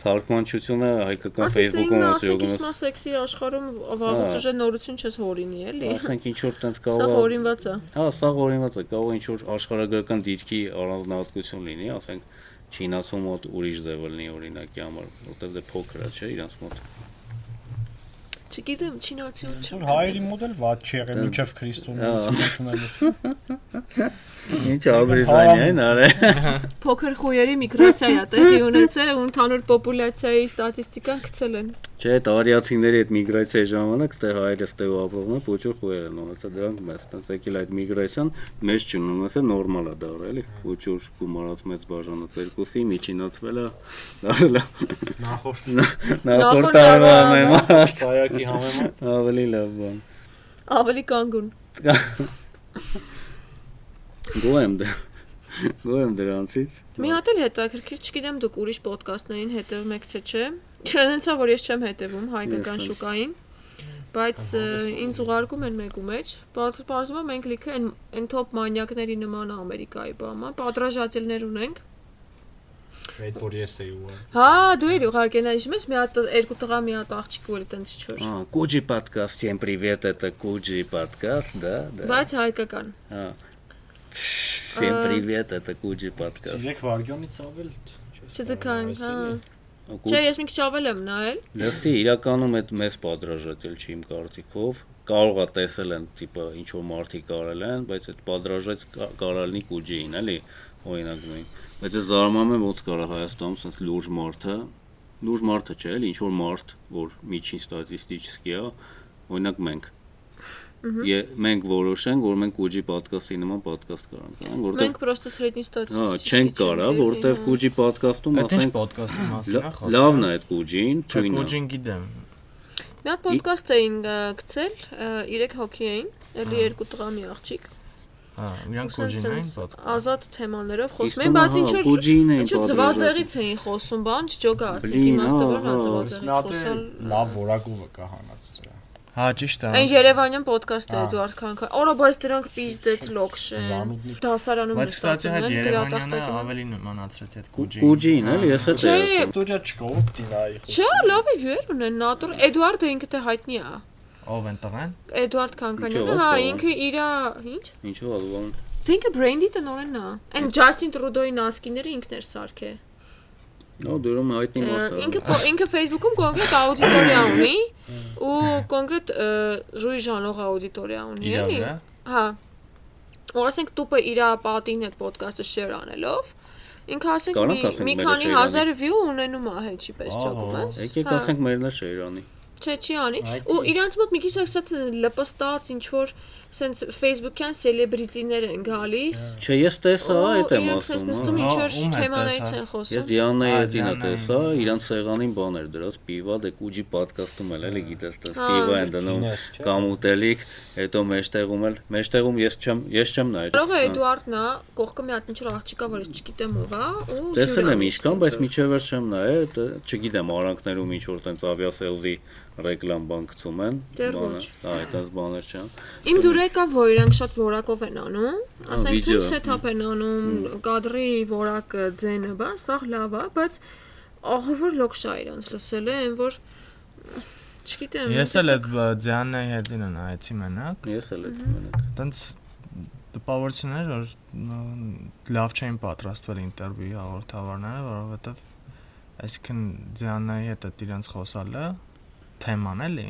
S1: Թարգմանչությունը հայկական
S2: Ասես ինքը
S1: Facebook-ում
S2: ասեք, իսկ
S1: ուսուցողում
S2: մա սեքսի աշխարհում վաղուց ուժը նորություն չես հորինի, էլի։
S1: ասենք ինչ որ տենց
S2: Սա
S1: կարող է
S2: հորինված է։
S1: Հա, սա օրինված է, կարող ինչ որ աշխարհագրական դիրքի առանձնահատկություն լինի, ասենք Չինացու մոտ ուրիշ ձև լինի օրինակի համար, որտեղ դե փոքր է, չէ, իրանց մոտ։
S2: Չգիտեմ, չինացիոն չեմ։
S3: Որ հայերի մոդել ված չի եղել մինչև քրիստոնեություն։
S1: Ինչ աբրիզանիան արե։
S2: Փոքր խոյերի միգրացիա է տեղի ունեցել ու ընդհանուր պոպուլյացիայի ստատիստիկան գցել են։
S1: Չէ, այդ արիացիների այդ միգրացիայի ժամանակ ստե հայերը ստեւ ապրողն է, փոքր խոհեր են ունեցա դրանք մեզ, տենց եկել այդ միգրացիան մեզ չնումս է նորմալ է դառը, էլի։ Փոքր գումարած մեծ բաժանը երկուսի միջինացվել է, դարել է
S3: Նախորդ
S1: նախորդ տարվա մեմաս,
S3: սայակի համեմատ
S1: ավելի լավ բան։
S2: Ավելի կանգուն։
S1: Գոեմ դա։ Գոեմ դրանից։
S2: Մի հատ էլ հետաքրքիր, չգիտեմ դուք ուրիշ ոդկաստներին հետևում եք թե չէ։ Չնայած որ ես չեմ հետևում հայկական
S1: Ես եմ։
S2: շուկային, բայց ը, ինձ ուղարկում են մեկու մեջ։ Բայց բարձրացնում մենք լիքը այն այն top մանյակների նման է Ամերիկայի բամը, պատրաժատելներ ունենք։
S3: այդ որ ես էի ու
S2: Հա, դու երի ուղարկենա ինչ մեծ մի հատ երկու տղա մի հատ աղջիկ ու էլ տենց չոր։
S1: А, Куджи подкаст. Всем привет, это Куджи подкаст, да, да.
S2: Բայց հայկական։
S1: А. Всем привет, это Куджи подкаст.
S3: Իրեք վարգյոնից ավել չես
S2: Չէ,
S3: կարող
S2: քան, հա։
S3: ասել, էլի։
S2: Չէ,
S1: Կուջ-
S2: ես մի քիչ ավել եմ նայել։
S1: Լսի, իրականում այդ մեծ պատրաժատել չի իմ կարծիքով կարող է տեսել են տիպը ինչ որ մարդիկ արել են, բայց այդ պատրաժած կարալնի կուջեին, էլի, օրինակ նույն։ Բայց ես զարմանում եմ ոնց կարա Հայաստանում sense լուրջ մարդը, լուրջ մարդը չէ, էլի, ինչ որ մարդ, որ միջին ստատիստիկի է, օրինակ մենք Եվ մենք որոշենք, որ մենք կուջի պատկասթի նման պատկաստ կարանք անենք, որտեղ
S2: Մենք պրոստը սրետնի
S1: հա,
S2: ստատիստիկա։
S1: չենք կարա,
S2: հա։
S1: որտեղ կուջի պատկաստում
S4: Այդ ինչ
S1: ասենք
S4: ոդկասթի մասին է
S1: լա-
S4: խոսքը։
S1: լավն է այդ կուջին,
S4: Չէ,
S1: թույնը։
S4: կոչին գիտեմ։
S2: Մի հատ ոդկաստ էին ա, գցել, 3 հոգի էին, էլի երկու տղա մի աղջիկ։
S4: Հա, իրանք կոջին էին պոդքասթ։
S2: ազատ թեմաներով
S1: Իսկ
S2: խոսում են, բայց
S1: հիմա,
S2: ինչ
S1: հա,
S2: որ
S1: բուջին էին
S2: ինչ որ ձվածեղից էին խոսում, բան չջոգա, ասիկ
S1: Բլին,
S2: իմաստը
S1: հա, հա,
S2: որ նա
S3: Իսկ
S2: ձվածեղից
S3: մի հատ է,
S2: խոսալ։
S3: լավ որակով է կհանած դրա։
S4: Հա, ճիշտ է։
S2: Այն
S4: անց-
S2: Երևանյան ոդկասթը
S3: Ա.
S2: Էդուարդ Քանքա։ Օրա, բայց դրանք պիզդեց լոքշ են։
S3: Զանուդներ։
S2: Դասարանում հա,
S4: Բայց ստացի հետ Երևանյանը
S2: գրատախտակը։
S4: ավելի նմանացրեց այդ հա, կոջին։
S1: Ուջին, էլի, ես էլ
S2: Չէ,
S1: էի ասում։
S3: Ստորիա չկա ով դինայի
S2: չէ, լավ է վեր ունեն նատուր։ Էդուարդը ինքը թե հայտնի է։
S4: Ով են տղան։
S2: Էդուարդ Քանքանյանը,
S1: Ինչո՞վ
S2: հա,
S1: ասում են։
S2: ինքը իր ինչ։
S1: Ինչու՞ ալվան։
S2: Թե ինքը բրենդի տնորենն է։ Այն Ջասթին Տրուդոյի նասկիները ինքն էր սարքե։
S1: Ո, դուրում հայտնի հա։ մարդ է։
S2: Ինքը պո- ինքը Facebook-ում կոնկրետ աուդիտորիա ունի ու կոնկրետ ը, ժույի ժանող աուդիտորիա ունի,
S4: Իրավ,
S2: էլի։
S4: հա։
S2: Հա։ Ու ասենք տուպը իր պատին այդ ոդկասթը շեր անելով, ինքը ասենք
S1: Կարո՞ղ
S2: մի,
S1: ասենք
S2: մի
S1: մերը
S2: քանի
S1: շեյր անի։
S2: հազար view ունենում է հեչի պես
S4: Ահա,
S2: ճակում է։
S1: Եկեք
S2: Հա։
S1: ասենք մերնա Շերանի։
S2: Չէ, չի անի։
S3: Այդ
S2: Ու
S3: է։
S2: իրանց մոտ մի քիչ ասած լպստած ինչ որ սենց Facebook-յան սելեբրիտիներ են գալիս։
S1: Չէ, ես տեսա
S2: ու
S1: այդ եմ
S2: իրանք սենց
S1: ասում։ հա։
S2: նստում ինչ որ
S4: Ահա,
S1: Ես Դիանայի
S2: թեմայից են խոսում։
S4: ում հետ տեսա։ Ա,
S1: եզինը
S4: Դիանային։
S1: տեսա, իրանց սեղանին բան էր դրած, պիվա դե կուջի պատկաստում էլ էլի գիտես, դա
S2: Հա,
S1: պիվա են դնում,
S5: Գինես, չէ՞։
S1: կամ ուտելիք, հետո մեջտեղում էլ, մեջտեղում ես չեմ, ես չեմ նայել։ հա։
S2: Կարող է Էդուարդն է, կողքը մի հատ ինչ որ աղջիկա, որ ես չգիտեմ ով է, ու
S1: Տեսել
S2: հյուր
S1: եմ ինչ
S2: անի,
S1: կան,
S2: ինչ
S1: բայց միջև
S2: որ։
S1: էլ չեմ նայել, դա չգիտեմ, արանքներում ինչ որ տենց ավիասելզի ռեկլամ բան գցում են։
S2: Դեռ
S1: բանը,
S2: ոչ։
S1: Հա, այդպես բաներ չան։
S2: Իմ դուրը եկա, որ իրենք շատ որակով են անում, ասենք
S1: Հա, վիդեո,
S2: թույլ սեթափ են անում, կադրի որակը, ձենը, բա, սա լավ է, բայց ահա որ լոքշա իրանց լսել է, այն որ չգիտեմ։
S4: Ես էլ այդ Ձյաննայի հետ ինը նայեցի մենակ։
S1: Ես էլ եմ մենակ։
S4: Տենց տպավորություններ որ ն- լավ չէին պատրաստվել ինտերվյուի հաղորդավարները, որովհետև այսինքն Ձյաննայի հետ այդ իրենց խոսալը թեման էլի,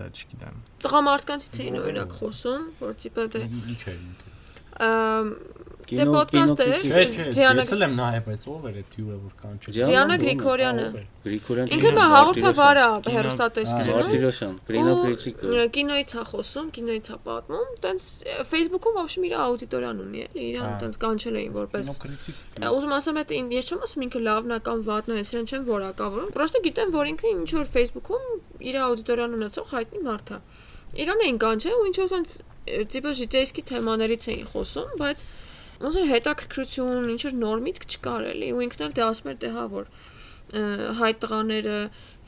S4: դա չգիտեմ։
S2: Տղամարդկանցից էին օրինակ խոսում, որ տիպը դե
S3: լիք էր ինքը։
S2: ըմ, դե
S1: Կինո,
S2: պոդքասթ է,
S1: կինո,
S5: Չէ, չէ,
S2: Դիանա
S5: ես էլ եմ նայել, բայց ով էր այդ հյուրը որ կանչել։
S1: Դիանա
S2: Դիանա
S1: Դոնա,
S2: Գրիգորյանը։
S5: ով էր։
S1: Գրիգորյան
S2: Ինքը մա հաղորդավար է հերոստատեսությունում։
S1: Մարտիրոսյան, Պրինա Քրիչիկը։
S2: Ու կինոից է խոսում, կինոից է պատմում, տենց Facebook-ում ոբշեմ իր աուդիտորիան ունի, էլի, իրան տենց կանչել էին որպես
S3: Կրիտիկ
S2: Ա, Ուզում ասեմ, այդ ին- ես չեմ ասում ինքը լավն է կամ վատն է, ես իրեն չեմ որակավորում։ Պրոստը գիտեմ, որ ինքը ինչ որ Facebook-ում իր աուդիտորիան ունեցող հայտնի մարդ է։ Իրան էին կանչել ու ինչ որ ասենց տիպը ժիջեյսկի թեմաներից էին խոսում, բայց ոնց որ հետաքրքրություն, ինչ որ նոր միտք չկար էլի ու ինքն էլ դե ասում էր դե հա որ ը, հայ տղաները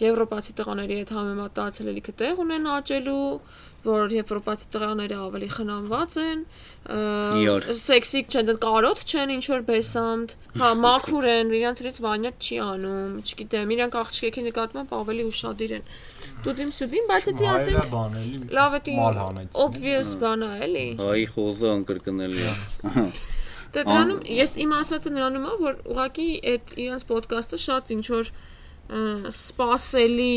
S2: եվրոպացի տղաների հետ համեմատացել ելիքը տեղ ունեն աճելու, որ եվրոպացի տղաները ավելի խնամված են, ը,
S1: Իոր։
S2: սեքսիկ չեն, դեռ կարոտ չեն ինչ որ բեսամտ, հա մաքուր են, իրancրից վանյակ չի անում, չգիտեմ, իրանք աղջիկի նկատմամբ ավելի ուրشادիր են։ Դուդիմ սուդիմ, բայց դա
S5: Հայրը
S2: Դե ասենք
S5: բան էլի։
S2: լավ է դի
S5: մալ հանեցին։
S2: obvious բան է, էլի։
S1: Հայի խոզը անկրկնելի է։
S2: Դե դրանում ես իմ ասածը նրանում է, որ ուղղակի այդ իրանց ոդկասթը շատ ինչ որ սпасելի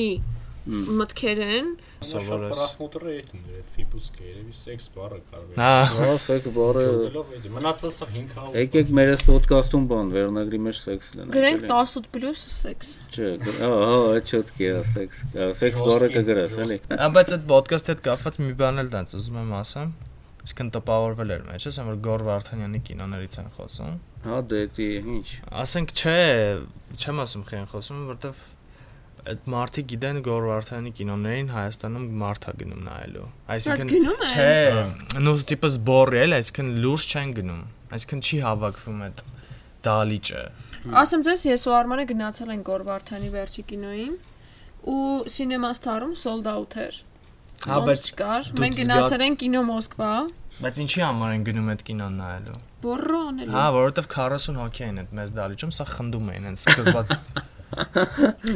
S2: մտքեր են։
S4: Սովորես։
S5: Պրասմուտը էտն էր այդ ֆիբուսկը երևի սեքս բառը կարող է։
S4: Հա,
S1: Հա, սեքս բառը
S5: Չոդելով էդի։ Մնացած սա 500։
S1: Եկեք մեր այս ոդկասթում բան վերնագրի մեջ սեքս լինենք։
S2: Գրենք 18+ սեքս։
S1: Չէ, գր- հա, հա, այդ չոտքի է սեքս, ա, սեքս
S5: Ժոստքի,
S1: բառը կգրես, էլի։
S5: ժոստքի։
S4: Ա, բայց այդ ոդկասթի հետ կապված մի բան էլ տենց ուզում եմ ասեմ։ Իսկն տպավորվել էր մեջ, ասեմ որ Գոր Վարդանյանի կինոներից են խոսում։
S1: Հա, դե դի, ինչ։
S4: Ասենք չէ, չեմ ասում խեն խոսում, որովհետև այդ մարտի գիտեն Գոր Վարդանյանի կինոներին Հայաստանում մարտա գնում նայելու։
S2: Բայց
S4: Այսինքն
S2: գնում են։
S4: Չէ, նո տիպը զբորի էլ, այսինքն լուրջ չեն գնում։ Այսինքն չի հավաքվում այդ դալիճը։
S2: Ասեմ ձեզ, ես ու Արմանը գնացել ենք Գորվարդանի վերջի կինոյին ու Cinemaster-ում sold out էր։
S4: Հա,
S2: Ոմս
S4: բայց
S2: չկար։
S4: դուք
S2: Մենք
S4: զգաց-
S2: գնացել ենք կինո Մոսկվա։
S4: բայց ինչի համար են գնում այդ կինոն նայելու։
S2: Բորրոն էլի։
S4: Հա, որովհետև 40 հոգի են այդ մեծ դալիճում, սա խնդում են, հենց սկզբած։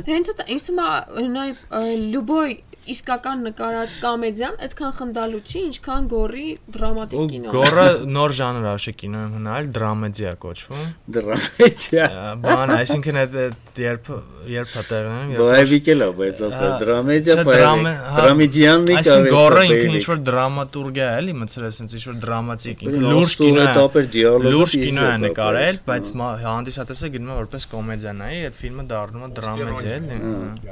S2: Հենց այդ ինձ թվում է նայ լյուբոյ իսկական նկարած կոմեդիան այդքան խնդալու չի, ինչքան գորի
S4: Ու
S2: դրամատիկ կինո։
S4: գորը նոր ժանր աշե կինոյում հնալ դրամեդիա կոչվում։
S1: Դրամեդիա։
S4: Ա, Բան, այսինքն այդ այդ երբ երբ է տեղնում, երբ որ-
S1: Բայվիկելա, բայց ասա
S4: Հա,
S1: դրամեդիա,
S4: չէ,
S1: բայվիկ։
S4: դրամե- հա,
S1: Դրամեդիաննի
S4: Այսինքն գորը ինքը ինչ որ դրամատուրգիա է, էլի մցրել է, ինչ որ դրամատիկ, ինքը լուրջ կինո է։
S1: տապեր դիալոգ։
S4: Լուրջ կինո է նկարել, բայց մա- հանդիսատեսը գնում է որպես կոմեդիանայի, այդ ֆիլմը դառնում է դրամեդիա, էլի։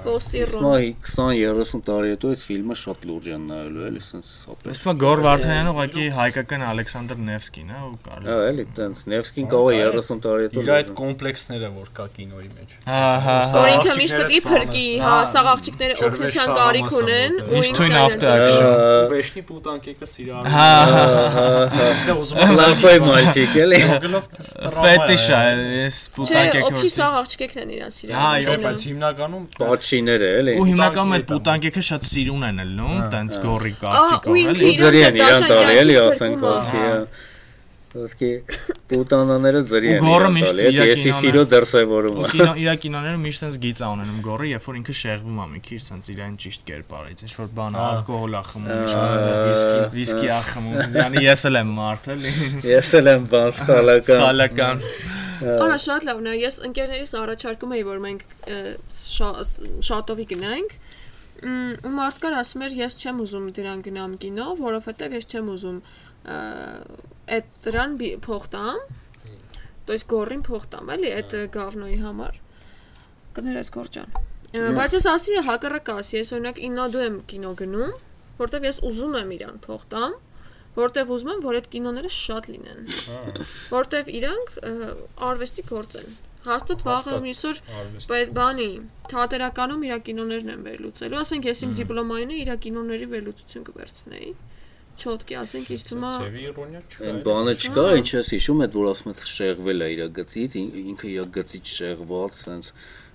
S2: Պոստի
S1: Իսկ մա
S2: ռոն։
S1: 20-30 տարի տարի հետո այս ֆիլմը շատ լուրջ են նայելու, էլի, sense սապես։
S4: Իսկ մա Գոր Վարդանյանը ուղղակի հայկական Ալեքսանդր Նևսկին է ու
S1: Հա,
S4: կարելի։
S1: էլի, sense Nevsky-ն կարող է 30 տարի հետո։
S3: Իր այդ կոմպլեքսները որ կա կինոյի մեջ։
S4: Ահա,
S2: Որ
S4: հա։
S2: ինքը միշտ պետք է փրկի, հա, սաղ աղջիկները
S3: Ջրվեժ
S2: օգնության
S3: տա
S2: կարիք
S3: համասան
S2: ունեն
S3: մոտ
S2: ու
S3: է։
S4: Միշտ թույն
S2: ինքն
S4: after
S2: էլ են
S4: action։
S3: Վեշնի պուտանկեկը սիրալու։
S4: Հա, հա, հա։
S3: դա ուզում եմ
S1: Լաֆայ մальчик, էլի։
S3: գլով
S4: Ֆետիշ հա, է, էս
S2: Չէ,
S4: պուտանկ
S2: օբշի
S4: եկորսի։
S2: սաղ աղջիկներն են իրան սիրում։
S4: Հա,
S3: Չէ,
S4: այո,
S3: բայց հիմնականում
S1: Պաչիները, էլի։
S4: Ու հիմնականում
S3: պուտանկ
S4: այդ
S3: եկա։
S4: պուտանկ եկը շատ սիրուն են ելնում, տենց գորի
S2: Ահա, ու
S4: կարծիքով
S2: ինքը
S4: էլի։
S1: Ու ձրի են իրան տալի, էլի,
S2: Իրան
S1: ասենք,
S2: տանջանքի
S1: ոսկի։ Ոսկի պուտանաները ձրի
S4: Ու
S1: են։
S4: գոռը
S1: իրան
S4: միշտ
S1: տալի, էդ
S4: իր
S1: Եսի
S4: կինոն է։
S1: սիրո դրսևորումը։
S4: Ու կինո իր կինոները միշտ էս գիծ անենում գորը, երբ որ ինքը շեղվում է մի քիչ, սենց իրեն ճիշտ կերպարից, ինչ որ բան ալկոհոլ ա խմում, ինչ որ վիսկի, վիսկի ա խմում, զյանի ես էլ եմ մարդ էլի։
S1: Ես էլ եմ բան սխալական։
S4: Սխալական։
S2: Արա շատ լավն է։ Ես ընկերներիս առաջարկում էի, որ մենք ը, շա- ս- շատովի գնանք։ Մ, Ու մարդկան ասում էր, ես չեմ ուզում դրան գնամ կինո, որովհետև ես չեմ ուզում ը, այդ դրան բի- փող տամ։ То есть գորին փող տամ, էլի, այդ ը, գավնոյի համար։ Կներես գորջան։ Ը, Բայց ես ասի հակառակը ասի, ես օրինակ իննադու եմ կինո գնում, որտեվ ես ուզում եմ իրան փող տամ, որտեվ ուզում եմ, որ այդ կինոները շատ լինեն որտեվ իրանք ը, արվեստի գործ են։ Հաստատ վաղը
S5: Հաստատ,
S2: միսօր
S5: արվեստ։
S2: բանի թատերականում իր կինոներն են վերլուծելու, ասենք ես իմ դիպլոմային է իր կինոների վերլուծություն կվերցնեի։ Չոտկի, ասենք ինձ թվում է
S5: Ձևի իռոնիա չկա։
S1: Այն բանը չկա, ինչ ես հիշում, այդ որ ասում ես շեղվել է իր գծից, ին- ինքը իր գծից շեղված, սենց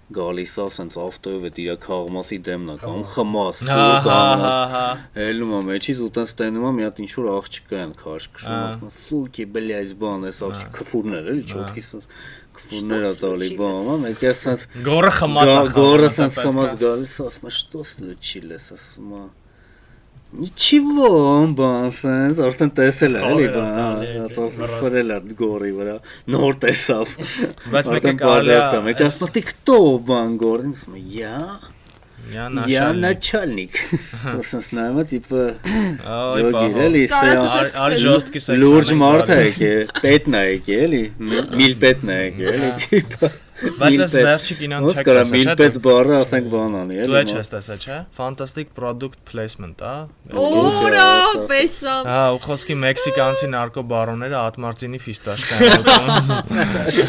S1: գալիս է, սենց ավտոյով այդ իր քաղմասի դեմն է կամ խմաս, սուր
S4: Հա,
S1: կամ
S4: հա,
S1: հելնում է մեջից ու տենց տենում է մի հատ ինչ որ աղջիկա են քաշքշում, ասում է սուքի բլե այս բան, այս աղջիկ քֆուրներ էլի, չոտքի սենց քֆուրներ է տալի բանը, մեկ է սենց
S4: Գորը խմած է։
S1: Գորը սենց խմած գալիս, ասում է что случилось, ասում է Ничего, он բանսենս, արդեն տեսել է, էլի բան, ծածկվել է գորի վրա, նոր տեսավ։
S4: Բայց մեկ է
S1: Արդեն
S4: կարելի է
S1: բարդացա, մեկ
S4: այս-
S1: ասում է «Ты кто, բան գորին», ասում է «Я,
S4: Յա
S1: я
S4: նաշալի։
S1: начальник»։ Սենց նայում է, տիպը
S4: Այ
S1: ջոգի,
S4: բա։
S1: էլի,
S2: Կարաս
S1: ստեղ
S2: ուշ
S4: Ալ
S2: սկսել։
S4: ժոստկի սեքս։
S1: լուրջ մարդ է եկել, պետն է եկել, էլի, մի- միլպետն է եկել, էլի, տիպը։
S4: Բայց այս
S1: միլպետ։
S4: վերջի կինոն
S1: Ոնց
S4: Հա, չեք
S1: կարա
S4: տեսա, չէ՞,
S1: միլպետ
S4: դու-
S1: բառը ասենք բանանի,
S4: Դու
S1: էլի։
S4: ի՞նչ ես տեսա, չէ՞։ Fantastic product placement, հա։
S2: Օրա, պեսա։
S4: Հա, ու խոսքի մեքսիկանցի նարկոբարոնները ատմարտինի ֆիստաշկան ուտում։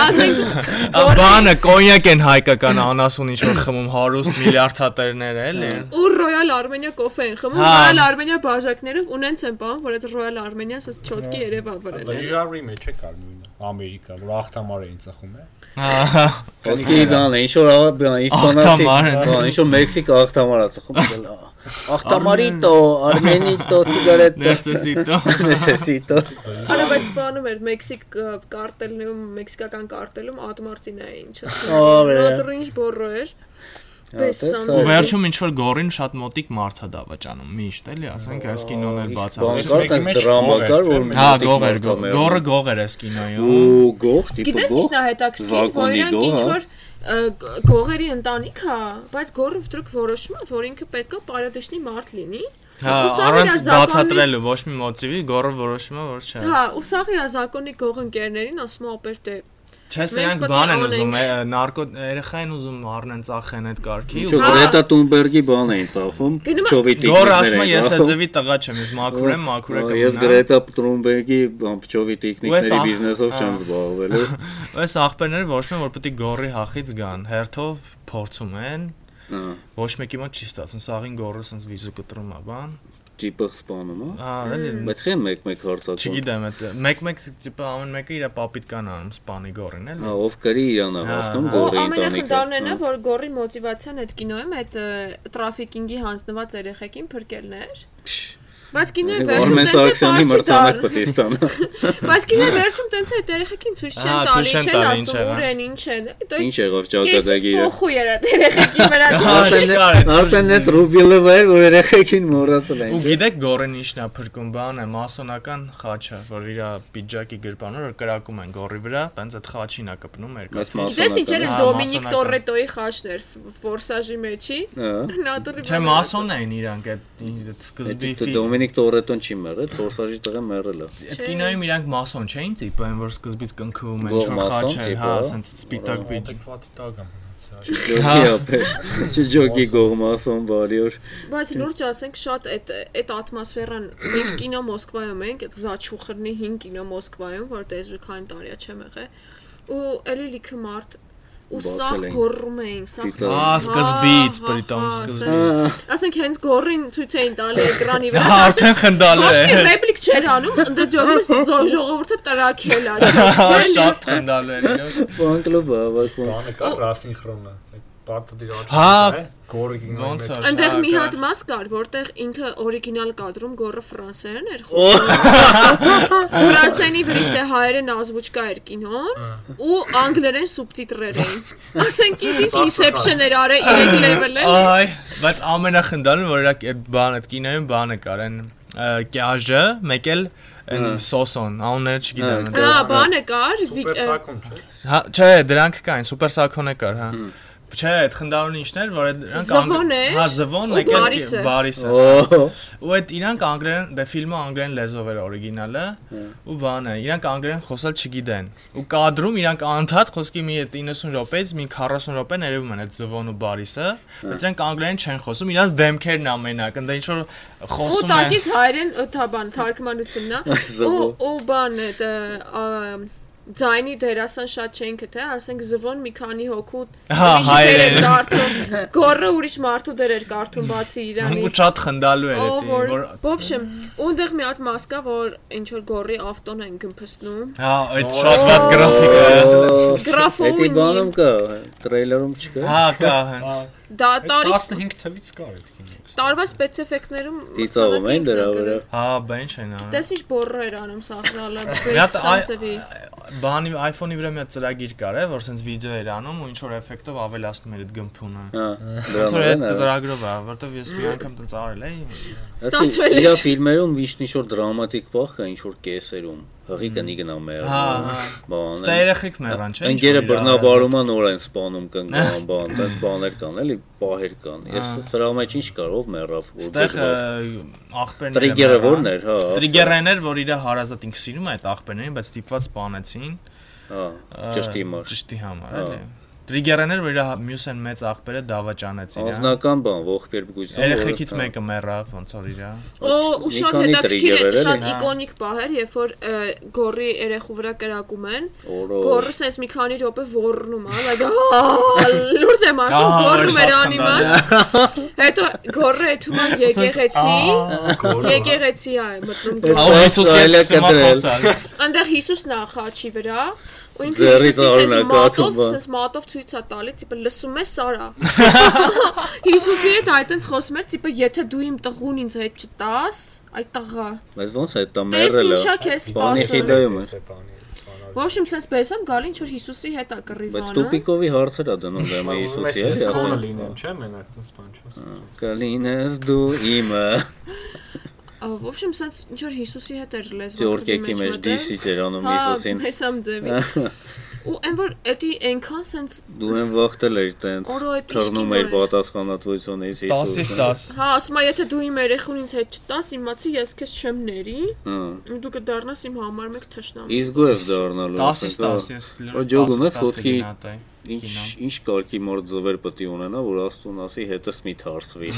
S2: Ասենք
S4: Ա, Բանը կոնյակ են հայկական անասուն ինչ որ խմում հարուստ միլիարդատերներ էլի։
S2: ու Royal Armenia կոֆե են խմում,
S4: Հա։
S2: Royal Armenia բաժակներով ունենց են բան, որ այդ Royal Armenia-ը ասած չոտկի Երևա վրան է։
S3: դիժարի մեջ է կար նույնը։ Ամերիկա, որ ախտամար էին ծխում է։
S4: Հա,
S1: Ոսկի բան է, ինչ որ ա- բան, ինչ ֆանատիկ,
S4: Ախտամար են։
S1: բան, ինչ որ մեքսիկ ախտամարա ծխում է, լա։ Ախտամարիտո, արմենիտո, սիգարետո,
S4: ներսեսիտո։
S1: նեսեսիտո։
S2: Արա բայց բանում էր Մեքսիկ ը, կարտելում, մեքսիկական կարտելում ատմարտինա է ինչը։
S1: Օրե։
S2: Նոտրինչ բորո էր։ Պեսա։
S4: Ու վերջում ինչ որ գորին շատ մոտիկ մարդ է դավաճանում, միշտ էլի, ասենք այս կինոն էլ բացավ։
S1: Բանկար
S3: մեկի
S1: տես
S3: մեջ
S1: դրամա կար,
S3: գող էր, չէ՞,
S1: որ
S3: մեկ-
S4: Հա,
S1: մոտիկ
S4: գող էր, գող-
S1: մարտամերն
S4: գորը գող էր այս կինոյում։
S1: ու գող տիպը
S2: Գիտես
S1: գող։
S2: ինչն է հետաքրքիր, որ
S1: Զագոնի
S2: իրանք ինչ
S1: գող, հա։
S2: որ գողերի ընտանիք է, բայց գողը վտրուկ որոշում է, որ ինքը պետք է բարեդեշնի մարդ լինի։
S4: Հա,
S2: ու սա իր
S4: առանց
S2: զակոնի-
S4: բացատրելու ոչ մի մոտիվի, գորը որոշում է, որ չէ։
S2: Հա, ու սա իր ազակոնի գող ընկերներին ասում ապեր դե։
S4: Չես
S2: Մենք
S4: իրանք
S2: պետք է
S4: բան են
S2: անենք։
S4: ուզում, է, նարկո երեխային ուզում առնեն ծախեն այդ կարգի։ ու
S3: Հա։
S1: Ինչո՞ւ Գրետա Թունբերգի բան էին ծախում,
S2: Գնում է-
S1: Փչովի տիկնիկներ։
S4: Գոր ասում է
S1: էին
S4: ես այդ
S1: ծախում,
S4: ձևի տղա չեմ, ես մաքուր եմ, մաքուր եք։
S1: հա»։ Ես Գրետա Թունբերգի բան, Փչովի տիկնիկների
S4: ախ-
S1: բիզնեսով չեմ
S4: ա.
S1: զբաղվել։
S4: Այս աղբերները ոչ մեն որ պետք է գորի հախից գան, հերթով փորձում են։
S1: Ահա,
S4: Ոչ մեկի մոտ չի ստացվում, սաղին գորը sense վիզու կտրում է, բան։
S1: տիպը սպանում, հա։
S4: Հա, էլի։
S1: Բայց քեն մեկ-մեկ հարցակում։
S4: Չգիտեմ, այդ մեկ-մեկ տիպը ամեն մեկը իր պապիտկան անում, սպանի գորին, էլի։
S1: Հա, ով կրի իրան հավասնում
S2: Ու
S1: գորի
S2: ամենախնդիրներն է,
S1: հա։
S2: որ գողի մոտիվացիան այդ կինոյում այդ ը, տրաֆիկինգի հանձնված երեխեքին փրկելներ։ Բայց կինոյի վերջում
S1: Որմես
S2: տենց է
S1: Սարգսյանի
S2: պարզ չի
S1: մրցանակ
S2: դառնում։
S1: պետք է ստանա։
S2: Բայց գինը վերջում տենց է երեխեքին ցույց չեն
S4: Ահա,
S2: տալի,
S4: Հա, ցույց չեն
S2: չեն
S4: տալի,
S1: Ինչ
S2: ասում ուր են, ինչ են։ Դա
S4: ինչ հա։ եղա։
S1: եղավ
S2: Կեսից
S1: ճակատագի։
S2: փոխու էր այդ երեխեքի վրա։
S4: Ահա,
S2: դրոշը։
S4: չի արեց, ցույց
S1: Արդեն այդ ռուբիլը վեր որ երեխեքին մոռացել
S4: Ու
S1: են։ չէ՞։
S4: գիտեք գորեն ինչն է փրկում բանը, մասոնական խաչը, որ իր պիջակի գրպանը որ կրակում են գորի վրա, տենց այդ խաչին է կպնում
S1: Մեծ
S4: երկաթի։
S1: մաս-
S2: Գիտես ինչեր են
S4: Ահա,
S2: Դոմինիկ
S4: մասոնական։
S2: Տորետոյի խաչներ ֆորսաժի մեջի։
S1: Ահա։
S2: Նատրի
S4: Չէ, մասոն էին իրանք այդ ինչ- այդ սկզբի
S1: Դե Դոմինիկ Տորետոն չի մեռել, Ֆորսաժի տեղը մեռել է։
S4: Այդ կինոյում իրանք մասոն չէին տիպը, այն որ սկզբից կնքվում են,
S1: Գող
S4: ինչ որ
S1: մասոն
S4: խաչ էր,
S1: տիպը,
S4: հա,
S1: հա։
S4: ասենց սպիտակ բիջ։
S5: Ադեկվատի տակ եմ։
S1: Ջոկի ապեր, ջոկի գողմասոն վարիոր։
S2: Բայց լուրջ ասենք շատ այդ այդ ատմոսֆերան մենք կինո Մոսկվայում ենք, այդ Զաչուխրնի 5 կինո Մոսկվայում, որ դեժը քան տարիա չեմ եղել։ Ու էլի լիքը մարդ ու
S1: Բացել
S2: սախ
S1: էին։
S2: գոռում էին, սախ
S1: Ծիծաղ։
S4: Ա, սկզբից,
S2: Հա, հա,
S4: պրիտոմ
S2: հա,
S4: սկզբից։
S2: Ասենք հենց գոռին ցույց էին տալի էկրանի վրա։
S4: Հա, արդեն խնդալը
S2: Ոչ մի
S4: է։
S2: ռեպլիկ չէր անում, ընդ ջոկս ժողովուրդը տրակել է։
S4: Հա,
S2: Էլի,
S4: շատ խնդալը է։ իրոք։
S1: Ֆան կլուբը հավաքվում։
S5: Բանը կա ռասինխրոնը։ Այդ բաթը դիր աճում։
S4: Հա,
S5: գորիկին
S4: Ոնց է։
S2: Այնտեղ մի
S4: շարքը։
S2: հատ մաս կար, որտեղ ինքը օրիգինալ կադրում գոռը ֆրանսերեն էր խոսում։ Ֆրանսենի բրիստե հայերեն ազգուճկա էր կինոն ու անգլերեն սուբտիտրեր էին։ Ասենք ինչ ինսեպշն էր արել իրեք լեվելը։
S4: Այ, բայց ամենախնդալն որ իրաք այդ բան այդ կինոյում բանը կար, այն ը, կյաժը, մեկ էլ այն սոսոն, անունը չգիտեմ։
S1: Հա,
S4: այնտեղ։
S2: Հա, բանը կար, վի-
S5: Սուպեր սակում չէ։
S4: Հա, չէ, դրանք կային, սուպեր սակոնը կար, հա։ Չէ, այդ խնդալուն ինչն էր, որ այդ դրանք անգ-
S2: Զվոն է,
S4: Հա, զվոն,
S2: ու
S4: մեկ էլ
S2: բարիսը։
S4: բարիսը։
S1: Օ,
S4: Ու այդ իրանք անգլերեն, դե ֆիլմը անգլերեն լեզվով էր օրիգինալը, ու բանը, իրանք անգլերեն խոսալ չգիտեն։ Ու կադրում իրանք անդադ խոսքի մի այդ 90 րոպեից մի 40 րոպե ներում են այդ զվոն ու բարիսը, բայց իրանք անգլերեն չեն խոսում, իրանք դեմքերն ամենակ, ընդ ինչ որ
S2: ու
S4: խոսում են։
S2: տակից հայերեն թաբան թարգմանությունն է։ Ու
S1: զվո։
S2: ու բան է դա ձայնի դերասան շատ չենք թե, ասենք զվոն մի քանի հոգու
S4: Հա,
S2: ուրիշի դեր էր
S4: հայերեն։
S2: կարդում, գոռը ուրիշ մարդու դեր էր կարդում բացի իրանի։
S4: Ու շատ խնդալու էր
S2: Ով
S4: դա,
S2: որ
S4: որ
S2: Բոբշեմ, ունդեղ մի հատ մաս կա, որ ինչ որ գորի ավտոն են գմփսնում։
S4: հա, այդ շատ վատ գրաֆիկ է։
S2: Գրաֆոմը
S1: Էդի
S2: ունի։
S1: բանում կա, տրեյլերում չկա։
S4: Հա, կա հենց։
S2: Դա տարի
S5: 15 թվից կար այդ կինոն։
S2: տարվա սպეციფიկներում
S1: Ծիծաղում են դրա վրա։
S4: Հա, բա ինչ են անում։
S2: Տես ինչ բորը էր անում սախնալը,
S4: հատ
S2: պես
S4: այ-
S2: սանցևի։
S4: Բանի iPhone-ի վրա մի հատ ծրագիր կար, է, որ sense վիդեո էր անում ու ինչ որ էֆեկտով ավելացնում էր այդ գմփունը։
S1: Հա,
S4: Ոնց որ այդ
S1: դրա։
S4: ծրագրով է, որտեվ ես մի անգամ տենց արել էի։
S2: Ստացվել
S1: Իր
S2: էր։
S1: ֆիլմերում ինչ-ինչ որ դրամատիկ բախ կա, ինչ որ կեսերում։ Հղի կնի գնա մեր։
S4: Հա, հա։
S1: Բան։
S4: Ստա երեխեք մեռան, չէ՞։
S1: Ընկերը բռնաբարումա նոր են սպանում կնգան, բան, այդպես բաներ կան, էլի պահեր կան։ Ես սրա մեջ ինչ կար, ով մեռավ, որ
S4: Հա։ Ստեղ
S1: դեղավ։
S4: աղբերն
S1: Տրիգերը ո՞րն էր, հա։
S4: Տրիգերն էր, որ իր հարազատ ինքը սիրում է այդ աղբերներին, բայց ստիպված սպանեցին։
S1: Հա, ճշտի մար։
S4: Ճշտի համար, էլի։ Տրիգերն էր, որ իր հա- մյուս են մեծ աղբերը դավաճանեցին։ հա։
S1: Անձնական բան, հա, ողբերգություն։
S4: Երեխեքից մեկը մեռավ, ոնց որ իրա։
S2: Օ, ու
S1: մի
S2: շատ
S1: քանի
S2: հետաքրքիր
S1: տրիգեր
S2: է,
S1: էր, էլի,
S2: շատ
S4: հա։
S2: իկոնիկ բահ էր, երբ որ ը, գորի երեխու վրա կրակում են։
S1: Օրոր։
S2: Գորը sense մի քանի րոպե ոռնում է, like «Ա, լուրջ եմ ասում,
S4: Ահա,
S2: գորը
S4: շատ
S2: մեր
S4: խնդալի է։
S2: անիմաս։ Հետո գորը եթում է եկեղեցի։
S5: Գորիկը։
S2: Եկեղեցի է մտնում գող։
S4: Ահա Հիսուսի
S1: Այլա
S4: հետ սկսում է
S1: կտրել։
S4: խոսալ։
S2: Անտեղ Հիսուսն է խաչի վրա, ու ինքը
S1: Ձեռի
S2: Հիսուսի
S1: ծառն
S2: sense
S1: է
S2: մատով,
S1: կաթում, բա։
S2: sense մատով ցույց է տալիս, տիպը լսում ես Սարա։ Հիսուսի հետ այտենց խոսում էր, տիպը եթե դու իմ տղուն ինձ հետ չտաս, այդ տղա։
S1: Բայց ոնց է դա
S2: Տես
S1: մեռելը։
S2: ինչա քեզ
S1: Բանի
S2: սպասում։
S1: խիդայում է։
S2: Ոբշեմ sense պես եմ գալի, ինչ որ Հիսուսի հետ է
S1: Բայց
S2: կռիվանը։
S1: տուպիկովի հարցեր է դնում դեմ
S5: Ես
S1: Հիսուսի
S5: ես
S1: էլի
S5: կոնը
S1: ասում։
S5: լինեմ, չէ՞, մենակ տես բան չես։
S1: Կլինես դու իմը։
S2: Ոբշեմ sense ինչ որ Հիսուսի հետ էր լեզվակռիվի
S1: Տյուրքեքի
S2: մեջ
S1: մեջ
S2: մտել։
S1: դիսի էր անում
S2: Հա,
S1: Հիսուսին։
S2: հեսամ ձևի։ Ու այն որ էդի այնքան sense
S1: Դու են վախտել էր տենց
S2: Օրո, այդ
S1: թռնում
S2: իսկին
S1: էր
S2: էր։
S1: պատասխանատվությունից
S4: 10-ից 10։
S2: Հա, ասում է, եթե դու իմ երեխուն ինձ հետ չտաս, իմացի ես քեզ չեմ ների,
S1: Հա։
S2: ու դու կդառնաս իմ համար մեկ թշնամ։
S1: Իսկ ու ես դառնալու
S4: 10-ից 10 ես
S1: Որ ջոգում ես խոսքի
S4: կգնատայի։
S1: ինչ ինչ կարգի մոր ձվեր պետք է ունենա, որ Աստուն ասի հետս մի թարսվի։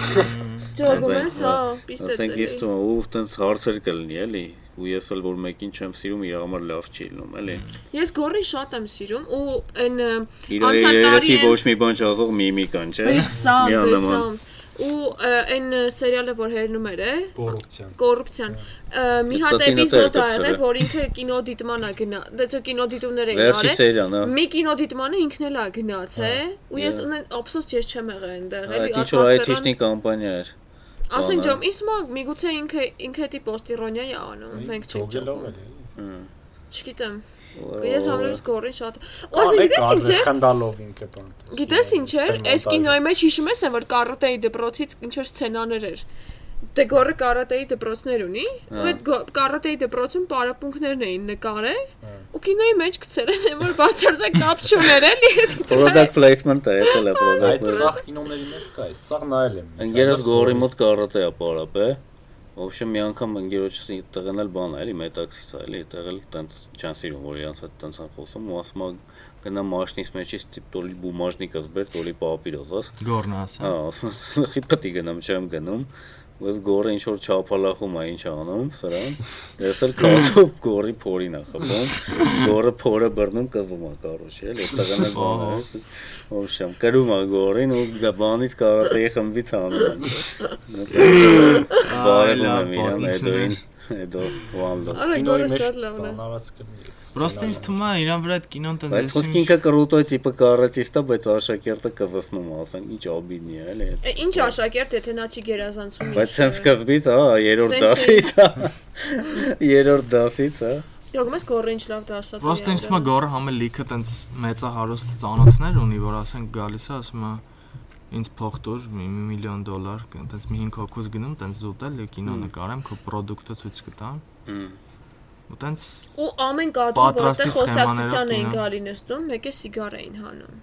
S2: Ջոգում
S1: ասենք,
S2: ես, հա, պիստե
S1: Ասենք ես դու ու տենց հարցեր կլինի էլի։ Ու ես էլ որ մեկին չեմ սիրում, իր համար լավ չի լինում, էլի։
S2: Ես գորին շատ եմ սիրում ու այն ը,
S1: Իր
S2: անցյալ տարի
S1: երեսի
S2: այն-
S1: ոչ մի բան չազող միմիկան, չէ։
S2: Բեսամ,
S1: Միանման։
S2: բեսամ։ Ու ը, այն ը, սերիալը, որ հերնում էր, է,
S5: Կոռուպցիան։
S2: կոռուպցիան։ ը, Մի
S1: Այդ
S2: հատ
S1: ծածկին էլ կպցել
S2: էպիզոդ ա եղել,
S1: է։
S2: որ ինքը կինոդիտման ա գնա։ Դե չէ կինոդիտումներ են
S1: Վերջի
S2: գալը։
S1: սերիան, հա։
S2: Մի կինոդիտմանը ինքն էլ ա գնաց, է։ Ու ես ափսոս ես չեմ եղել
S1: Այդ
S2: այնտեղ, էլի
S1: ինչ որ այդ
S2: ատմոսֆերան-
S1: հիշնի կամպանիա էր։
S2: Ասենք
S1: բանը։
S2: ջոմ, ինձ մա միգուցե ինքը ինքը դի պոստիրոնիա է անում, մենք չենք
S5: Գոգելով
S2: ճոգում։
S5: էլ։ էլի։
S2: Չգիտեմ։ Ես համլուրս գորին շատ։ Ու
S5: Կան
S2: ասենք
S5: է
S2: գիտես ինչ է։
S5: կադրը խնդալով ինքը բան։
S2: Գիտես ինչ է։ Այս կինոյի մեջ հիշում ես, այն, որ կարատեի դպրոցից ինչ որ սցենաներ էր։ Դե գորը կարատեի դպրոցներ ունի, ու այդ գո- կարատեի դպրոցում պարապմունքներն էին նկարել, ու կինոյի մեջ գցել են, այն, որ բացարձակ կապ չուներ էլի։
S1: Product placement է, էլի product
S5: Այդ
S1: placement։
S5: սախ կինոների մեջ կա, այս սախ նայել եմ։
S1: Ընկերս գողի մոտ կարոտե է պարապ է։ Вообще մի անգամ ընկերոջս տեղն էլ բան է, էլի մետաքսից է, էլի տեղել տենց չան սիրում, որ իրանց հետ տենց են խոսում ու ասում է գնա մաշնից մեջից տիպտոլի բումաժնիկը զբեր, տոլի պապիրոս, աս։
S4: Գորնա
S1: Հա,
S4: ասա։
S1: ասում է, «Խի պտի գնամ, չեմ գնում»։ Ոս գորը ինչ որ չափալախում է, ինչ անում, սրան։ Ես էլ կասով գորի փորին է խփում։ Գորը փորը բռնում կզում է, կարոջ, էլ այդ տեղն էլ բան է։ Ոբշեմ, կրում է գորին ու դա բանից կարատեի խմբից անում են։ Բարելա
S4: պատմություններ։
S1: պատմություն։ Հետո ոամլա։
S2: Արա գորը շատ լավն է։
S5: բանարած կնից։
S4: Պրոստը ինձ թվում է իրան վրա այդ կինոն տենց
S1: Բայց խոսքի ինքը կրուտո տիպը կարացիստա, բայց աշակերտը կզսնում, ասեն, ինչ օբիդնի է, էլի։
S2: Է, Ինչ աշակերտ, եթե նա չի գերազանցում։
S1: Բայց ցենց սկզբից, հա, երրորդ
S2: Սենց
S1: դասից, հա։ Երրորդ դասից, հա։
S2: Յոգ մեզ գորը ինչ լավ դասա։
S4: Պրոստը ինձ թվում է գորը համը լիքը տենց մեծահարուստ ծանոթներ ունի, որ ասեն գալիս է, ասում է ինձ փոխտուր մի մի միլիոն դոլար, տենց մի 5 հոգուց գնում, տենց զուտել ու կինո նկարեմ, քո product-ը ցույց կտամ։ Ու տենց
S2: ու ամեն կադրում որտեղ
S4: Պատրաստի
S2: խոսակցության
S4: սխեմաներով
S2: էին
S4: կինո։
S2: գալի նստում, մեկը սիգար էին հանում։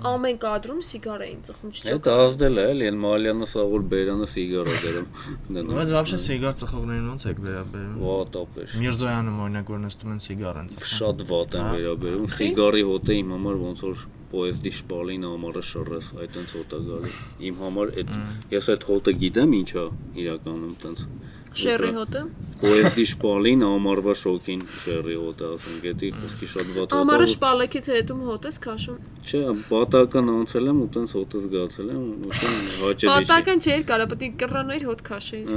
S2: Ամեն կադրում սիգար էին ծխում,
S1: Այդ
S2: չճոք։
S1: ազդել է, էլի, այն Մալյանը սաղուր Բերանը սիգարա դերում դնում։
S4: բայց вообще սիգար ծխողներին ոնց եք վերաբերում։
S1: Վատապ է։
S4: Միրզոյանը օրինակ որ նստում են սիգար են ծխում։
S1: Շատ վատ
S4: Հա։
S1: են վերաբերում։ Սիգարի հոտը իմ համար ոնց որ պոեզդի շպալին ամառը շռես, այդ տենց հոտ է գալի։ Իմ համար այդ ես այդ հոտը գիտեմ ինչա իրականում տենց։
S2: Շերրի հոտը։
S1: Պոեզդի շպալին ամառվա շոկին շերրի հոտը ասենք, դա խոսքի շատ վատ հոտ է,
S2: Ամառը
S1: որ-
S2: շպալեքից հետում հոտես քաշում։
S1: Չէ, պատական անցել եմ ու տենց հոտս գացել եմ ու ուշան հաճելի չի։
S2: Պատական չէր կարա, պետք է կռանայր հոտ քաշեիր։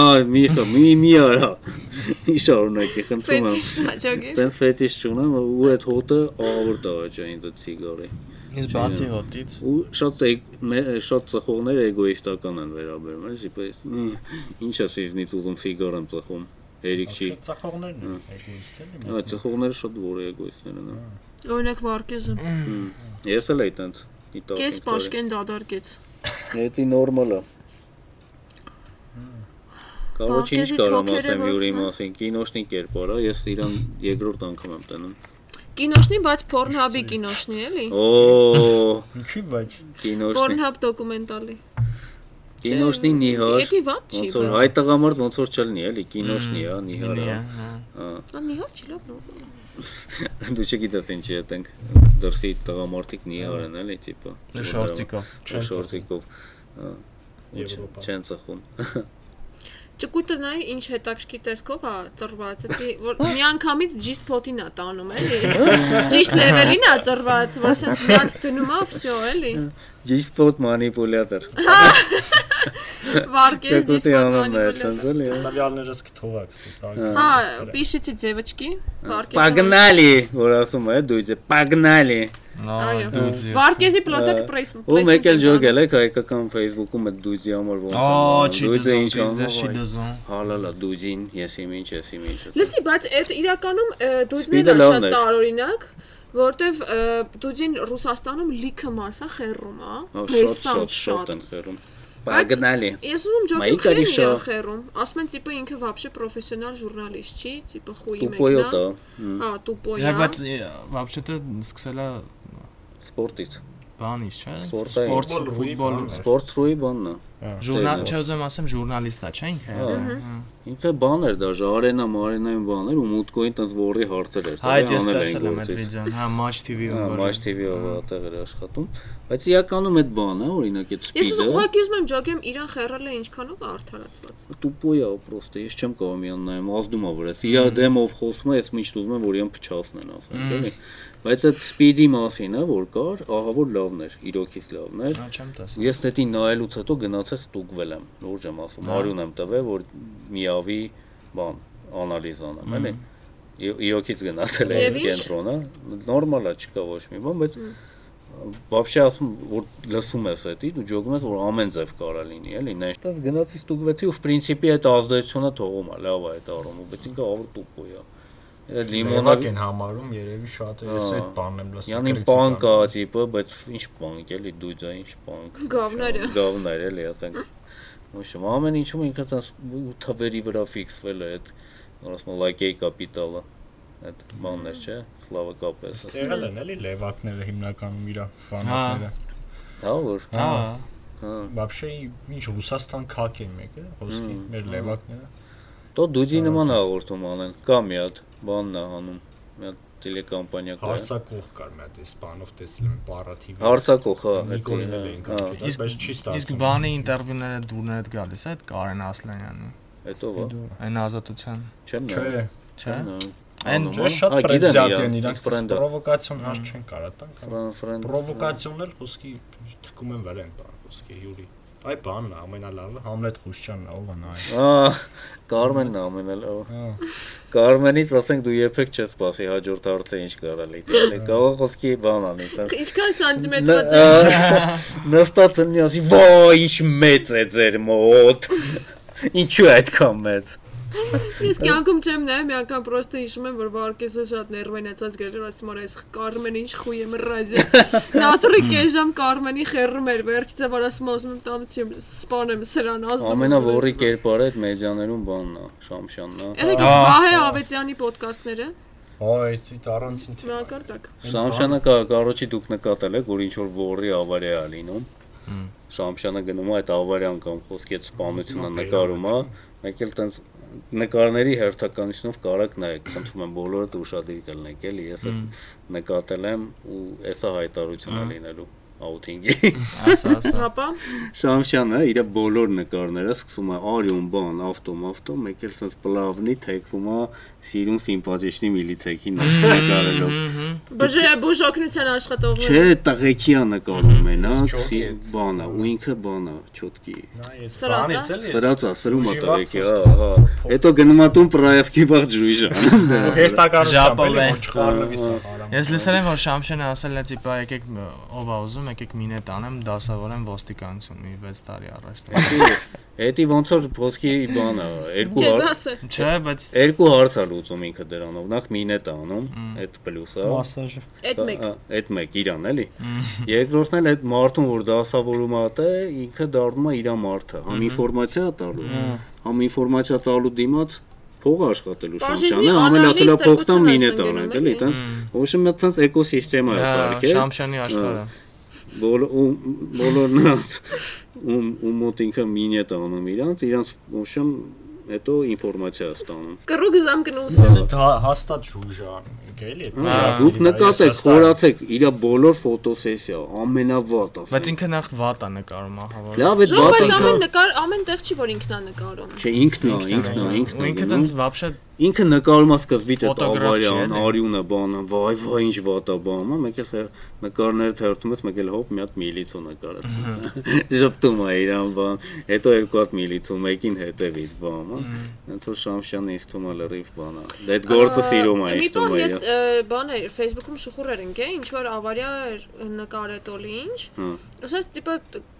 S1: Ահա, մի խա, մի մի արա։ Իշառունակի խնդրում եմ։
S2: Ֆեցիշ նաճոգեր։
S1: Տենց ֆետիշ չունեմ ու այդ հոտը ավոր տաճա ինձ այդ սիգարի։
S4: Ինձ բացի հոտից
S1: Ու շատ էգ- մե- շատ ծխողներ էգոիստական են վերաբերում, էլի, իպես ինչ ես ինձնից ուզում սիգար եմ ծխում։ Երիկ չի։
S5: Շատ ծախողներն են, էգոիստ են։
S1: Ահա ծխողները շատ որ էգոիստներ են։ հա։
S2: Օրինակ Վարկեզը։
S1: Ես էլ էի տենց։ ի 15
S2: Կես
S1: տարի։
S2: Պաշկեն դադարկեց։
S1: Դա նորմալ է։ Կարոջ ինչ
S2: Պարկեզի
S1: կարամ
S2: թոքերը
S1: ասեմ
S2: որ-
S1: Յուրի մասին, կինոշնի կերպարա, ես իրան երկրորդ անգամ եմ տնում։
S2: Կինոշնի, բայց Pornhub-ի կինոշնի էլի։
S1: Օ,
S3: Ինչի՞ բայց։
S1: կինոշնի։
S2: Pornhub դոկումենտալի։
S1: Կինոշնի նիհար։
S2: Էդի վատ չի,
S1: Ոնց որ հայ տղամարդ ոնց որ չլնի, էլի կինոշնի, հա, նիհար։ հա,
S2: բայց նիհար չի լավ նո։
S1: հա։ Դու չգիտես ինչի է տենք։ Դրսի տղամարդիկ նիհար են, էլի, տիպը։
S4: շորտիկով։
S1: Ու շորտիկով։ հա, ու չեն-
S5: Եվրոպա։
S1: Չեն ծխում։
S2: Ճկուտը նայ ինչ հետաքրքիր տեսքով է ծռված, դա որ միանգամից ջիս փոթին է տանում էլի։ Ճիշտ լեվելին է ծռված, որ sense միած դնում է, всё էլի։
S1: Ջիսպորտ մանիպուլյատոր։
S2: Վարկես ջիս
S1: Չկուտի
S2: փոթ
S1: անում է,
S2: մանիպուլյատոր։
S1: տենց էլի։ հա։
S5: Տվյալներս կթողաք ստիպակ։
S2: Հա, пишите девочки, Վարկեսը։
S1: Погнали, որ ասում է, դույդը, погнали։
S2: Այո։
S4: Դուզի։
S2: Վարկեսի պլոտակ
S1: Ա,
S2: պրեյս։
S1: Ու մեկ էլ ջոգել է հայկական Facebook-ում այդ դույդի համար ոնց։
S4: Օ, չի դուզի,
S1: ինչ
S4: դուզի, չի դուզի։
S1: Հալալա դույդին, ես իմ ինչ, ես իմ ինչ։
S2: Լսի, բայց այդ իրականում դուժները
S1: Սպիդը
S2: շատ
S1: լավն էր։
S2: տարօրինակ, որտեվ դուժին Ռուսաստանում լիքը մասը խերում է,
S1: Ա,
S2: բեսան
S1: շատ շատ
S2: շատ։
S1: են խերում։ Погнали։
S2: Ես ուզում
S1: Մայի
S2: ջոկը
S1: կարի
S2: քրին է
S1: շա։
S2: խերում։ Ասում են տիպը ինքը вообще պրոֆեսիոնալ ժուրնալիստ չի, տիպը խույի մեկնա։
S1: Տուպոյոտա,
S2: Հա,
S4: Դա
S2: տուպոյա։
S4: բայց вообще-то սկսելա
S1: սպորտից։
S4: բանից, չէ։
S1: Սպորտային։
S4: Սպորտ, ֆուտբոլ։
S1: Սպորտ ռուի բաննա։
S4: Ժուրնալ, չէ ուզեմ ասեմ ժուրնալիստա, չէ ինքը։
S1: Ինքը բան էր դա, Ժարենա, Մարինային բան էր ու մուտկոին տենց ворի հարցեր էր։
S4: Հա, այդ ես
S1: անել էին
S4: տեսել եմ
S1: գործից։
S4: այդ Հա։ վիդեոն, հա, Match TV-ում որ։
S1: Մաշ TV-ով ատեղ էր աշխատում, բայց իրականում այդ բանը, օրինակ այդ
S2: Ես ուզում
S1: սպիդը,
S2: ուղղակի ուզում եմ ջոկեմ իրան խերրել է ինչքանով է արդարացված։
S1: տուպոյա պրոստը, ես չեմ կարող միան նայեմ, ազդում ա վրաս։ Իրա դեմով խոսում է, ես միշտ ուզում եմ, որ իրան փչացնեն, ասենք, էլի։ Բայց այդ սպիդի մասին է, որ կար, ահա որ լավն էր, իրոքից լավն էր։
S4: Հա, չեմ տեսել։
S1: Ես դեթի նայելուց հետո գնացած ստուգվել եմ, լուրջ եմ ասում, արյուն եմ տվել, որ միավի բան անալիզ անեմ, էլի։ Ի- Իրոքից գնացել է
S2: Եվ ինչ?
S1: կենտրոնը, նորմալ է, չկա ոչ մի բան, բայց Բաբշե ասում որ լսում ես էդի, դու ջոգում ես որ ամեն ձև կարա լինի, էլի։ Նայստած գնացի ստուգվեցի ու պրինցիպի այդ ազդեցությունը թողում է, լավ է այդ առումը, բայց ինքը ավր տուպոյ է։ Այդ
S5: Մոնակ
S1: լիմոնակ
S5: են համարում, երևի շատ է, ես այդ բանն եմ լսել։
S1: Յանի պանկ է տիպը, բայց ինչ պանկ էլի դու դա ինչ պանկ։
S2: Գավները։
S1: Գավներ էլի, ասենք։ Ոշմ ամեն ինչում ինքը տես թվերի վրա ֆիքսվել է այդ որ ասում լայկեի կապիտալը։ Այդ բաններ չէ, Սլավա կապես։
S5: Եղել են էլի լևակները հիմնականում իրա
S4: ֆանատները։
S5: ֆանատները։
S1: Հա որ
S4: Հա,
S1: հա
S3: Вообще ինչ Ռուսաստան քաղաք են մեկը, ոսկի, մեր լեվակները։
S1: Տո դուդի նման հաղորդում անեն, կա մի հատ բանն է անում, մի հատ տելեկամպանիա կա։
S3: Հարցակող կար մի հատ էս բանով տեսել եմ բառաթիվ։
S1: Հարցակող, հա,
S3: Նիկոլին էլ
S1: հետո,
S3: էին
S1: հա,
S3: կապել, բայց չի
S4: Իսկ
S3: ստացվում։
S4: բանի ինտերվյուները դուրներ է գալիս այդ Կարեն Ասլանյանի,
S1: հետո հա,
S4: այն ազատության,
S1: չեմ նա։
S3: Չէ, հա։
S4: չէ՞։
S3: այն
S1: Ա,
S3: չէ,
S4: Անում
S3: շատ
S1: գիտեմ
S3: պրեզիատ
S1: իրան,
S3: են իրանք,
S1: ֆրենդը։
S3: պրովոկացիոն հաշ չեն կարա տան։ կամ-
S1: ֆրանդ
S3: Պրովոկացիոնն էլ խոսքի թքում են վրան բան, խոսքի հյուրի։ Այ բանն է ամենալավը Համլետ Խուշչյանն է, ով է նայ։
S1: Ահա Կարմենն է ամենալավ։
S3: Հա։
S1: Կարմենից ասենք դու երբեք չես սпасի հաջորդ հարցը ինչ կարա լինի։ Կարող խոսքի բան անի, ասենք։
S2: Ինչքան սանտիմետրած է։
S1: Ն- Նստած են մի ասի, «Վայ, ինչ մեծ է ձեր մոտ»։ Ինչու է այդքան մեծ։
S2: Ես կյանքում չեմ նայում, մի անգամ պրոստը հիշում եմ, որ Վարկեսը շատ ներվայնացած գրել էր, ասում էր, այս Կարմեն ինչ խույ եմ ռազի։ Նատրի կեժամ Կարմենի խերում էր, վերջից է, որ ասում ասում եմ տամցի սպանեմ սրան ազդում։
S1: Ամենավորի կերպարը այդ մեդիաներում բանն է, Շամշյանն է։
S2: Եղեք Վահե Ավետյանի պոդքասթները
S3: Այ այդ առանցին թե։
S2: միակարդակ։
S1: Շամշյանը կա, կարոջի դուք նկատել եք, որ ինչ որ ворի ավարիա է լինում։ Շամշյանը գնում է այդ ավարիան կամ խոսքի այդ սպանությունը նկարում է, մեկ էլ տենց նկարների հերթականությունով կարակ նայեք, խնդրում եմ բոլորդ ուշադիր կլնեք, էլի ես էլ նկատել եմ ու էսա հայտարարությունը լինելու outing-ի։
S4: Ասա, ասա։
S2: Հապա,
S1: Շամշյանը իր բոլոր նկարները սկսում է արյուն բան, ավտոմ, ավտոմ, մեկ էլ sense պլավնի թեքվում է սիրուն սիմպաթիչնի միլիցեքի նկարելով։
S2: բժե բուժ օգնության աշխատողներ։
S1: Չէ, տղեկի է նկարում մենակ,
S3: Չոտկի
S1: սի-
S3: է։
S1: բանա, ու ինքը բանա, չոտկի։
S3: Նա է
S2: Սրած է։
S3: բանից էլի։
S1: Սրածա, սրում է
S3: Ուժի
S1: տղեկի, հա,
S3: վարդ
S1: հա։ Հետո գնում ատում պրայավքի վաղ ջրույժան։
S3: Հերթականությամբ էլի,
S4: Ժապավեն։
S3: որ չխառնվի սա հարամ։
S4: Ես լսել եմ, որ Շամշենը ասել է, տիպա, եկեք մ, ով ա ուզում, եկեք մինե տանեմ, դասավորեմ ոստիկանություն մի 6 տարի առաջ։
S1: Էդի ոնց որ ոսկի բանա, երկու
S2: Քեզ
S1: հար-
S2: ասե։
S4: Չէ, բայց
S1: երկու հարց է լուծում ինքը դրանով։ Նախ մինետ է անում, այդ պլյուսը։
S6: Մասաժը։
S2: Այդ մեկ։
S1: Ա, Այդ մեկ իրան էլի։ Երկրորդն էլ այդ մարդուն, որ դասավորում ա տե, ինքը դառնում է իր մարդը, համ ինֆորմացիա ա տալու։ Համ ինֆորմացիա տալու դիմաց փող ա աշխատելու
S2: Բաժինի
S1: շանսը, ամեն ասելա
S2: անալիզ
S1: փոխտամ
S2: տերկություն
S1: մինե
S2: ասեն
S1: տանենք,
S2: գնում,
S1: էլի,
S2: էլի։
S1: տենց ոչ մի տենց էկոսիստեմա է
S4: հա,
S1: սարքել։
S4: Շամշենի աշխարհը։
S1: բոլոր ու բոլորն ած ու ու մոտ ինքը մինե տանում իրանց, իրանց ոչ մի հետո ինֆորմացիա ա ստանում։
S2: Կռուկ ժամ գնուս։
S3: Դա հա- հաստատ ժուժան, գելի է։
S1: Հա, Դուք նկատեք, խորացեք, իր բոլոր ֆոտոսեսիա ամենավատ ասեմ։
S4: Բայց ինքը նախ վատ է նկարում, ահա որ։
S1: Լավ է,
S2: Ժող,
S1: վատ
S2: բայց
S1: ինքը։
S2: ամեն նկար ամեն տեղ չի որ ինքնա նկարում։
S1: Չէ, ինքն է, ինքն է,
S4: Ու ինքը
S1: ինքն է։
S4: տենց վաբշե
S1: Ինքը նկարում է սկզբից այդ
S4: Ֆոտոգրաֆ չի,
S1: ավարիան,
S4: էլի։
S1: արյունը, բանը, վայ, վայ, ինչ վատա բանը, մեկ էլ հեր- նկարները թերթում ես, մեկ էլ հոպ մի հատ միլիցո նկարած։ Ժպտում է իրան բան, հետո երկու հատ միլիցո, մեկին հետևից բանը։ Հենց որ Շամշյանը իստում է լրիվ բանը։ Դե այդ գործը սիրում է
S2: Մի
S1: իստում
S2: բան
S1: է։
S2: ես ը, բան էր Facebook-ում շուխուր էր ընկե, ինչ որ ավարիա էր նկարել օլի ինչ։
S1: Հա։
S2: Ոսես տիպը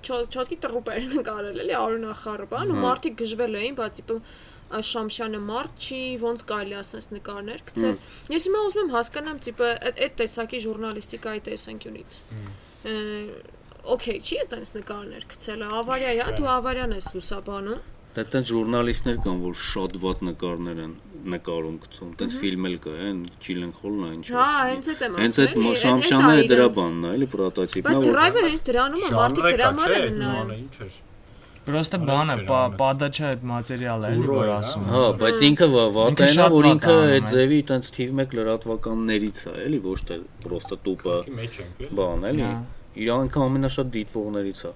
S2: չոտքի տրուպեր նկարել էլի արունախառը բան
S1: Հա։
S2: ու մարդիկ գժվել էին, բայց տիպը այս Շամշյանը մարդ չի, ոնց կարելի ասես նկարներ գցել։
S1: Հա։
S2: Ես հիմա ուզում եմ հասկանամ տիպը այդ- այդ տեսակի ժուրնալիստիկայի տեսանկյունից։ Ը, Օքեյ, չի է տենց նկարներ գցելը։ Ավարիա է, հա, դու ավարիան ես լուսաբանում։
S1: Դա այդտեղ ժուրնալիստներ Դե կան, որ շատ ված նկարներ են նկարում գցում, այդպես ֆիլմ էլ կա, այն Չիլենխոլն է ինչ։
S2: Հա, հենց այդ եմ
S1: Հենց
S2: ասում։
S1: այդ
S2: էլի,
S1: մո-
S2: է- է
S1: շամշանը
S2: դա
S1: է դրա
S2: իրենց։
S1: բանն է, էլի պրոտոտիպն
S2: Բայց
S1: է, որ
S2: դրայվը հենց դրանում է, մարդիկ դրա համար են նայում։
S3: Ինչ էր։
S4: Պրոստը բան է, падա չէ այդ մատերիալը, էլի,
S3: Ուրո
S4: որ
S3: է,
S4: ասում
S1: Հա, բայց ինքը վա- վատ
S4: Ինքը
S1: այն է,
S4: շատ
S1: որ
S4: վատ
S1: ինքը
S4: անում
S1: այդ
S4: է։
S1: ձևի այտենց թիվ 1 լրատվականներից է, էլի, ոչ թե պրոստը տուպը
S3: Ի մեջ ենք։ էլ։
S1: բան, էլի։
S4: Հա։
S1: Իրանք ամենաշատ դիտվողներից է։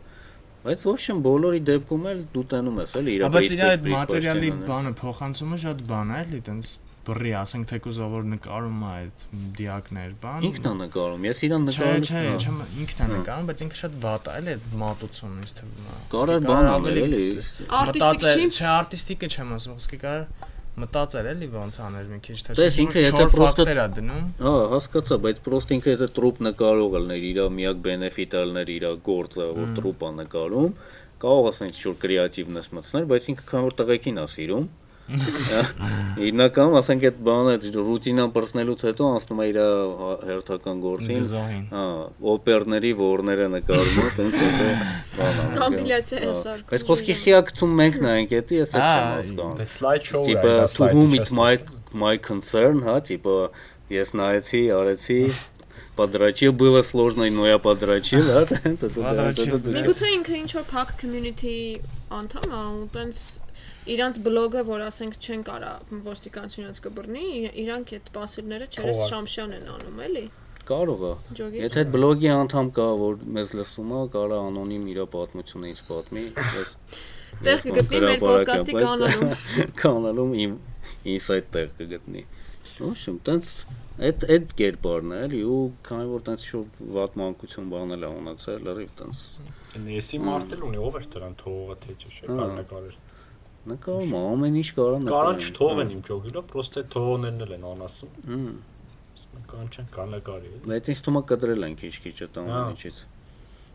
S1: Բայց ոչ չեմ բոլորի դեպքում էլ դու տանում ես, էլի, իր
S4: է։ Բայց իր այդ մատերիալի բանը փոխանցումը շատ բան է, էլի, տենց բռի, ասենք թե կուզավոր նկարում է այդ դիակներ, բան։
S1: Ինքն է նկարում, ես իրան
S4: Չէ,
S1: նկարում։
S4: չէ, չեմ ինքն է նկարում, բայց ինքը շատ վատ է, էլի, այդ մատուցումն ինձ թվում է։
S1: Կարա
S4: Իսկ
S1: բան
S4: կարա
S1: անել,
S4: ավելի
S1: էլի։
S2: Արտիստիկ
S4: մտածել,
S2: չի։
S4: չէ, արտիստիկը չեմ ասում, ոսկե կար մտածել էլի ոնց աներ մի քիչ թե
S1: Տես,
S4: շուտ
S1: ինքը եթե
S4: չոր
S1: պրոստը-
S4: ֆակտեր է դնում,
S1: Հա, հասկացա, բայց պրոստ ինքը դա տրուպ նկարող ելներ, իր միակ բենեֆիտը ելներ իր գործը, որ տրուպա նկարում, կարող ասենք շուտ կրեատիվնես մտցնել, բայց ինքը քան որ տղեկին է սիրում։ Իրնականում ասենք այդ բանը այդ ռուտինան բրցնելուց հետո անցնում է իր հա- հերթական գործին։
S4: գզոհին։
S1: Հա, օպերների որները նկարում է, տենց է դա բանը։
S2: Կոմպիլյացիա է սարքում։
S1: Բայց խոսքի խիակցում մենք նայենք, դա ես էլ չեմ
S4: Ա,
S1: հասկանում
S3: Դե slide show-ը։
S1: տիպը to whom it might my concern, հա, տիպը ես նայեցի, արեցի подрачил было сложно, но я подрачил, да, это
S7: Подрочил,
S1: тут.
S2: Միգուցե ինքը ինչ որ փակ community անդամ է, ու տենց իրանց բլոգը, որ ասենք չեն կարա ոստիկանությունից կբռնի, իր- իրանք այդ պասիվները չերես
S3: Թողարկել։
S2: շամշան են անում, էլի։
S1: Կարող է։
S2: Ջոգի։
S1: Եթե այդ բլոգի անդամ կա, որ մեզ լսում է, կարա անոնիմ իր պատմությունը ինձ պատմի, ես
S2: Տեղ կգտնի մեր podcast-ի կանոնում։
S1: կանալում իմ ինսայթ տեղ կգտնի։ Ոշում, տենց այդ այդ կերպարն է, էլի ու քանի որ տենց շուտ վատ մանկություն բանել է ունեցել, լրիվ տենց
S3: Եսի մարտել ունի ով էր դրան թողողը թե չէ չէ,
S1: Ահա.
S3: կարտակարեր։
S1: նկարում է, ամեն ինչ կարա հա, նկարի։
S3: Կարան չթողեն իմ ճոգիլով, պրոստե թողոներն էլ են անասում։ Կան չեն կանեկարի։
S1: Բայց ինձ թվում է կտրել են քիչ-քիչ այդ
S7: Հա։
S1: ամեն
S3: Ահա.
S1: ինչից։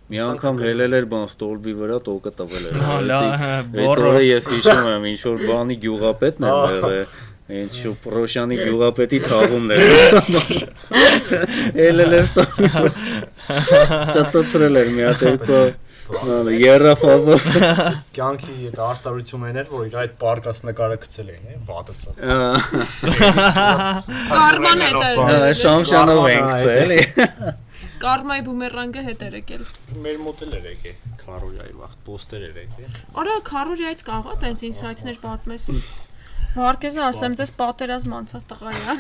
S1: Մի անգամ հելել էր բան ստորբի վրա տոկը տվել էր։
S7: Հա, լա, հա, բոռը։
S1: Բորը ես հիշում եմ, ինչ որ բանի գյուղապետն է
S3: Ահա.
S1: եղել։
S7: հա։
S1: Ինչ որ Պրոշյանի գյուղապետի թաղումն էր։ Հելել էր ստորբի։ Չտծրել էր մի հատ
S7: Հա,
S1: երկու նալը երրաֆազով։
S3: Կյանքի այդ արտարությունն էր, որ իր այդ պարկաս նկարը գցել էին, է, վատացա։
S2: Կարման հետ էր եկել։
S1: հա, Շամշանով ենք ցե, էլի։
S2: Կարմայի բումերանգը հետ էր եկել։
S3: Մեր մոտ էլ էր եկել, քարոյայի վախտ պոստեր էր եկել։
S2: Արա Քարորիայից կարողա տենց ինսայթներ պատմես։ Վարկեզը ասեմ, ձեզ պատերազմ անցած տղա է։ հա։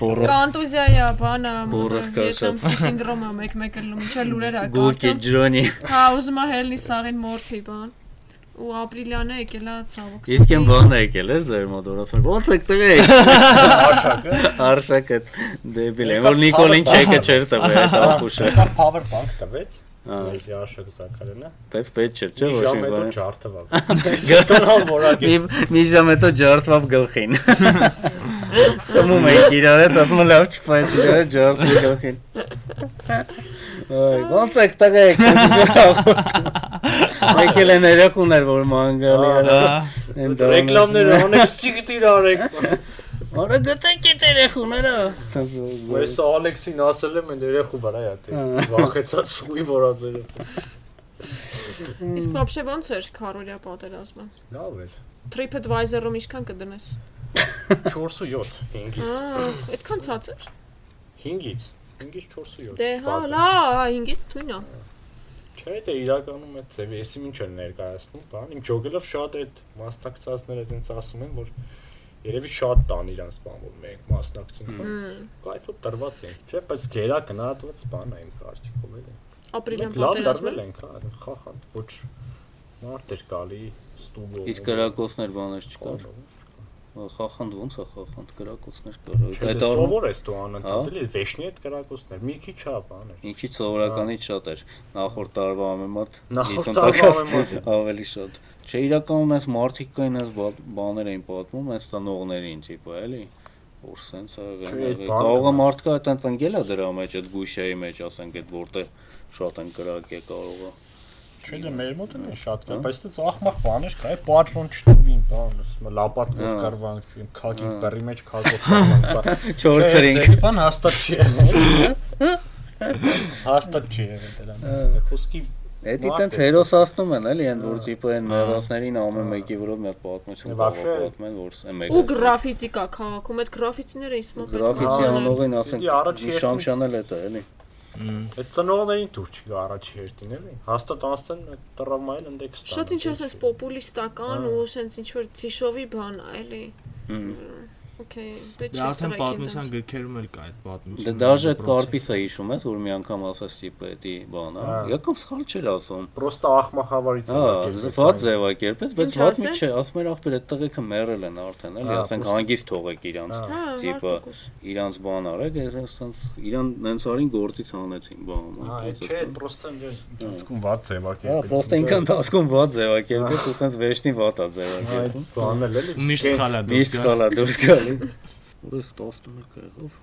S1: Բորը
S2: Կանտուզիա է, բանա, մոտ
S1: Բոռը կաշավ։
S2: վիետնամսկի սինդրոմը մեկ-մեկը լում, չէ լուրեր է
S1: գուրկի
S2: կարտում։
S1: ջրոնի։
S2: Հա, ուզում եմ հելնի սաղին մորթի բան։ Ու ապրիլյանը եկել է ցավոք։
S1: Իսկ են բան եկել է ձեր մոտ որ ասում ո՞նց եք տվել։
S3: Աշակը
S1: Արշակը դեպիլ է, որ Նիկոլին չեկը չեր տվել այդ ապուշը։
S3: Կար power bank տվեց,
S1: Ահա,
S3: այս Աշակ Զաքարյանը։
S1: Բայց պետք չէր, չէ՞
S3: Մի
S1: ոչ
S3: ժամ
S1: մի
S3: հետո
S1: բան։
S3: ջարդվավ։
S1: Ջարդվավ
S3: որակ
S1: Մի մի ժամ հետո ջարդվավ գլխին։ Խմում էի իրար հետ, ասում լավ չփայց իրար ջարդի գլխին։ Այ, ո՞նց եք տղեկ։ Եկել են երեխուներ, որ մանգալի
S3: Ահա,
S1: էր։ են դառնում։
S3: Ռեկլամները անեք չիգ դիրարեք։
S1: Որը գտեք այդ երեխուները։ Այս
S3: Ես Ալեքսին ասել եմ, այն երեխու վրա է դա։ Վախեցած սուի որազերը։
S2: Իսկ вообще ո՞նց էր Քարորիա պատերազմը։
S3: Լավ էր։
S2: TripAdvisor-ում ինչքան կդնես։
S3: 4 ու 7, 5-ից։
S2: Ա, Այդքան ցած էր։
S3: 5-ից 5-ից 4 ու 7։
S2: Դե հա, լա, 5-ից թույնա։
S3: Չէ, դե իրականում այդ ծեվի, էսի ինչ են ներկայացնում, բան, իմ ճոգելով շատ այդ մասնակցածները այդպես ասում են, որ երևի շատ տան իրան սպանվում, մենք մասնակցենք, բան, կայֆը տրված են։ Չէ, բայց գերա գնահատված բան է իմ կարծիքով էլի։
S2: Ապրիլյան
S3: Մենք լավ դարձել
S2: պատերազմը։
S3: ենք, հա, խախան, ոչ մարդ էր գալի, ստուգո։
S1: Իսկ գրակոցներ բաներ չկար։ Խախանդ ո՞նց է խախանդ գրակոցներ կար։ Այդ
S3: Այդ
S1: առ-
S3: դե սովոր էս դու
S1: Հա։
S3: անընդհատ էլի վեշնի այդ կրակոցներ, մի քիչ հա բան էր։
S1: Ինչի սովորականից շատ էր նախորդ տարվա ամեմատ
S3: Նախորդ
S1: ինքն
S3: տարվա
S1: տակաս
S3: ամեմատ։
S1: ավելի շատ։ Չէ, իրականում այս մարտիկ կային այս բա- բաներ էին պատմում, այս տնողներին տիպը, էլի։ Որ սենց ա
S3: Չէ,
S1: եղել։
S3: այդ բանը
S1: Կարող է
S3: կա։
S1: մարդկա այտենց ընկելա դրա մեջ, այդ գուշայի մեջ, ասենք, այդ որտեղ շատ են գրակ է կարող է։
S3: Չէ, դե մեր մոտ էլ է շատ
S1: Հա։
S3: կա, բայց դա ծախմախ բաներ կա, է պատրոն չտվին, բան, ասում եմ, լապատկով
S1: Հա.
S3: կարվանք, իմ քակի բռի մեջ քակով կարվանք։ բա։
S1: Չորցրինք։
S3: Ձերի բան հաստատ չի եղել։ Հաստատ չի եղել
S1: Հա։
S3: դրան։ Խոսքի
S1: Էդի
S3: մարդ
S1: տենց
S3: ես
S1: հերոսացնում են, էլի, այն որ տիպը այն մեռածներին ամեն մեկի վրա մի հատ պատմություն
S3: Եվ
S1: կարող
S3: вообще-
S1: պատմեն, որ սա մեկ։
S2: Ու գրաֆիտիկա քաղաքում այդ գրաֆիտիները իսկ մոտ
S1: Գրաֆիցի անողին
S3: Դե առաջ
S1: ասենք,
S3: երթում-
S1: շամշանել է դա, էլի։
S3: այդ ծնողներին դուր չի գա առաջի հերթին էլի։ Հաստատ անցան տրավմային ինդեքս տան։
S2: Շատ ինչ ասես պոպուլիստական ու սենց ինչ որ ցիշովի բան ա, էլի։ Okay,
S4: Դա
S2: պետք
S4: Դե արդեն
S2: չէ
S4: պատմության գրքերում էլ կա այդ պատմությունը։
S1: Դե դաժե կարպիսը հիշում ես, որ մի անգամ ասաց տիպը էդի բան, հա։
S3: Հա.
S1: Եկամ սխալ չէր ասում։
S3: Պրոստա ախմախավարից
S1: Հա, զվատ ձևակերպեց, բայց
S2: Ինչ
S1: ված մի
S2: ասել։
S1: չէ, ասում էր աղբեր այդ տղեկը մեռել են արդեն, էլի,
S3: Հա,
S1: ասենք
S3: պրոստա-
S1: հանգիստ թողեք իրանց։
S3: Հա.
S2: Հա,
S1: Տիպը իրանց բան արեք, ես ասենց իրան նենց արին գործից հանեցին բան։
S3: Հա,
S1: ամեն
S3: այդ չէ,
S1: ինչ,
S3: պրոստա ընթացքում ված
S1: Հա,
S3: ձևակերպեց։
S1: պրոստը ինքան դասքում ված ձևակերպեց, ու սենց վեշտի վատա ձևակերպում։
S3: Հա։ այդ բանն էլ էլի։
S4: Միշտ սխալա դուրս
S1: Միշտ
S4: գա։
S1: խալա դուրս գալի։ Որս 11 եղավ։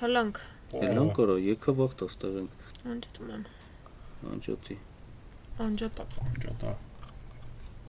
S2: Հլանք,
S1: Էլան կարա եկավ ախտ աստեղ են
S2: անջատում եմ,
S1: անջատի։
S2: անջատած։
S8: Ճտա։